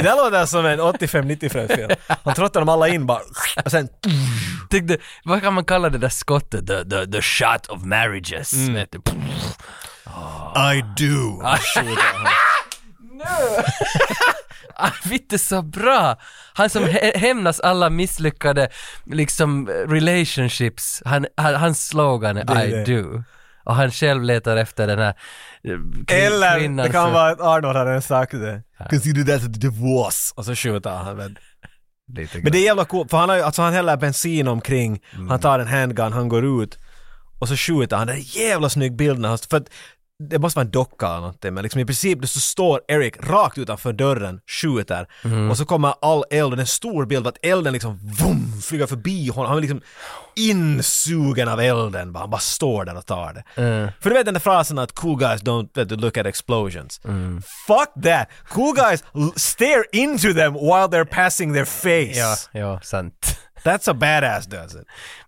där låter som en 85-95 film. Han tröttar dem alla in bara och sen...
Tyckte, vad kan man kalla det där skottet? The, the, the shot of marriages.
Mm.
Vet du.
I do.
Ah, Vitt så bra! Han som hä- hämnas alla misslyckade liksom, relationships. Han, han, hans slogan är,
Det är
I
det.
do. Och han själv letar efter den här eh, kvin-
Eller
kvinnan
det kan
som-
vara att Arnold hade sagt det. 'Cause you did that to the divorce. Och så skjuter han. Men,
Lite
men det är jävla coolt, för han, har, ju- alltså, han häller bensin omkring, han tar en handgun, han går ut och så skjuter han. Det är en jävla snygg bild när han... För att, det måste vara en docka eller någonting, men liksom i princip så står Eric rakt utanför dörren, skjuter, och så kommer all eld, och det är en stor bild av att elden liksom vum, flyger förbi honom, han är liksom insugen av elden, bara. han bara står där och tar det. För du vet den där frasen att cool guys don't vet du, look at explosions. Fuck that! Cool guys l- stare into them while they're passing their face.
Ja, Ah, ja, sant.
That's a badass does it.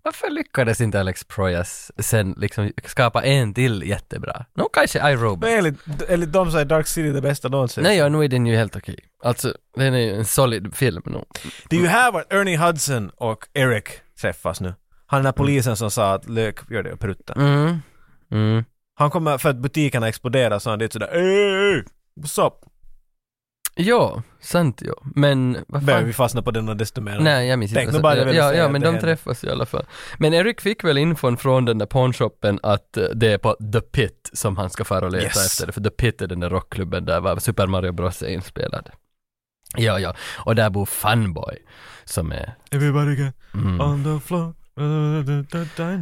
Varför lyckades inte Alex Proyas sen liksom skapa en till jättebra? Nå, kanske iRobot.
Men enligt, enligt dem så är Dark City det bästa någonsin.
Nej, ja, nu är den ju helt okej. Alltså, den är ju en solid film nog.
Det är ju här var Ernie Hudson och Eric träffas nu. Han är den här polisen som sa att lök gör det och prutta.
Mm. Mm.
Han kommer för att butikerna exploderar så han dit sådär "Ey, ey, What's up?
Ja, sant ja. Men vad
Börjar
fan?
vi fastna på den och desto mer.
Nej, jag minns inte.
Tänk,
vad
nu
som-
bara jag ville
ja,
säga
ja,
att
men
det
de
hände.
träffas i alla fall. Men Eric fick väl infon från den där pornshoppen att eh, det är på The Pit som han ska fara och leta
Yes.
efter. För The Pit är den där rockklubben där var Super Mario Bros är inspelad. Ja, ja. Och där bor Funboy som är
Everybody get
Mm.
on the floor.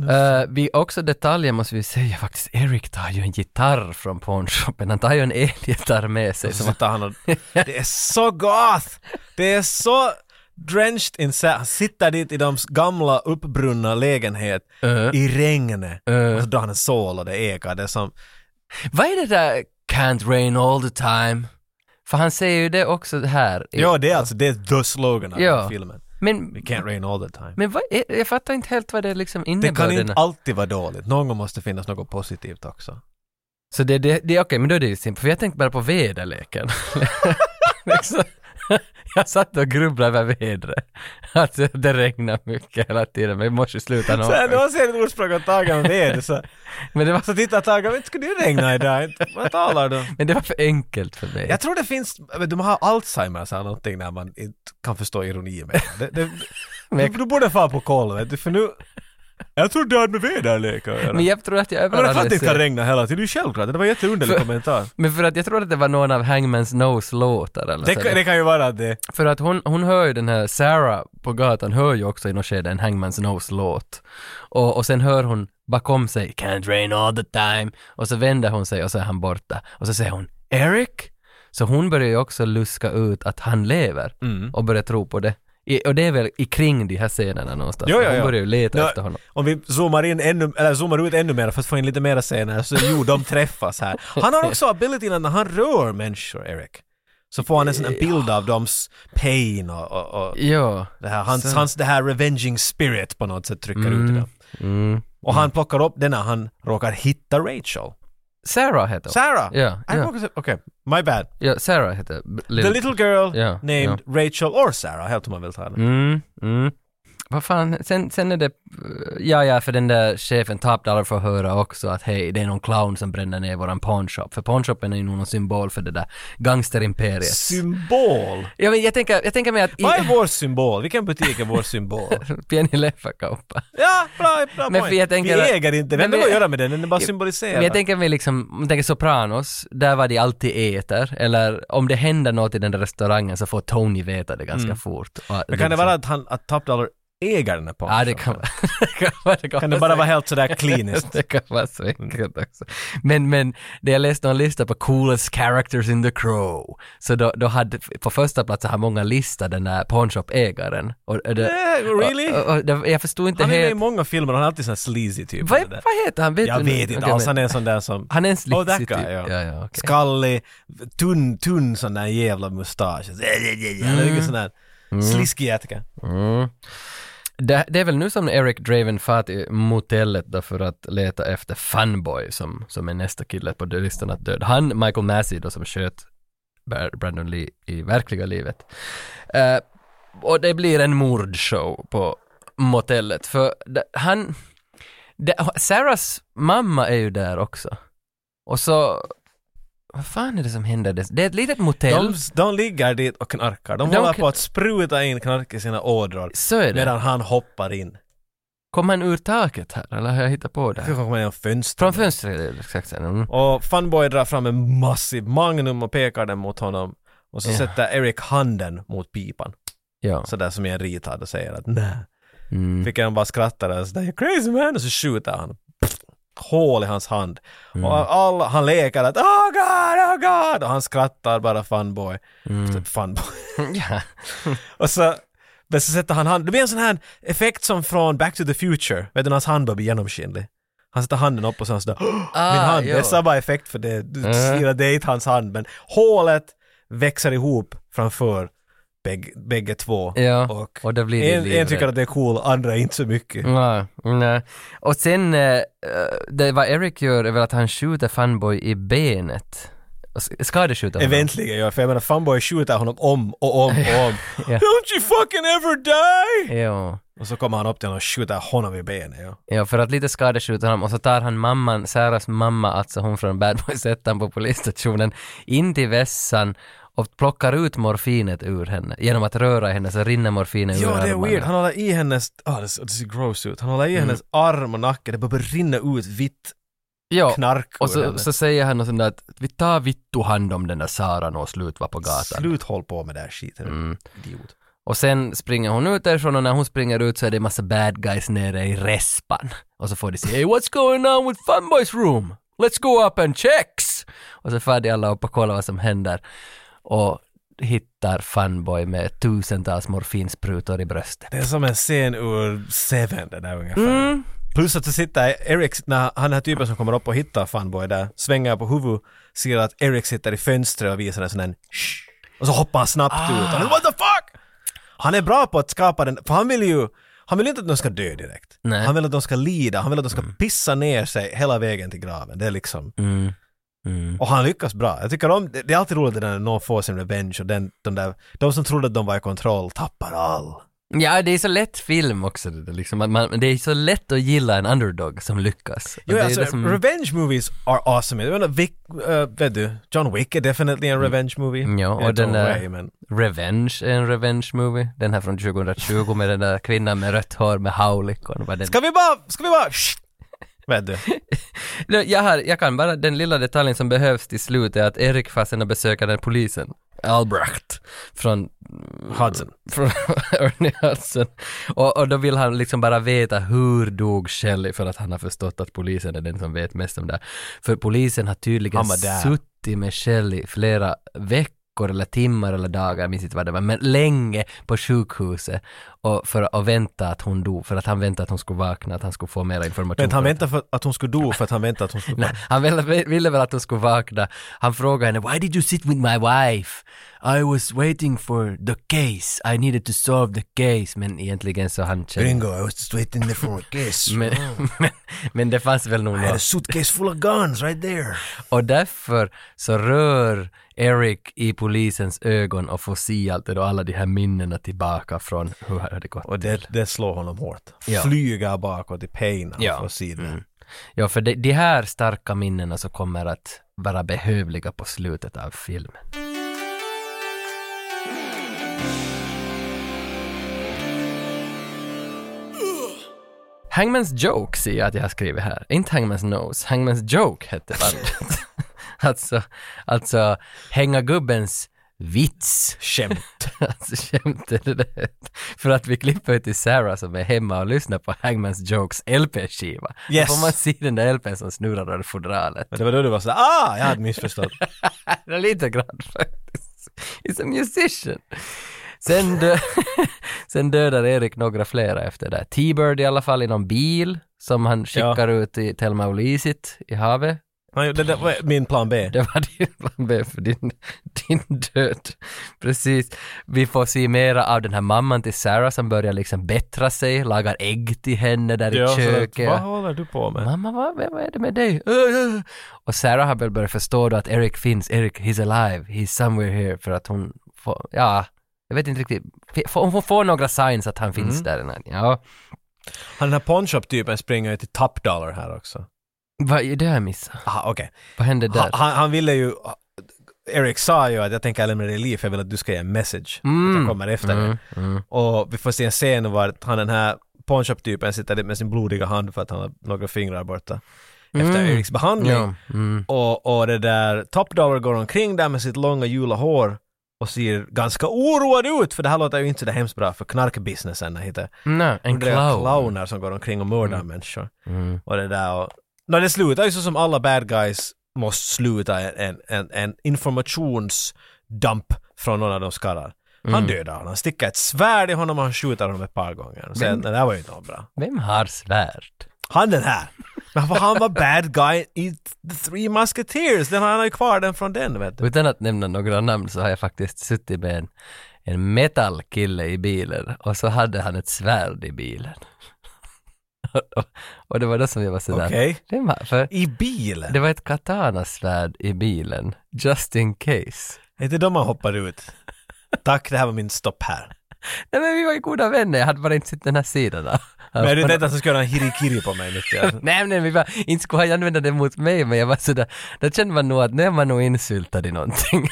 Eh, vi också detaljer måste vi säga faktiskt, Eric tar ju en gitarr från pornshoppen, han tar ju en elgitarr med sig.
Och så
Som,
sitter han och... Det är så goth! Det är så drenched in sand. Han sitter dit i de gamla uppbrunna lägenhet
Uh-huh.
i regnet. Och så drar han en sol och det ekar. Det är som...
Eh, vad är det där “Can't rain all the time”? För han säger ju det också här. i-
Ja, det är alltså det är the slogan av
Ja.
den här filmen.
Men,
It can't rain all the time.
men vad är, jag fattar inte helt vad det liksom
det kan
innebär.
inte alltid vara dåligt. Någon gång måste finnas något positivt också.
Så det, det, det okej, men då är det ju simpelt, för jag tänkte bara på väderleken. liksom, jag satt och grubblade över vädret. Alltså det regnar mycket hela tiden, men i morse slutade
Så här,
någon.
det var sen ordspråket tagen ved. Så,
Men det var,
så tittar tagen, men skulle det regna idag? Inte- Vad talar du om?
men det var för enkelt för mig.
Jag tror det finns, vet du, man har Alzheimers eller någonting när man inte kan förstå ironi med det. det, det
Men-
du, du borde fan på koll vet du, för nu... Jag tror det hade med väderlek att göra.
Men jag tror att jag
Men jag fattar inte att det
överanalyserade.
regnar hela tiden, det är ju självklart. Det var en jätteunderlig
För-
kommentar.
Men för att jag tror att det var någon av Hangmans Nose låtar eller
Det,
så.
kan- det kan ju vara att det...
För att hon, hon hör ju den här, Sarah på gatan hör ju också i något skede en Hangmans Nose låt. Och, och sen hör hon bakom sig “Can't rain all the time” och så vänder hon sig och så är han borta. Och så säger hon “Eric?” Så hon börjar ju också luska ut att han lever
Mm.
och börjar tro på det. I, och det är väl i kring de här scenerna någonstans.
Jo, jo,
Hon
jo.
börjar ju leta
Nå,
efter honom.
Om vi zoomar, in ännu, eller zoomar ut ännu mer för att få in lite mera scener, så jo, de träffas här. Han har också abilityn att när han rör människor, Eric, så får han en sån här bild av dems pain och, och, och
Ja.
det här, hans,
Så-
hans det här revenging spirit på något sätt trycker ut i
Mm.
dem.
Mm.
Och han plockar upp den när han råkar hitta Rachel.
Sarah heter hon.
Sarah!
Ja,
I
ja.
råkar se- Okej, my bad.
Ja, Sarah heter b-
The little girl
Ja,
named Rachel or Sarah, helt om man vill ta det.
Mm, mm. Vad fan, sen, sen är det, ja ja, för den där chefen Top Dollar får höra också att hej, det är någon clown som bränner ner våran pawnshop. För pawnshopen är ju nog någon symbol för det där gangsterimperiet.
Symbol!
ja, men jag tänker, jag tänker mig att
Vad är
i
vår symbol? Vilken butik är vår symbol?
Penny Leffa-kauppa.
Ja, bra, bra
Men för
point.
jag tänker-
Vi äger inte den,
Men
det har
vi-
att göra med den, den är bara
Jo,
symboliserar.
Men jag tänker mig liksom, om jag tänker Sopranos, där var de alltid äter, eller om det händer något i den där restaurangen så får Tony veta det ganska fort. Och
Mm. Men kan det
liksom-
vara att, han, att Top Dollar äger den här porrfilmen?
Ja, det kan, det kan, vara- kan,
Kan det bara vara helt sådär kliniskt?
Det kan vara så enkelt också. Men, men det jag läste en lista på coolest characters in the crow. Så då, då hade, på första plats har många listat den där pornshop-ägaren. Och, och det,
Eh, really?
Och, och, det, jag förstod inte
Han är med i
helt.
många filmer, han är alltid sån här sleazy typ.
Vad,
eller det.
vad heter han? Vet
Jag
du
vet
nu?
inte
Okej,
alls,
men-
han är en sån där som...
Han är en
Oh, that
slitsig
guy,
typ.
ja.
Ja, ja, okej.
Skallig, tunn, tunn sån där jävla mustasch. Han är mycket sån där
Mm.
sliskig jätka.
Det, det är väl nu som Eric Draven far till motellet då för att leta efter Funboy som, som är nästa kille på listan att döda. Han, Michael Massey då som sköt Bar- Brandon Lee i verkliga livet. Eh, och det blir en mordshow på motellet för det, han, det, Sarahs mamma är ju där också. Och så, vad fan är det som händer? Det, det är ett litet motell.
De, de ligger dit och knarkar. De
De
håller
kn-
på att spruta in knark i sina ådror.
Så är det.
Medan han hoppar in.
Kom han ur taket här eller har jag hittat på det?
Jag
här?
tror han kommer genom fönstret.
Från fönstret, exakt. Mm.
Och Funboy drar fram en massiv magnum och pekar den mot honom. Och så
Ja.
sätter Eric handen mot pipan.
Ja.
Sådär som i en ritad och säger att nej.
Mm.
Vilket han bara skrattar och sådär "You're crazy man och så skjuter han. Pff, Hål i hans hand.
Mm.
Och all, han leker att oh god, oh god och han skrattar bara funboy.
Mm.
Så, Funboy.
ja.
och så, men så sätter han handen, det blir en sån här effekt som från Back to the Future, vet du när hans hand då blir genomskinlig. Han sätter handen upp och sen sådär, "Åh,
Ah,
min hand, det är samma effekt för det, du stirrar det är inte hans hand men hålet växer ihop framför bägge, bägge två.
Ja,
Och,
och då blir det Mm,
en, en
livet.
tycker att det är cool, andra inte så mycket.
Nej, nej. Och sen, eh, det vad Eric gör är väl att han skjuter Funboy i benet. Och s- Skadeskjuter honom.
Eventuligen, ja. För jag menar, Funboy skjuter honom om och om och om.
Ja.
Don't you fucking ever die!
Ja.
Och så kommer han upp till honom och skjuter honom i benet, ja.
ja, för att lite skadeskjuter honom och så tar han mamman, Saras mamma, alltså hon från Bad Boys 1 på polisstationen, in till vässan och plockar ut morfinet ur henne. Genom att röra henne så rinner morfinet ur
Ja, det är
armarna. Mm.
weird. Han håller i hennes... ah det, ser- det ser gross ut. Han håller i hennes arm och nacke. Det börjar rinna ut vitt
ja,
knark
och
ur
så,
henne.
så säger han något sånt där att vi tar vittu hand om den där Saran och slut var på gatan.
Slut håll på med det här skiten.
Mm.
Idiot.
Och sen springer hon ut därifrån och när hon springer ut så är det massa bad guys nere i respan. Och så får de se hey, “What's going on with Funboys room? Let's go up and checks!” Och så far de alla upp och kollar vad som händer. Och hittar Funboy med tusentals morfinsprutor i bröstet.
Det är som en scen ur Seven, det där ungefär. Plus att så sitter Eric, när han här typen som kommer upp och hittar Funboy där, svänger på huvudet, ser att Eric sitter i fönstret och visar en sån där "Shh." Och så hoppar han snabbt ut. Han, What the fuck! Han är bra på att skapa den, för han vill ju han vill inte att de ska dö direkt.
Nej.
Han vill att de ska lida, han vill att de ska pissa ner sig hela vägen till graven. Det är liksom... Och han lyckas bra. Jag tycker om, det är alltid roligt när någon får sin revenge och den, de där, de som trodde att de var i kontroll tappar all.
Ja, det är så lätt film också. Det, där, liksom, att man, det är så lätt att gilla en underdog som lyckas. Och
Jo,
det är liksom-
alltså,
det som-
revenge movies are awesome. Jag menar, Vic, eh, vet du, John Wick är definitely en revenge movie.
Mm. Ja,
In
och
its
den
own
där-
way, men
Revenge är en revenge movie. Den här från 2020 med den där kvinnan med rött hår med haulik. och vad den-
Ska vi bara, ska vi bara, Shh! vet du.
Nu, Jag, har, jag kan bara, den lilla detaljen som behövs till slut är att Erik fastnar och besöker den polisen, Albrecht, från,
Hudson.
från Ernie Hudson. Och, och då vill han liksom bara veta hur dog Shelley för att han har förstått att polisen är den som vet mest om det här. För polisen har tydligen
Han var där.
suttit med Shelley flera veckor eller timmar eller dagar, jag minns inte vad det var, men länge på sjukhuset och för att vänta att hon dog, för att han väntade att hon skulle vakna, att han skulle få mer information.
Men han
från-
väntade för att hon skulle do för att han väntade att hon skulle...
Nej, han ville, ville väl att hon skulle vakna. Han frågade henne “Why did you sit with my wife?” “I was waiting for the case. I needed to solve the case.” Men egentligen så han kände...
Bingo, I was just waiting there for a case.
Men, men, men det fanns väl nog
I had a
något.
suitcase full of guns right there.
Och därför så rör Eric i polisens ögon och får se allt det då, alla de här minnena tillbaka från hur det hade gått.
Och det, det slår honom hårt.
Ja.
Flyger bakåt i pain
Ja. Mm.
ja. och sidan.
Ja, för de, de här starka minnena så kommer att vara behövliga på slutet av filmen. Hangman's Joke ser jag att jag har skrivit här. Inte Hangman's Nose, Hangman's Joke hette bandet. alltså, alltså hänga gubbens vits.
Skämt.
Alltså skämtade det? För att vi klipper ju till Sarah som är hemma och lyssnar på Hangman's Jokes LP-skiva.
Yes.
Då får man se den där LPn som snurrar över fodralet.
Men det var då du var sådär, ah, jag hade missförstått.
Det är lite grann faktiskt. He's a musician. Sen, dö- Sen dödar Erik några flera efter det. T-Bird i alla fall i någon bil som han skickar ut i Thelma och Lisit i havet.
Nej, det, det var min plan B.
Det var din plan B för din, din död. Precis. Vi får se mera av den här mamman till Sarah som börjar liksom bättra sig, lagar ägg till henne där
Ja,
i
så att,
köket.
Vad håller du på med?
Mamma, vad, vad vad är det med dig? Äh, äh. Och Sarah har väl börjat förstå då att Eric finns, Eric, he's alive, he's somewhere here, för att hon får, ja, jag vet inte riktigt, F- får- hon får några signs att han
Mm.
finns där. eller nåt. Ja,
Han den här ponshop-typen springer ju till Top Dollar här också.
vad är det jag missade?
Aha, okej.
Vad hände där?
Han, han, han ville ju... Eric sa ju att jag tänker lämna dig i liv, jag vill att du ska ge en message. Att
Mm.
jag kommer efter dig. Och vi får se en scen var att han den här ponshop-typen sitter med sin blodiga hand för att han har några fingrar borta. Efter Eriks behandling.
Ja, mm.
Och, och det där Top Dollar går omkring där med sitt långa gula hår och ser ganska oroad ut, för det här låter ju inte så där hemskt bra för knarkbusinessen. det heter.
Nej, en
Det är
clown.
clowner som går omkring och mördar människor.
Mm.
Och det där och... No, det slutar ju så som alla bad guys måste sluta, en, en, en informationsdump från någon av de skallar. Han
Mm.
dödar honom, han sticker ett svärd i honom och han skjuter honom ett par gånger. Så det där var ju inte något bra.
Vem har svärd?
Han den här! Men för han var bad guy i The Three Musketeers, den har han ju kvar den från den vet du.
Utan att nämna några namn så har jag faktiskt suttit med en, en metallkille i bilen och så hade han ett svärd i bilen. och, och, och det var då som jag var sådär.
Okej.
Det var, för
I bilen?
det var ett katanasvärd i bilen, just in case.
Är inte de han hoppar ut? Tack, det här var min stopp här.
Nej men vi var ju goda vänner, jag hade bara inte sett den här sidan. av-
Men jag hade tänkt att han skulle göra en hirikiri på mig mitt i allt.
Nej, nej, vi var, inte skulle han använda det mot mig, men jag var sådär, då kände man nog att nu är man nog insyltad i någonting,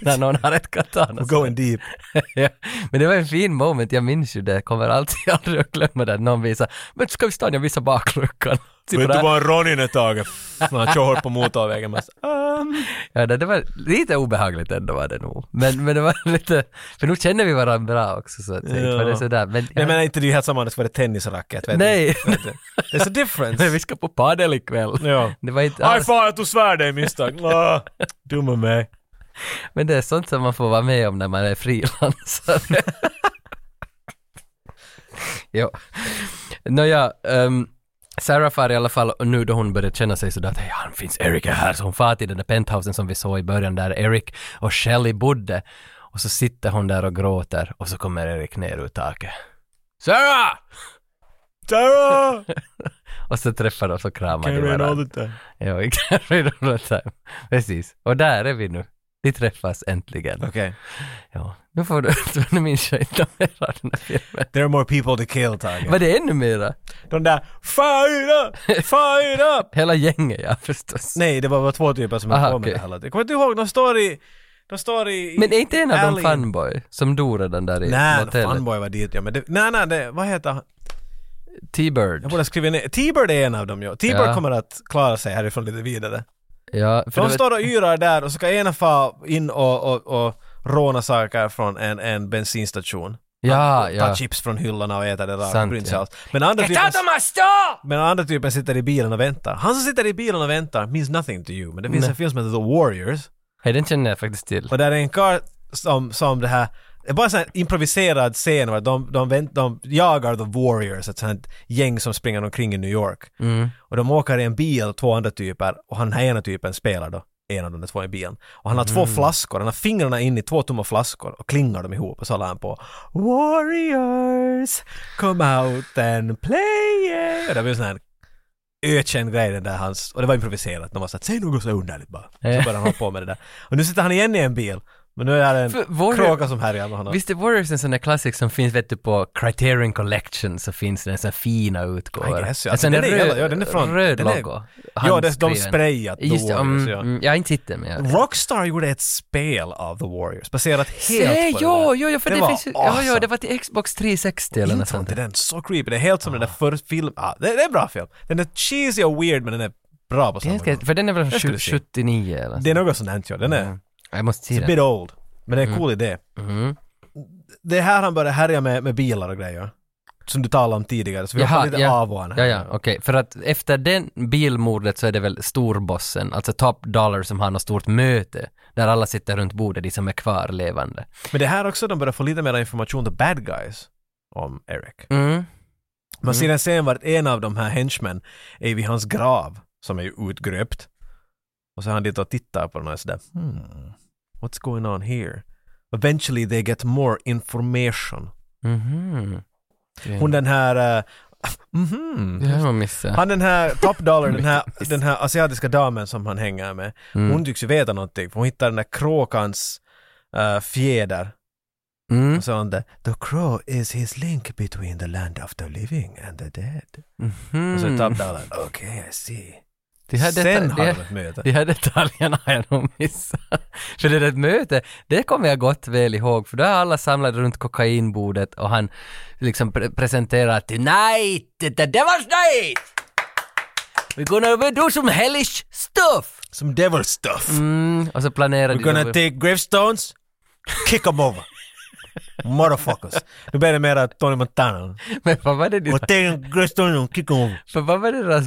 när någon har ett katana.
Going deep.
ja. Men det var en fin moment, jag minns ju det, jag kommer alltid aldrig att glömma det, att någon visar, men ska vi stanna, jag visar bakluckan. Typ
Vet du
där.
vad Ronin är taget? När han kör på motorvägen. Man så, "Um."
Ja, det, det var lite obehagligt ändå var det nog, men, men det var lite, för nu känner vi varandra bra också så att säga, inte var det
Ja.
sådär, men,
Nej men inte det är ju helt samma annars var det tennisracket. vet
Nej.
du. Vet du. Det är så
men vi
difference.
ska på padel ikväll.
Ja.
Det var inte
Aj
alls,
fan jag tog svärd i misstag. Ah, Dumma mig.
men det är sånt som man får vara med om när man är frilansare. jo. Nåja, um, Sarah far i alla fall, och nu då hon börjar känna sig sådär att hej, han finns Eric är här, så hon far till den där penthousen som vi såg i början där Eric och Shelley bodde. Och så sitter hon där och gråter och så kommer Eric ner ur taket. Sarah!
Tara!
Och så träffar de så kramar de
Can rain
varandra.
all the time.
Ja, i Carrie Donald Time. Precis. Och där är vi nu. Vi träffas äntligen.
Okej.
Ja. Nu får du, nu minns jag inte mer av den här filmen.
There are more people to kill Tage.
Var det ännu mera?
De där Fire up! Fire up!
Hela gänget ja, förstås.
Nej, det var bara två typer som höll
Aha,
på med
okej.
det här. Jag kommer inte ihåg, de står i... De står i... i
Men är inte en av dem
alley.
fanboy som dog redan där i
Nej,
motellet?
fanboy var dit ja, men det, nej, nej, det, vad heter han? Jag
T-Bird.
borde skriva ner, T-Bird är en av dem ja. T-Bird
Ja.
kommer att klara sig härifrån lite vidare.
Ja, för det
För de
var,
står och yrar där och så ska ena få in och, och, och råna saker från en, en bensinstation.
ja,
Ta
ja.
chips från hyllorna och äta det där.
Sant,
bryr sig
ja.
alls. Men andra
Get out
typen,
of my store!
men andra typen sitter i bilen och väntar. Han som sitter i bilen och väntar means nothing to you. Men det finns en film som heter The Warriors.
Hej, den känner jag faktiskt till.
Och där är en karl som, som det här det är bara en sån här improviserad scen var de, de, vänt, de jagar the warriors, ett sånt här gäng som springer omkring i New York. Och de åker i en bil, två andra typer, och han den här ena typen spelar då en av de där två i bilen. Och han har
Mm.
två flaskor, han har fingrarna in i två tomma flaskor och klingar dem ihop och så la han på Warriors, come out and play! it." Och det blir en sån här ökänd grej den där hans, och det var improviserat, de var såhär säg något så underligt bara.
Eh.
Så började han hålla på med det där. Och nu sitter han igen i en bil, men nu är det en
För Warrior-
kråka som härjar med honom.
Visst är Warriors en sån där klassik som finns vet du på Criterion Collection så finns det en sån fina utgåva.
I guess, ja.
En sån
Den
där
är hela- ja, den är från-
röd
den är-
logo.
Ja, det, de
handskriven.
sprayat The
Just det,
Warriors,
mm,
ja.
mm, jag har inte sett den men jag...
Rockstar gjorde ett spel av The Warriors, baserat helt
Se,
på
jo,
det där.
jo, jo, för det,
det var
finns ju,
awesome.
ja, ja, det var till Xbox 360 eller något
Intron
sånt.
till den, så creepy. Det är helt som den där förra filmen. Ah, det, det är en bra film. Den är cheesy och weird men den är bra på samma
Den ska,
gång.
för den är väl
Den ska
från
du se.
79 eller något
Det Mm. är något sånt här, ja. Den är
Jag måste se
a bit
den.
old. Men det är en cool idé. Det är här han börjar härja med, med bilar och grejer. Som du talade om tidigare, så vi har lite
ja,
avvarna
ja,
här.
ja, okej. För att efter den bilmordet så är det väl storbossen, alltså Top Dollar som har något stort möte där alla sitter runt bordet, de som är kvar levande.
Men det här också, de börjar få lite mer information till bad guys om Eric.
Mm.
Man ser en scen vart en av de här henchmen är vid hans grav, som är ju utgröpt. Och så är han dit och tittar på den här sådär, hmm, what's going on here? Eventually they get more information.
Mhm.
Hon den här, uh, mhm.
Det här var missat.
Han den här top dollar, den här, den här asiatiska damen som han hänger med, hon tycks ju veta någonting för hon hittar den där kråkans eh, fjäder.
Mm.
Och så har hon där, the crow is his link between the land of the living and the dead. Och så är top dollar, okej okay, I see.
Mm. Det här,
Sen
det,
har de ett möte.
de här detaljerna har jag nog missat. För det där mötet, det kommer jag gott väl ihåg, för då är alla samlade runt kokainbordet och han liksom pre- presenterar “Tonight, det där var night! We're gonna do some hellish stuff!”
Some devil stuff.
mm, Och så planerar
We're gonna take gravestones, kick them over. Motherfuckers. Nu blir det mera Tony Montana.
Men vad var det
We're taking gravestones and kick 'em over.
För vad var deras...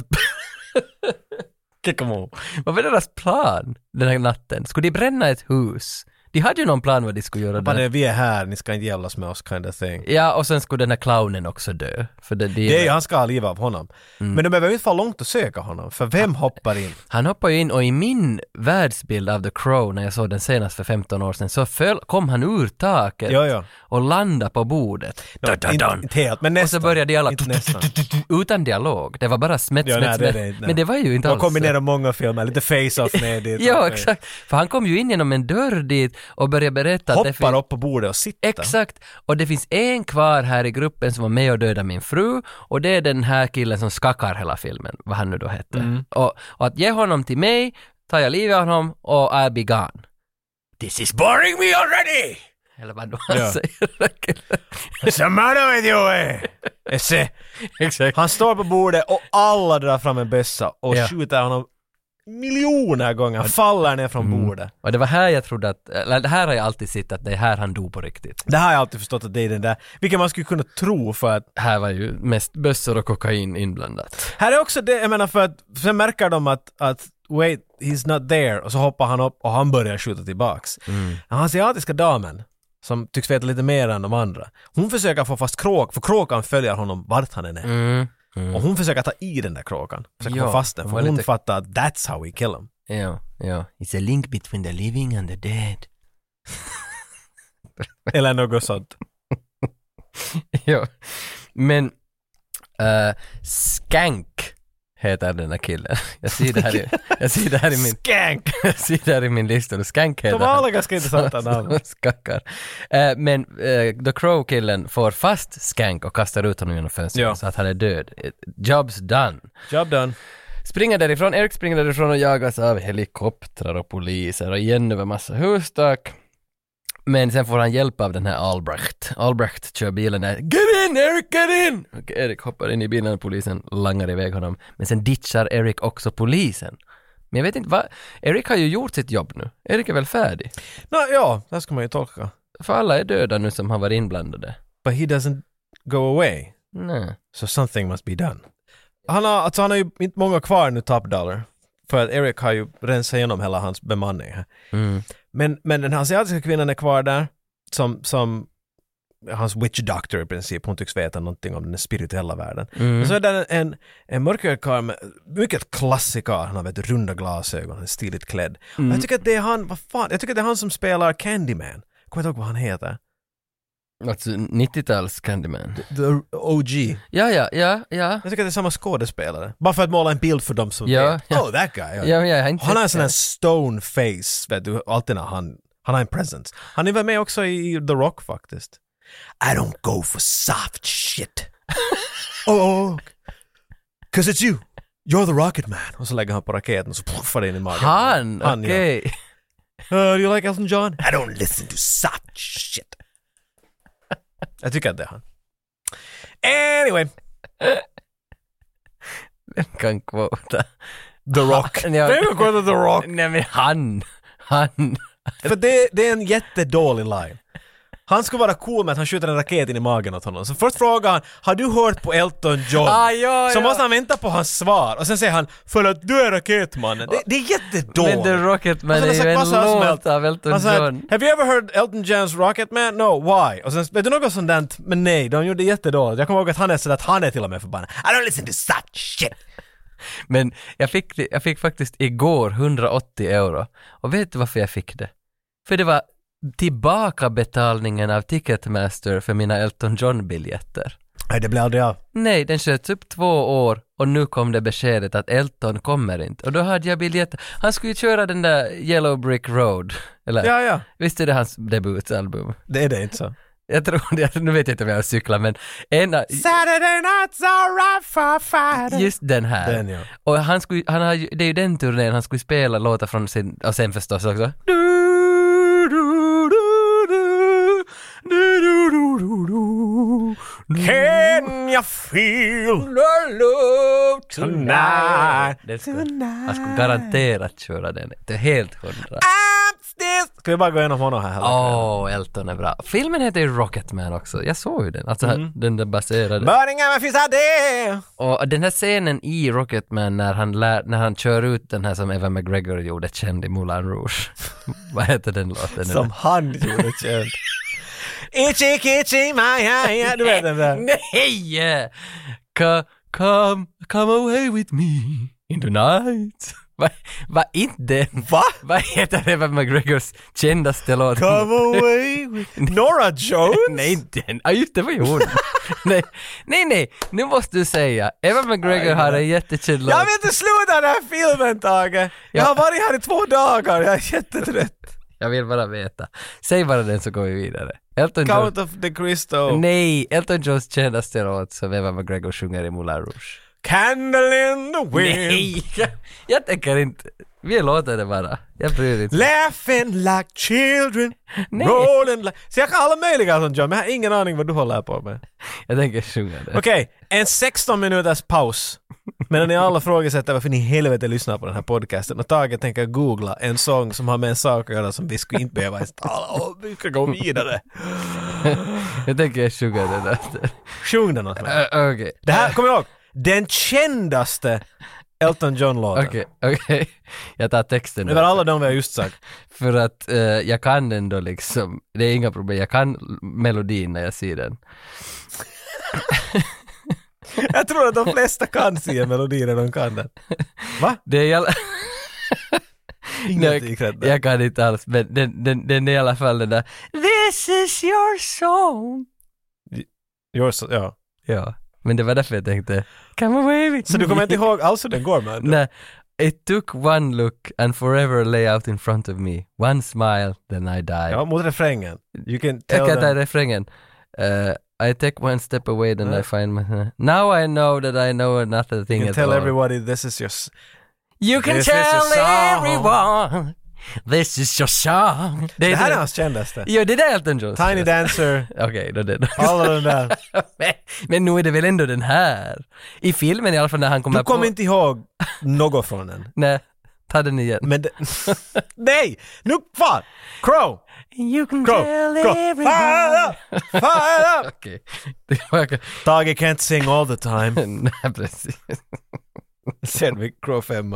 Kick 'em all. Vad var deras plan den här natten? Skulle de bränna ett hus? De hade ju någon plan vad de skulle göra
Bara
där.
det, vi är här, ni ska inte jävlas med oss kind of thing.
Ja, och sen skulle den här clownen också dö. För det, det,
Det är, ju- han ska ha liv av honom.
Mm.
Men de behöver ju inte få långt att söka honom, för vem hoppar in?
Han hoppar ju in och i min världsbild av The Crow när jag såg den senast för 15 år sedan så föll, kom han ur taket
Ja, ja.
och landade på bordet. Dun, dun,
Inte,
dun.
inte helt, men
Och
nästan.
så började de alla
Inte nästan.
utan dialog. Det var bara smätt,
Ja, nej,
smätt,
det är
smätt.
det inte, nej.
Men det var ju inte
De
alls så.
kombinerar många filmer, lite face-off med det.
Ja, exakt. För han kom ju in genom en dörr dit och började berätta att det
Hoppar
finns...
upp på bordet och sitter.
Exakt. Och det finns en kvar här i gruppen som var med och dödade min fru och det är den här killen som skakar hela filmen, vad han nu då hette. Och, och att ge honom till mig, tar jag livet av honom och I'll be gone. This is boring me already! Eller vad då han
Ja.
säger.
What's the matter with you? eh? Esse.
Exakt.
Han står på bordet och alla drar fram en bössa och
Ja.
skjuter honom miljoner gånger. Han faller ner från bordet.
Och det var här jag trodde att, eller det här har jag alltid sett att det är här han dog på riktigt.
Det här har jag alltid förstått att det är den där, vilket man skulle kunna tro för att
Här var ju mest bössor och kokain inblandat.
Här är också det, jag menar för att sen märker de att, att wait, he's not there och så hoppar han upp och han börjar skjuta tillbaks. Mm. Den asiatiska damen, som tycks veta lite mer än de andra, hon försöker få fast kråk, för kråkan följer honom vart han än är.
Mm.
Och hon försöker ta i den där kråkan, försöker
Ja,
få fast den,
hon
för
var
hon
lite-
fattar att that's how we kill him.
Ja, ja. It's a link between the living and the dead.
Eller något sånt.
ja. Men eh, Skank heter den här killen. Jag ser det här i, jag ser det här i min...
Skank!
Jag ser det här i min lista nu. Skank heter
De har alla ganska intressanta
Så-
namn.
Skackar. Eh, men eh, The Crow-killen får fast Skank och kastar ut honom genom fönstret
Ja.
så att han är död. Eh, Job's done.
Job done.
Springer därifrån, Eric springer därifrån och jagas av helikoptrar och poliser och igen över massa hustak. Men sen får han hjälp av den här Albrecht. Albrecht kör bilen där. Get in Eric, get in! Och Eric hoppar in i bilen och polisen langar iväg honom. Men sen ditchar Eric också polisen. Men jag vet inte vad... Eric har ju gjort sitt jobb nu. Eric är väl färdig?
Nå, ja, det ska man ju tolka.
För alla är döda nu som har varit inblandade.
But he doesn't go away,
Nej.
so something must be done. Han har, alltså han har ju inte många kvar nu, Top Dollar. För att Eric har ju rensat igenom hela hans bemanning. här.
Mm.
Men, men den asiatiska kvinnan är kvar där, som, som hans witch doctor i princip. Hon tycks veta någonting om den spirituella världen. Och så är det en, en, en mörkhyad karl med mycket klassig karl. Han har vet, runda glasögon, han är stiligt klädd. Och jag tycker att det är han, vad fan, jag tycker att det är han som spelar Candyman. Jag kommer inte ihåg vad han heter.
Alltså 90-tals Candyman.
The OG.
Ja, ja, ja, ja.
Jag tycker att det är samma skådespelare. Bara för att måla en bild för dem som
Ja,
vet.
ja.
Oh, that guy. ja.
Ja, men jag har inte
Han har en
sett
sån här
det.
stone face, vet du, alltid när han, han har en presence. Han är väl med också i The Rock faktiskt. I don't go for soft shit. oh, oh, oh. Cause it's you. You're the rocket man. Och så lägger han på raketen och så puffar det in i magen.
Han,
Han, ja.
okej.
Uh, do you like Elton John? I don't listen to soft shit. Jag tycker att det är han. Anyway,
kan quota.
The Rock.
Ja.
Vem kan gå till The Rock?
Nej men han, han,
För det, det är en jättedålig line. Han skulle vara cool med att han skjuter en raket in i magen åt honom. Så först frågar han “Har du hört på Elton John?”
Ah, ja,
Så
ja.
måste han vänta på hans svar och sen säger han “För att du är Raketmannen”. Det, det är jättedåligt. Alltså,
Men The Rocketman
Och sen
är
har
ju
han
en
sagt vad som
låt
helst.
av Elton
Han sa att,
John.
“Have you ever heard Elton Johns Rocketman? No, why?” Och sen vet du något sånt där? Men nej, de gjorde jättedåligt. Jag kommer ihåg att han är sådär att han är till och med förbannad. “I don't listen to such shit!”
Men jag fick, det- jag fick faktiskt igår 180 euro. Och vet du varför jag fick det? För det var tillbakabetalningen av Ticketmaster för mina Elton John-biljetter.
Nej, det blir aldrig av.
Nej, den sköts upp två år och nu kom det beskedet att Elton kommer inte. Och då hade jag biljetter. Han skulle ju köra den där Yellow Brick Road. Eller?
Ja, ja.
Visst är det hans debutalbum?
Det är det inte så.
Jag tror det, nu vet jag inte om jag cyklar men en, av-
Saturday night's alright for fighting.
just den här.
Den, ja.
Och han skulle, han har, ju- det är ju den turnén han skulle spela låtar från sin, och sen förstås också.
Can you feel
love
tonight?
Den skulle, han skulle garanterat köra den. Det är helt hundra.
Ska vi bara gå igenom honom här? hela kvällen?
Åh, Elton är bra. Filmen heter ju Rocketman också. Jag såg ju den. Alltså
Mm.
den där baserade.
Burning I'm a fizz a day.
Och den här scenen i Rocketman när han, lär, när han kör ut den här som Evan McGregor gjorde känd i Moulin Rouge. Vad heter den låten?
Som han gjorde känd. Itchy kitchy my eye. Du vet den där.
Nej! Co- Come, come away with me in the night. Vad va, inte den?
Va?
Vad heter Evan McGregors kändaste låt?
Come away with Nora Jones?
Nej, inte den. Ja, just det var ju hon. nej, nej, nej, nu måste du säga. Evan McGregor har en jättekänd låt.
Jag vill inte sluta den här filmen Tage! Jag har varit här i två dagar, jag är jättetrött.
Jag vill bara veta. Säg bara den så går vi vidare. Elton John.
Count of the Crystal.
Nej, Elton Johns kändaste låt som Evan McGregor sjunger i Moulin Rouge.
Candle in the wind.
Nej! Jag tänker inte. Vi låter det bara. Jag bryr inte.
Laughing like children,
Nej.
rolling like... Så jag kan alla möjliga sånt John, men jag har ingen aning vad du håller på med.
Jag tänker sjunga det.
Okej, en 16 minuters paus. Medan ni alla frågasätter varför ni i helvete lyssnar på den här podcasten och Tage tänker googla en sång som har med en sak att göra som vi skulle inte behöva ens tala om. Vi ska gå vidare.
Jag tänker sjunga den låten.
Sjung den åt mig.
Ö, Okej,
Det här, kom ihåg, den kändaste Elton John-låten.
okej, okej. Jag tar texten
Det var
nu.
alla de vi har just sagt.
För att eh, jag kan den då liksom. Det är inga problem. Jag kan l- melodin när jag ser den.
Jag tror att de flesta kan se melodier när de kan den. Va?
Det är i alla...
Inget gick rätt där.
Jag kan inte alls, men den, den, den är i alla fall den där This is your song.
Yours, ja.
Ja, men det var därför jag tänkte Come away with
Så du kommer
me."
inte ihåg alls hur den går med?
Nej. It took one look and forever lay out in front of me. One smile, then I die.
Ja, mot refrängen. You can
jag
tell
kan ta
them.
refrängen. Eh, I take one step away then I find my... Now I know that I know another thing
You can
at
tell
all.
everybody this is your... s-
You can
This is your
tell
song.
everyone This is your song. Det,
Det här är
det-
hans kändaste.
Jo, det där är Elton John.
Tiny Dancer,
Okej, då det.
alla de där.
men, men nu är det väl ändå den här? I filmen i alla fall när han kommer
Du kommer
på...
inte ihåg något från den.
Nej, ta den igen.
Men det... Nej! Nu, fan! Crow!
You can
Crow!
tell
Crow! Fire
everyone.
up! Fire up!
Okej. Det var...
Tage can't sing all the time.
Nej, precis.
Sen vi Crow 5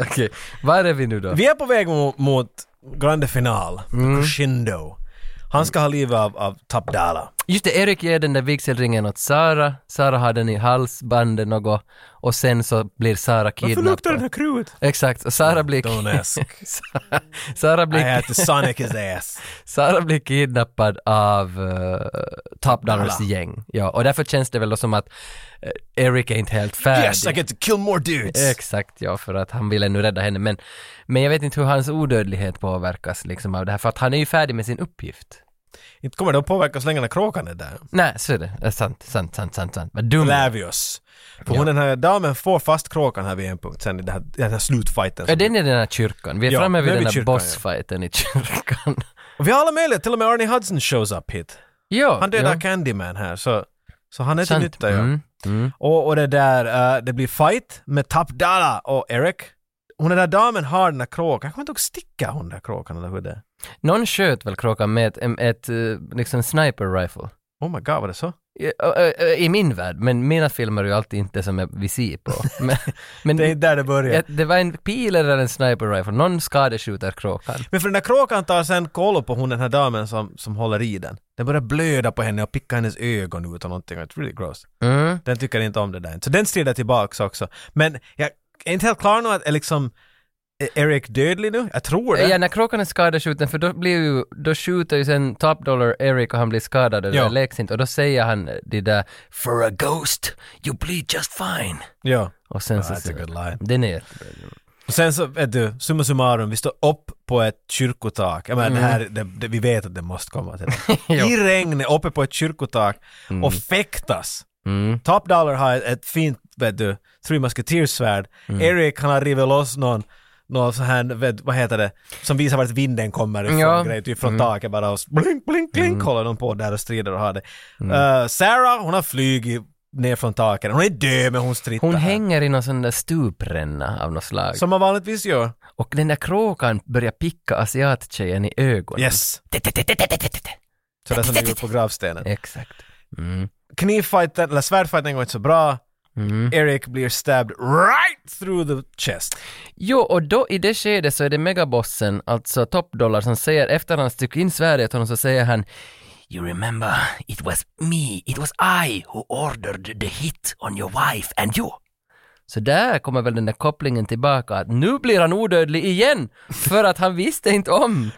Okej, var är vi nu då?
Vi är på väg mot, mot grande final, crescendo. Han ska ha livet av, av Top Dollar.
Just det, Erik ger den där vigselringen åt Sara. Sara har den i halsbandet något och sen så blir Sara kidnappad.
här kruet?
Exakt, och Sara blir...
Don't ask.
Sara, Sara,
I
blir
had to sonic his ass.
Sara blir kidnappad av uh, Top Dollars
Dollar.
gäng. Ja, och därför känns det väl då som att eh, Erik är inte helt färdig.
Yes, I get to kill more dudes!
Exakt, ja, för att han ville nu rädda henne. Men, men jag vet inte hur hans odödlighet påverkas liksom av det här, för att han är ju färdig med sin uppgift.
Inte kommer det att påverka så länge den här kråkan är där.
Nej, så är det. Eh, Sant, sant, sant, sant, sant. Vad dum.
Lavius. För
Ja.
hon den här damen får fast kråkan här vid en punkt sen i den här, den här slutfighten.
Ja, den är den här kyrkan. Vi är
Ja,
framme
nu
vid
är vi
den
i
här
kyrkan,
bossfighten i kyrkan.
Och vi har alla möjligheter, till och med Arnie Hudson shows up hit.
ja,
Han dödar
ja.
Candyman här, så, så han är till
Sant.
nytta. Ja.
Mm, mm.
Och, och det där, eh, det blir fight med Top Dollar och Eric. hon den där damen har den där kråkan, jag kommer inte ihåg, stickar hon den där kråkan eller hur det är?
Någon sköt väl kråkan med ett, em- ett eh, liksom sniper rifle?
Oh my god, var det så?
I, ö, ö, ö, Eh, I min värld, men mina filmer är ju alltid inte som jag visir på. Men, men
Det är där det börjar.
Ja, det var en pil eller en sniper rifle, någon skadeskjuter kråkan.
Men för den där kråkan tar sen koll på hon den här damen som, som håller i den. Den börjar blöda på henne och picka hennes ögon ut och någonting. It's really gross.
Mm.
Den tycker inte om det där. Så den strider tillbaks också. Men jag är inte helt klar nu att är liksom är Eric dödlig nu? Jag tror det.
Ja, när kråkan är skadeskjuten, för då blir ju, då skjuter ju sen Top Dollar Eric och han blir skadad, och det
Ja.
där läks inte, och då säger han det där “For a ghost, you bleed just fine”.
Ja.
Och sen så...
that's a good line.
Den är jättebra.
Och sen så, vet du, summa summarum, vi står upp på ett kyrkotak. Jag menar,
Mm.
det här, det, det, vi vet att det måste komma till. I regnet, uppe på ett kyrkotak och fäktas.
Mm.
Top Dollar har ett, ett fint, vet du, Three Musketeers-svärd.
Mm.
Eric, han har rivit loss någon, någon sån här, vet, vad heter det, som visar vart vinden kommer ifrån,
Ja. Mm.
grej, typ från taket bara och s- blink, blink, blink håller de på där och strider och har det.
Mm.
Eh, Sarah, hon har flugit ner från taket. Hon är död men hon strittar.
Hon
här.
hänger i någon sån där stupränna av något slag.
Som man vanligtvis gör.
Och den där kråkan börjar picka asiattjejen i ögonen.
Yes.
Tetetetetetetete.
Sådär som de gjorde på gravstenen.
Exakt. Mm.
Knivfighten, eller svärdfighten går inte så bra.
Mm.
Eric blir stabbed right through the chest.
Jo, och då i det skedet så är det megabossen, alltså Top Dollar, som säger efter han styckt in svärdet åt honom så säger han You remember, it was me, it was I who ordered the hit on your wife and you. Så där kommer väl den där kopplingen tillbaka att nu blir han odödlig igen för att han visste inte om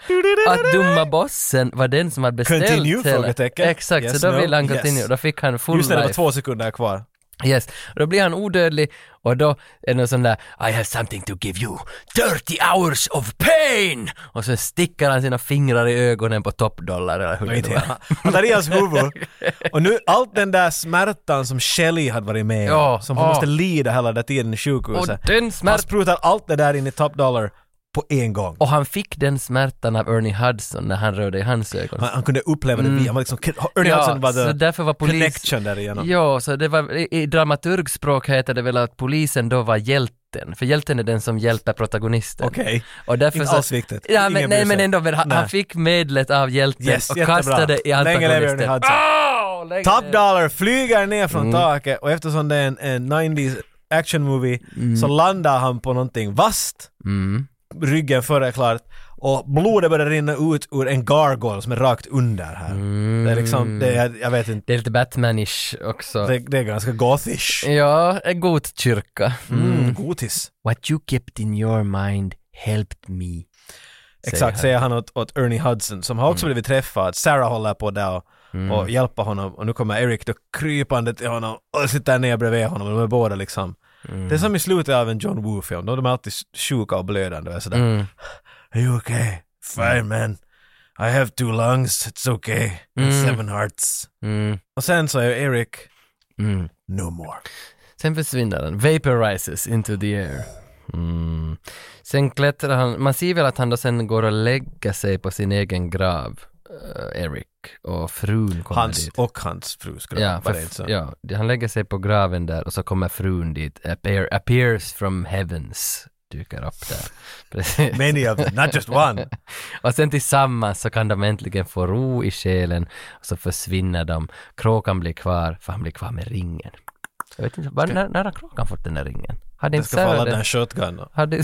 att dumma bossen var den som hade beställt hela-
Continue? Frågetecken.
Exakt,
Yes,
så då
no,
ville han
yes.
continue, då fick han full
Just när det var
life.
två sekunder kvar.
Yes, och då blir han odödlig och då är det någon sån där I have something to give you, 30 hours of pain! Och så sticker han sina fingrar i ögonen på toppdollar eller hur
Nej,
det
inte
var.
hela. Han tar i hans huvud. Och nu allt den där smärtan som Shelley hade varit med om,
Ja,
som hon
ja.
måste lida hela den tiden i
Och
sjukhuset.
den
Han
smärt...
sprutar allt det där in i Top Dollar på en gång.
Och han fick den smärtan av Ernie Hudson när han rörde i hans ögon.
Han, han kunde uppleva det via, han var liksom, Ernie
Mm. Ja,
Hudson var
så
the
därför var polis-
connection därigenom.
Ja, så det var, i, i dramaturgspråk heter det väl att polisen då var hjälten, för hjälten är den som hjälper protagonisten.
Okej.
Och därför
Inte
så,
alls viktigt.
Ja,
Ingen
men,
bryr
nej, men
sig.
ändå, väl, han, han
Nej.
fick medlet av hjälten
Yes,
och
jättebra.
kastade i
Länge lever Ernie
antagonisten.
Hudson.
Oh, lägg
Top
ner.
Dollar flyger ner från taket och eftersom det är en, en 90s action movie så landar han på någonting vasst,
Mm.
ryggen före klart och blodet börjar rinna ut ur en gargoyle som är rakt under här. Det är liksom, det är, jag vet inte,
Det är lite Batmanish också.
det, det är ganska gothish.
Ja, en god kyrka.
Mm, gotis.
What you kept in your mind helped me.
Exakt, säger han åt, åt Ernie Hudson som har också
Mm.
blivit träffad. Sarah håller på där och, och hjälper honom och nu kommer Eric då krypande till honom och sitter ner bredvid honom och de är båda liksom
Mm.
Det är som i slutet av en John Woo-film, då de är alltid sjuka och blödande och sådär.
Mm.
Are you okay? Fine man. I have two lungs, it's okay. And seven hearts.
Mm.
Och sen så är Eric
Mm.
no more.
Sen försvinner den, vaporizes into the air. Mm. Sen klättrar han, man ser väl att han då sen går och lägger sig på sin egen grav, eh, Eric, och frun kommer
Hans
dit.
och hans fru skulle
Ja,
jag
för,
det inte så.
ja, det- han lägger sig på graven där och så kommer frun dit, appear, appears from heavens, dyker upp där. Precis.
Many of them, not just one.
och sen tillsammans så kan de äntligen få ro i själen och så försvinner de. Kråkan blir kvar, för han blir kvar med ringen. Jag vet inte, var, när, när har kråkan fått den där ringen? Hade
Det
inte
ska falla
Sarah
den här
den?
shotgunnen.
Hade,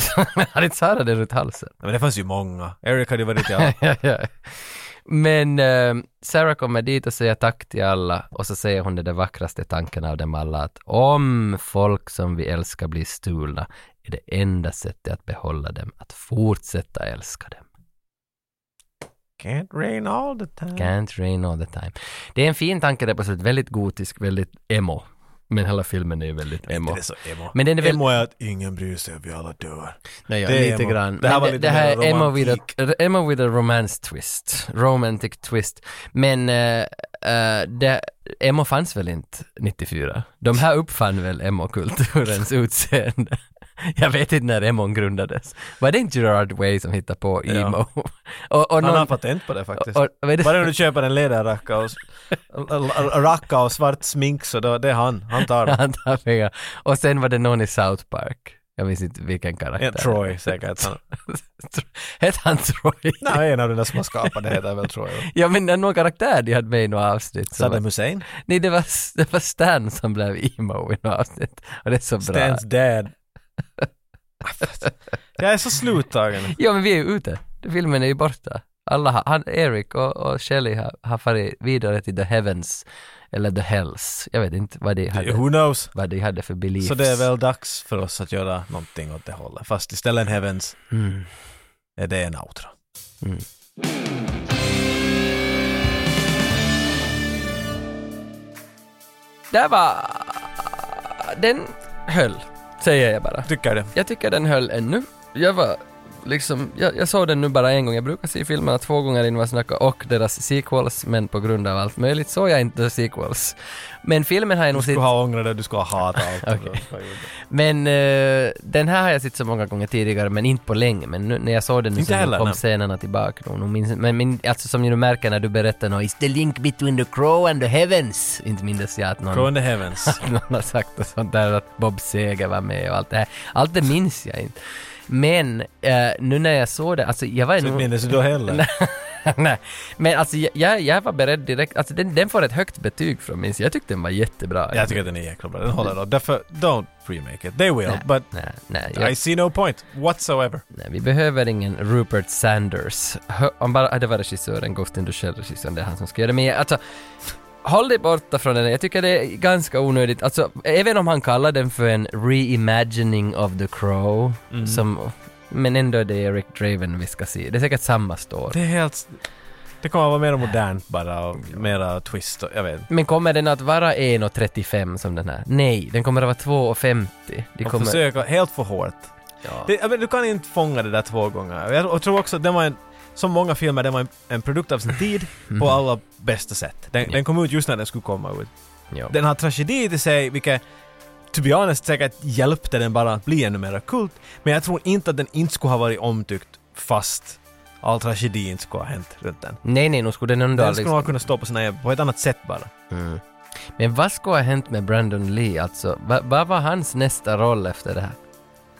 hade inte Sarah den runt halsen?
Nej, Men det fanns ju många. Eric hade ju varit i alla.
Ja, ja. Men eh, Sarah kommer dit och säger tack till alla och så säger hon den där vackraste tanken av dem alla att om folk som vi älskar blir stulna är det enda sättet att behålla dem att fortsätta älska dem.
Can't rain all the time.
Can't rain all the time. Det är en fin tanke där på slutet, väldigt gotisk, väldigt emo. Men hela filmen är ju väldigt emo.
Det är så emo.
Men den är väl-
Emo är att ingen bryr sig, vi alla dör.
Nej, ja,
Det är
lite
emo.
grann.
Det här
Men
var
det,
lite
det här
mer
är emo with, a,
romantik.
emo with a romance twist. Romantic twist. Men eh, eh, det, emo fanns väl inte 94? De här uppfann väl emo-kulturens utseende? Jag vet inte när emon grundades. Var det inte Gerard Way som hittade på
Ja.
emo? och, och
Han har
någon,
patent på det faktiskt.
och, och, vet du-
Bara när du köper en ledarracka och, s- racka och svart smink så då, det är han. Han tar det.
han tar pengar. Och sen var det någon i South Park. Jag Jag minns inte vilken karaktär.
Ja, Troy säkert. Han,
Hette han Troy?
nej, en av de där som har skapat det heter väl Troy.
Ja men det är någon karaktär de hade med i några avsnitt. som
Saddam
var-
Hussein.
Nej det var, det var Stan som blev emo i några avsnitt. Och det är så bra.
Stans dad. Jag är så sluttagen.
Ja men vi är ju ute. Filmen är ju borta. Alla har, han, Eric och, och Shelley har, har farit vidare till the heavens eller the hells. Jag vet inte vad de hade,
Who knows?
vad de hade för beliefs.
Så det är väl dags för oss att göra någonting åt det hållet. Fast istället en Heavens
Mm.
är det en outro.
Där var... Den höll, säger jag bara.
Tycker det.
Jag tycker den höll ännu. Jag var liksom, jag, jag såg den nu bara en gång. Jag brukar se filmerna två gånger innan jag snackar och deras sequels, men på grund av allt möjligt såg jag inte deras sequels. Men filmen har jag nog
Du
sett,
skulle ha ångrat det, du skulle ha hatat allt.
men eh, den här har jag sett så många gånger tidigare, men inte på länge. Men nu, när jag såg den nu
Inte
så
heller,
kom
nej.
scenerna tillbaka. nog. nog minns, men min, alltså som du märker när du berättar något, is the link between the crow and the heavens? Inte minns jag att någon...
Crow in the Heavens.
någon har sagt och sånt där att Bob Seger var med och allt det här. Allt det minns jag inte. Men eh, nu när jag såg det, alltså jag var ju
Så
nog-
minns du då heller?
Nej, men alltså jag- jag, jag var beredd direkt, alltså den, den får ett högt betyg från min sida. Jag tyckte den var jättebra.
Jag tycker den är jäkla bra. Den håller då. Därför, don't remake it. They will,
Nej,
but
nej, nej, jag,
I see no point whatsoever.
nej, vi behöver ingen Rupert Sanders. Hö, om bara, ah, det var regissören, Ghost in the Shell regissören, det är han som ska göra det. Men jag, alltså, håll dig borta från den. Jag tycker det är ganska onödigt. Alltså, även om han kallar den för en reimagining of the Crow,
Mm.
som, men ändå är det Eric Draven vi ska se. Det är säkert samma story.
Det är helt... Det kommer att vara mer modernt bara och mera twist och, jag vet
Men kommer den att vara 1.35 som den här? Nej, den kommer att vara 2.50. Det
De
kommer...
försöker helt för hårt.
Ja.
Det, jag vet, du kan inte fånga det där två gånger. Jag tror också att den var en, som många filmer, den var en, en produkt av sin tid på alla bästa sätt. Den, den kom ut just när den skulle komma ut.
Ja.
Den har tragedi i sig, vilket to be honest säkert hjälpte den bara att bli ännu mer kult. Men jag tror inte att den inte skulle ha varit omtyckt fast all tragedi inte skulle ha hänt runt den.
Nej, nej, nog skulle den ändå
Den
aldrig...
skulle nog ha kunnat stå på, sina, på ett annat sätt bara.
Men vad skulle ha hänt med Brandon Lee alltså? Va- Vad var hans nästa roll efter det här?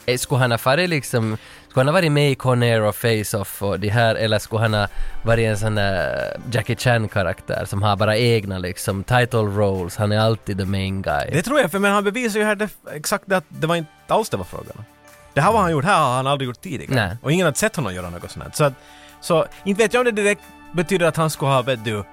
Eh, Skulle han ha farit liksom, skulle han ha varit med i Conair och Face-Off och det här eller skulle han ha varit en sån där Jackie Chan-karaktär som har bara egna liksom title roles, han är alltid the main guy.
Det tror jag, för men han bevisar ju här det, exakt det att det var inte alls det var frågan om. Det här var han gjort, här har han aldrig gjort tidigare.
Nej.
Och ingen har sett honom göra något sånt här. Så, att, så inte vet jag om det direkt betyder att han skulle ha, vet du,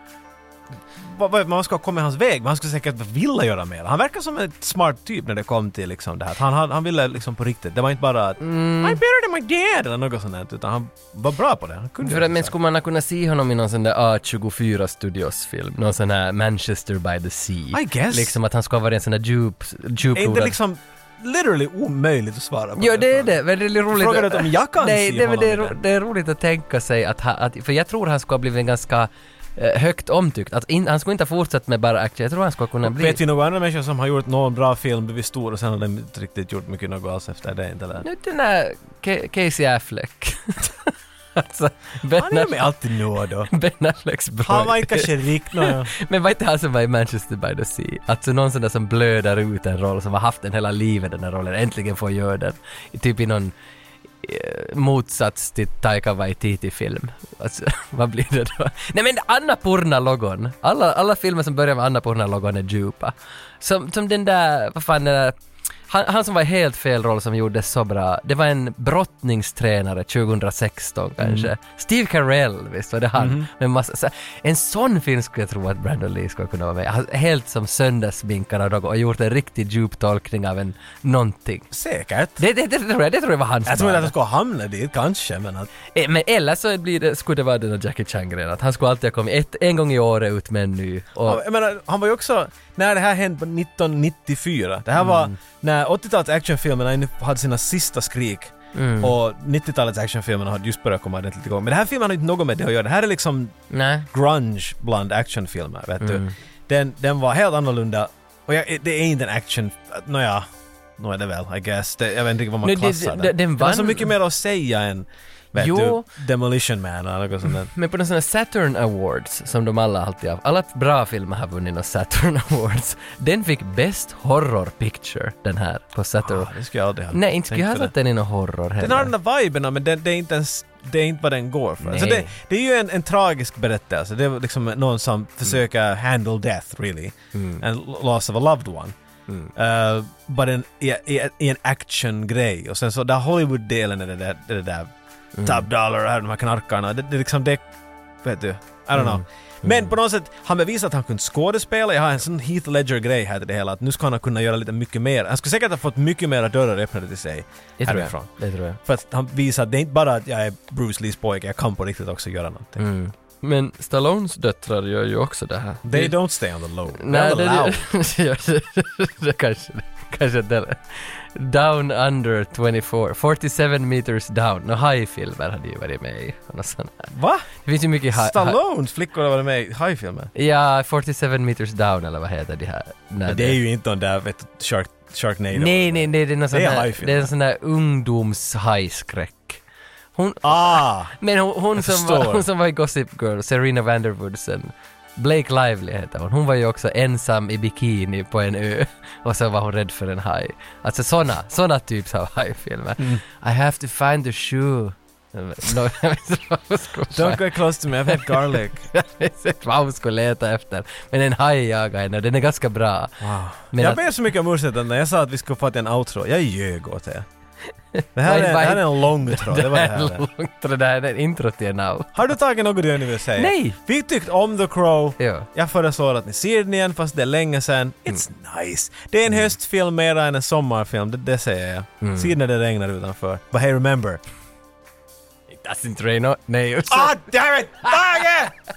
vad- vad- man ska ha kommit hans väg, men han skulle säkert vilja göra mer. Han verkar som en smart typ när det kom till liksom det här. Att Han, han, han ville liksom på riktigt. Det var inte bara att
Mm.
I'm better than my dad eller något sånt där, utan han var bra på det. Han kunde
För
göra
att, men
saker.
skulle man ha kunnat se honom i någon sån där A24 Studios-film? Någon sån här Manchester by the Sea?
I guess.
Liksom att han ska ha varit en sån där djup,
Är inte
djuplodad-
liksom literally omöjligt att svara på?
Ja det är
frågan?
det, men det är lite roligt.
Frågar du om jag kan
Nej,
se
det, men
honom
det, är,
i
ro-
den?
det är roligt att tänka sig att, ha, att för jag tror han skulle ha blivit en ganska eh, högt omtyckt. Att in, han skulle inte ha fortsatt med bara aktier, jag tror han skulle kunna bli...
Vet vi någon annan människa som har gjort någon bra film, blivit stor och sen har den inte riktigt gjort mycket något alls efter det? Inte eller?
Nu den här Ke- Casey Affleck. alltså, ben,
Han är
Aff-
med alltid nu då.
ben Afflecks bror.
Han var inte kanske rik nåja.
Men var inte han som var i Manchester by the Sea? Alltså någon sån där som blöder ut en roll, som har haft den hela livet, den här rollen, äntligen får göra den. Typ i någon eh, motsats till Taika Waititi-film. Alltså, vad blir det då? Nej men Anna Purna-logon. Alla, alla filmer som börjar med Anna Purna-logon är djupa. Som, som den där, vad fan den där han, han som var i helt fel roll som gjorde så bra, det var en brottningstränare 2016
Mm.
kanske. Steve Carell, visst var det han?
Mhm.
Med massa, så, en sån film skulle jag tro att Brandon Lee skulle kunna vara med Han- Helt som söndagsminkar och, och gjort en riktigt djup tolkning av en någonting.
Säkert.
Det, det, det, tror jag, det tror jag var hans
Jag tror
val.
inte att han skulle hamna dit kanske, men att...
Eh, Men eller så blir det, skulle det vara den där Jackie Chan-grejen, att han skulle alltid ha kommit ett, en gång i året ut med en ny. Och,
Jag menar, han var ju också... När det här hände på 1994. Det här var när 80-talets actionfilmerna ännu hade sina sista skrik. Och 90-talets actionfilmerna hade just börjat komma ordentligt igång. Men den här filmen har inte något med det att göra. Det här är liksom
nej.
grunge bland actionfilmer, vet
Mm.
du. Den, den var helt annorlunda. Och jag, det är inte en action... Nåja, nå är det väl, I guess. Det, jag vet inte vad man
Nu, det-
klassar
det- den
Det var så
vann-
mycket mer att säga än... Vet
Jo.
du, Demolition Man eller något sånt där.
Men på de sådana Saturn Awards, som de alla alltid har, alla bra filmer har vunnit några Saturn Awards. Den fick Best Horror Picture, den här, på Saturn.
Det skulle jag aldrig ha
Nej, inte skulle
tänkt
jag ha
på det.
satt den i någon horror heller.
Ah, Den har den där viberna men det, det, är inte ens, det är inte vad den går för. Så
Nej. Mm.
det, det är ju en, en tragisk berättelse. Det är liksom någon som försöker handle death really. And loss of a loved one.
Mm.
Uh, but in, i, i, i en action-grej. Och sen så där Hollywood-delen är det där, det där
Mm.
top dollar och de här knarkarna. Det, det är liksom det, vet du, I don't
Mm.
know. Men på något sätt, han bevisat att han kunde skådespela. Jag har en sån Heath Ledger-grej här till det hela. Att nu ska han kunna göra lite mycket mer. Han skulle säkert ha fått mycket mera dörrar öppnade till sig.
det tror jag.
härifrån.
Det tror jag.
För att han visar att det är inte bara att jag är Bruce Lees pojke, jag kan på riktigt också göra någonting.
Mm. Men Stallones döttrar gör ju också Mm. det här.
They don't stay on the low.
Nej,
on the low.
det, det, det kanske, kanske inte heller. Down Under 24, 47 meters down. Nå, hajfilmer hade ju varit med i. och något sånt här.
Va?
Det finns ju mycket haj...
Stallones flickor har varit med i hajfilmer.
Ja, 47 meters down eller vad heter de här? Nej,
Det är ju inte den där vet du, Shark, Sharknado.
Nej, nej, nej, det är någon sån
Det är
där,
hajfilm.
det är en sån där ungdomshajskräck. Hon,
Ah!
men hon, hon, som var,
förstår.
hon som var i Gossip Girl, Serena Vanderwood sen, Blake Lively heter hon, hon var ju också ensam i bikini på en ö och så var hon rädd för en haj. Alltså såna, såna typs av hajfilmer.
Mm.
I have to find the shoe. No, jag vet inte vad hon skulle-
Don't go close to me, I've had garlic.
jag vet inte vad hon skulle leta efter. Men en haj jagar henne och den är ganska bra. Men
jag
att-
ber så mycket om ursäkt att när jag sa att vi skulle få en outro, jag ljög åt er. Det här,
Nej,
är, det
vad-
här är en lång tråd, det var det här. är.
långt och det där är en intro till en out.
Har du tagit något du ännu vill säga?
Nej.
Vi tyckte om The Crow.
Ja. Mm.
Jag föreslår att ni ser den igen fast det är länge sedan. It's nice. Det är en höstfilm mera än en sommarfilm, det, det säger jag.
Mm.
Se när det regnar utanför. But hey remember.
It doesn't rain on... Nej, just
Ah damn it! Tage!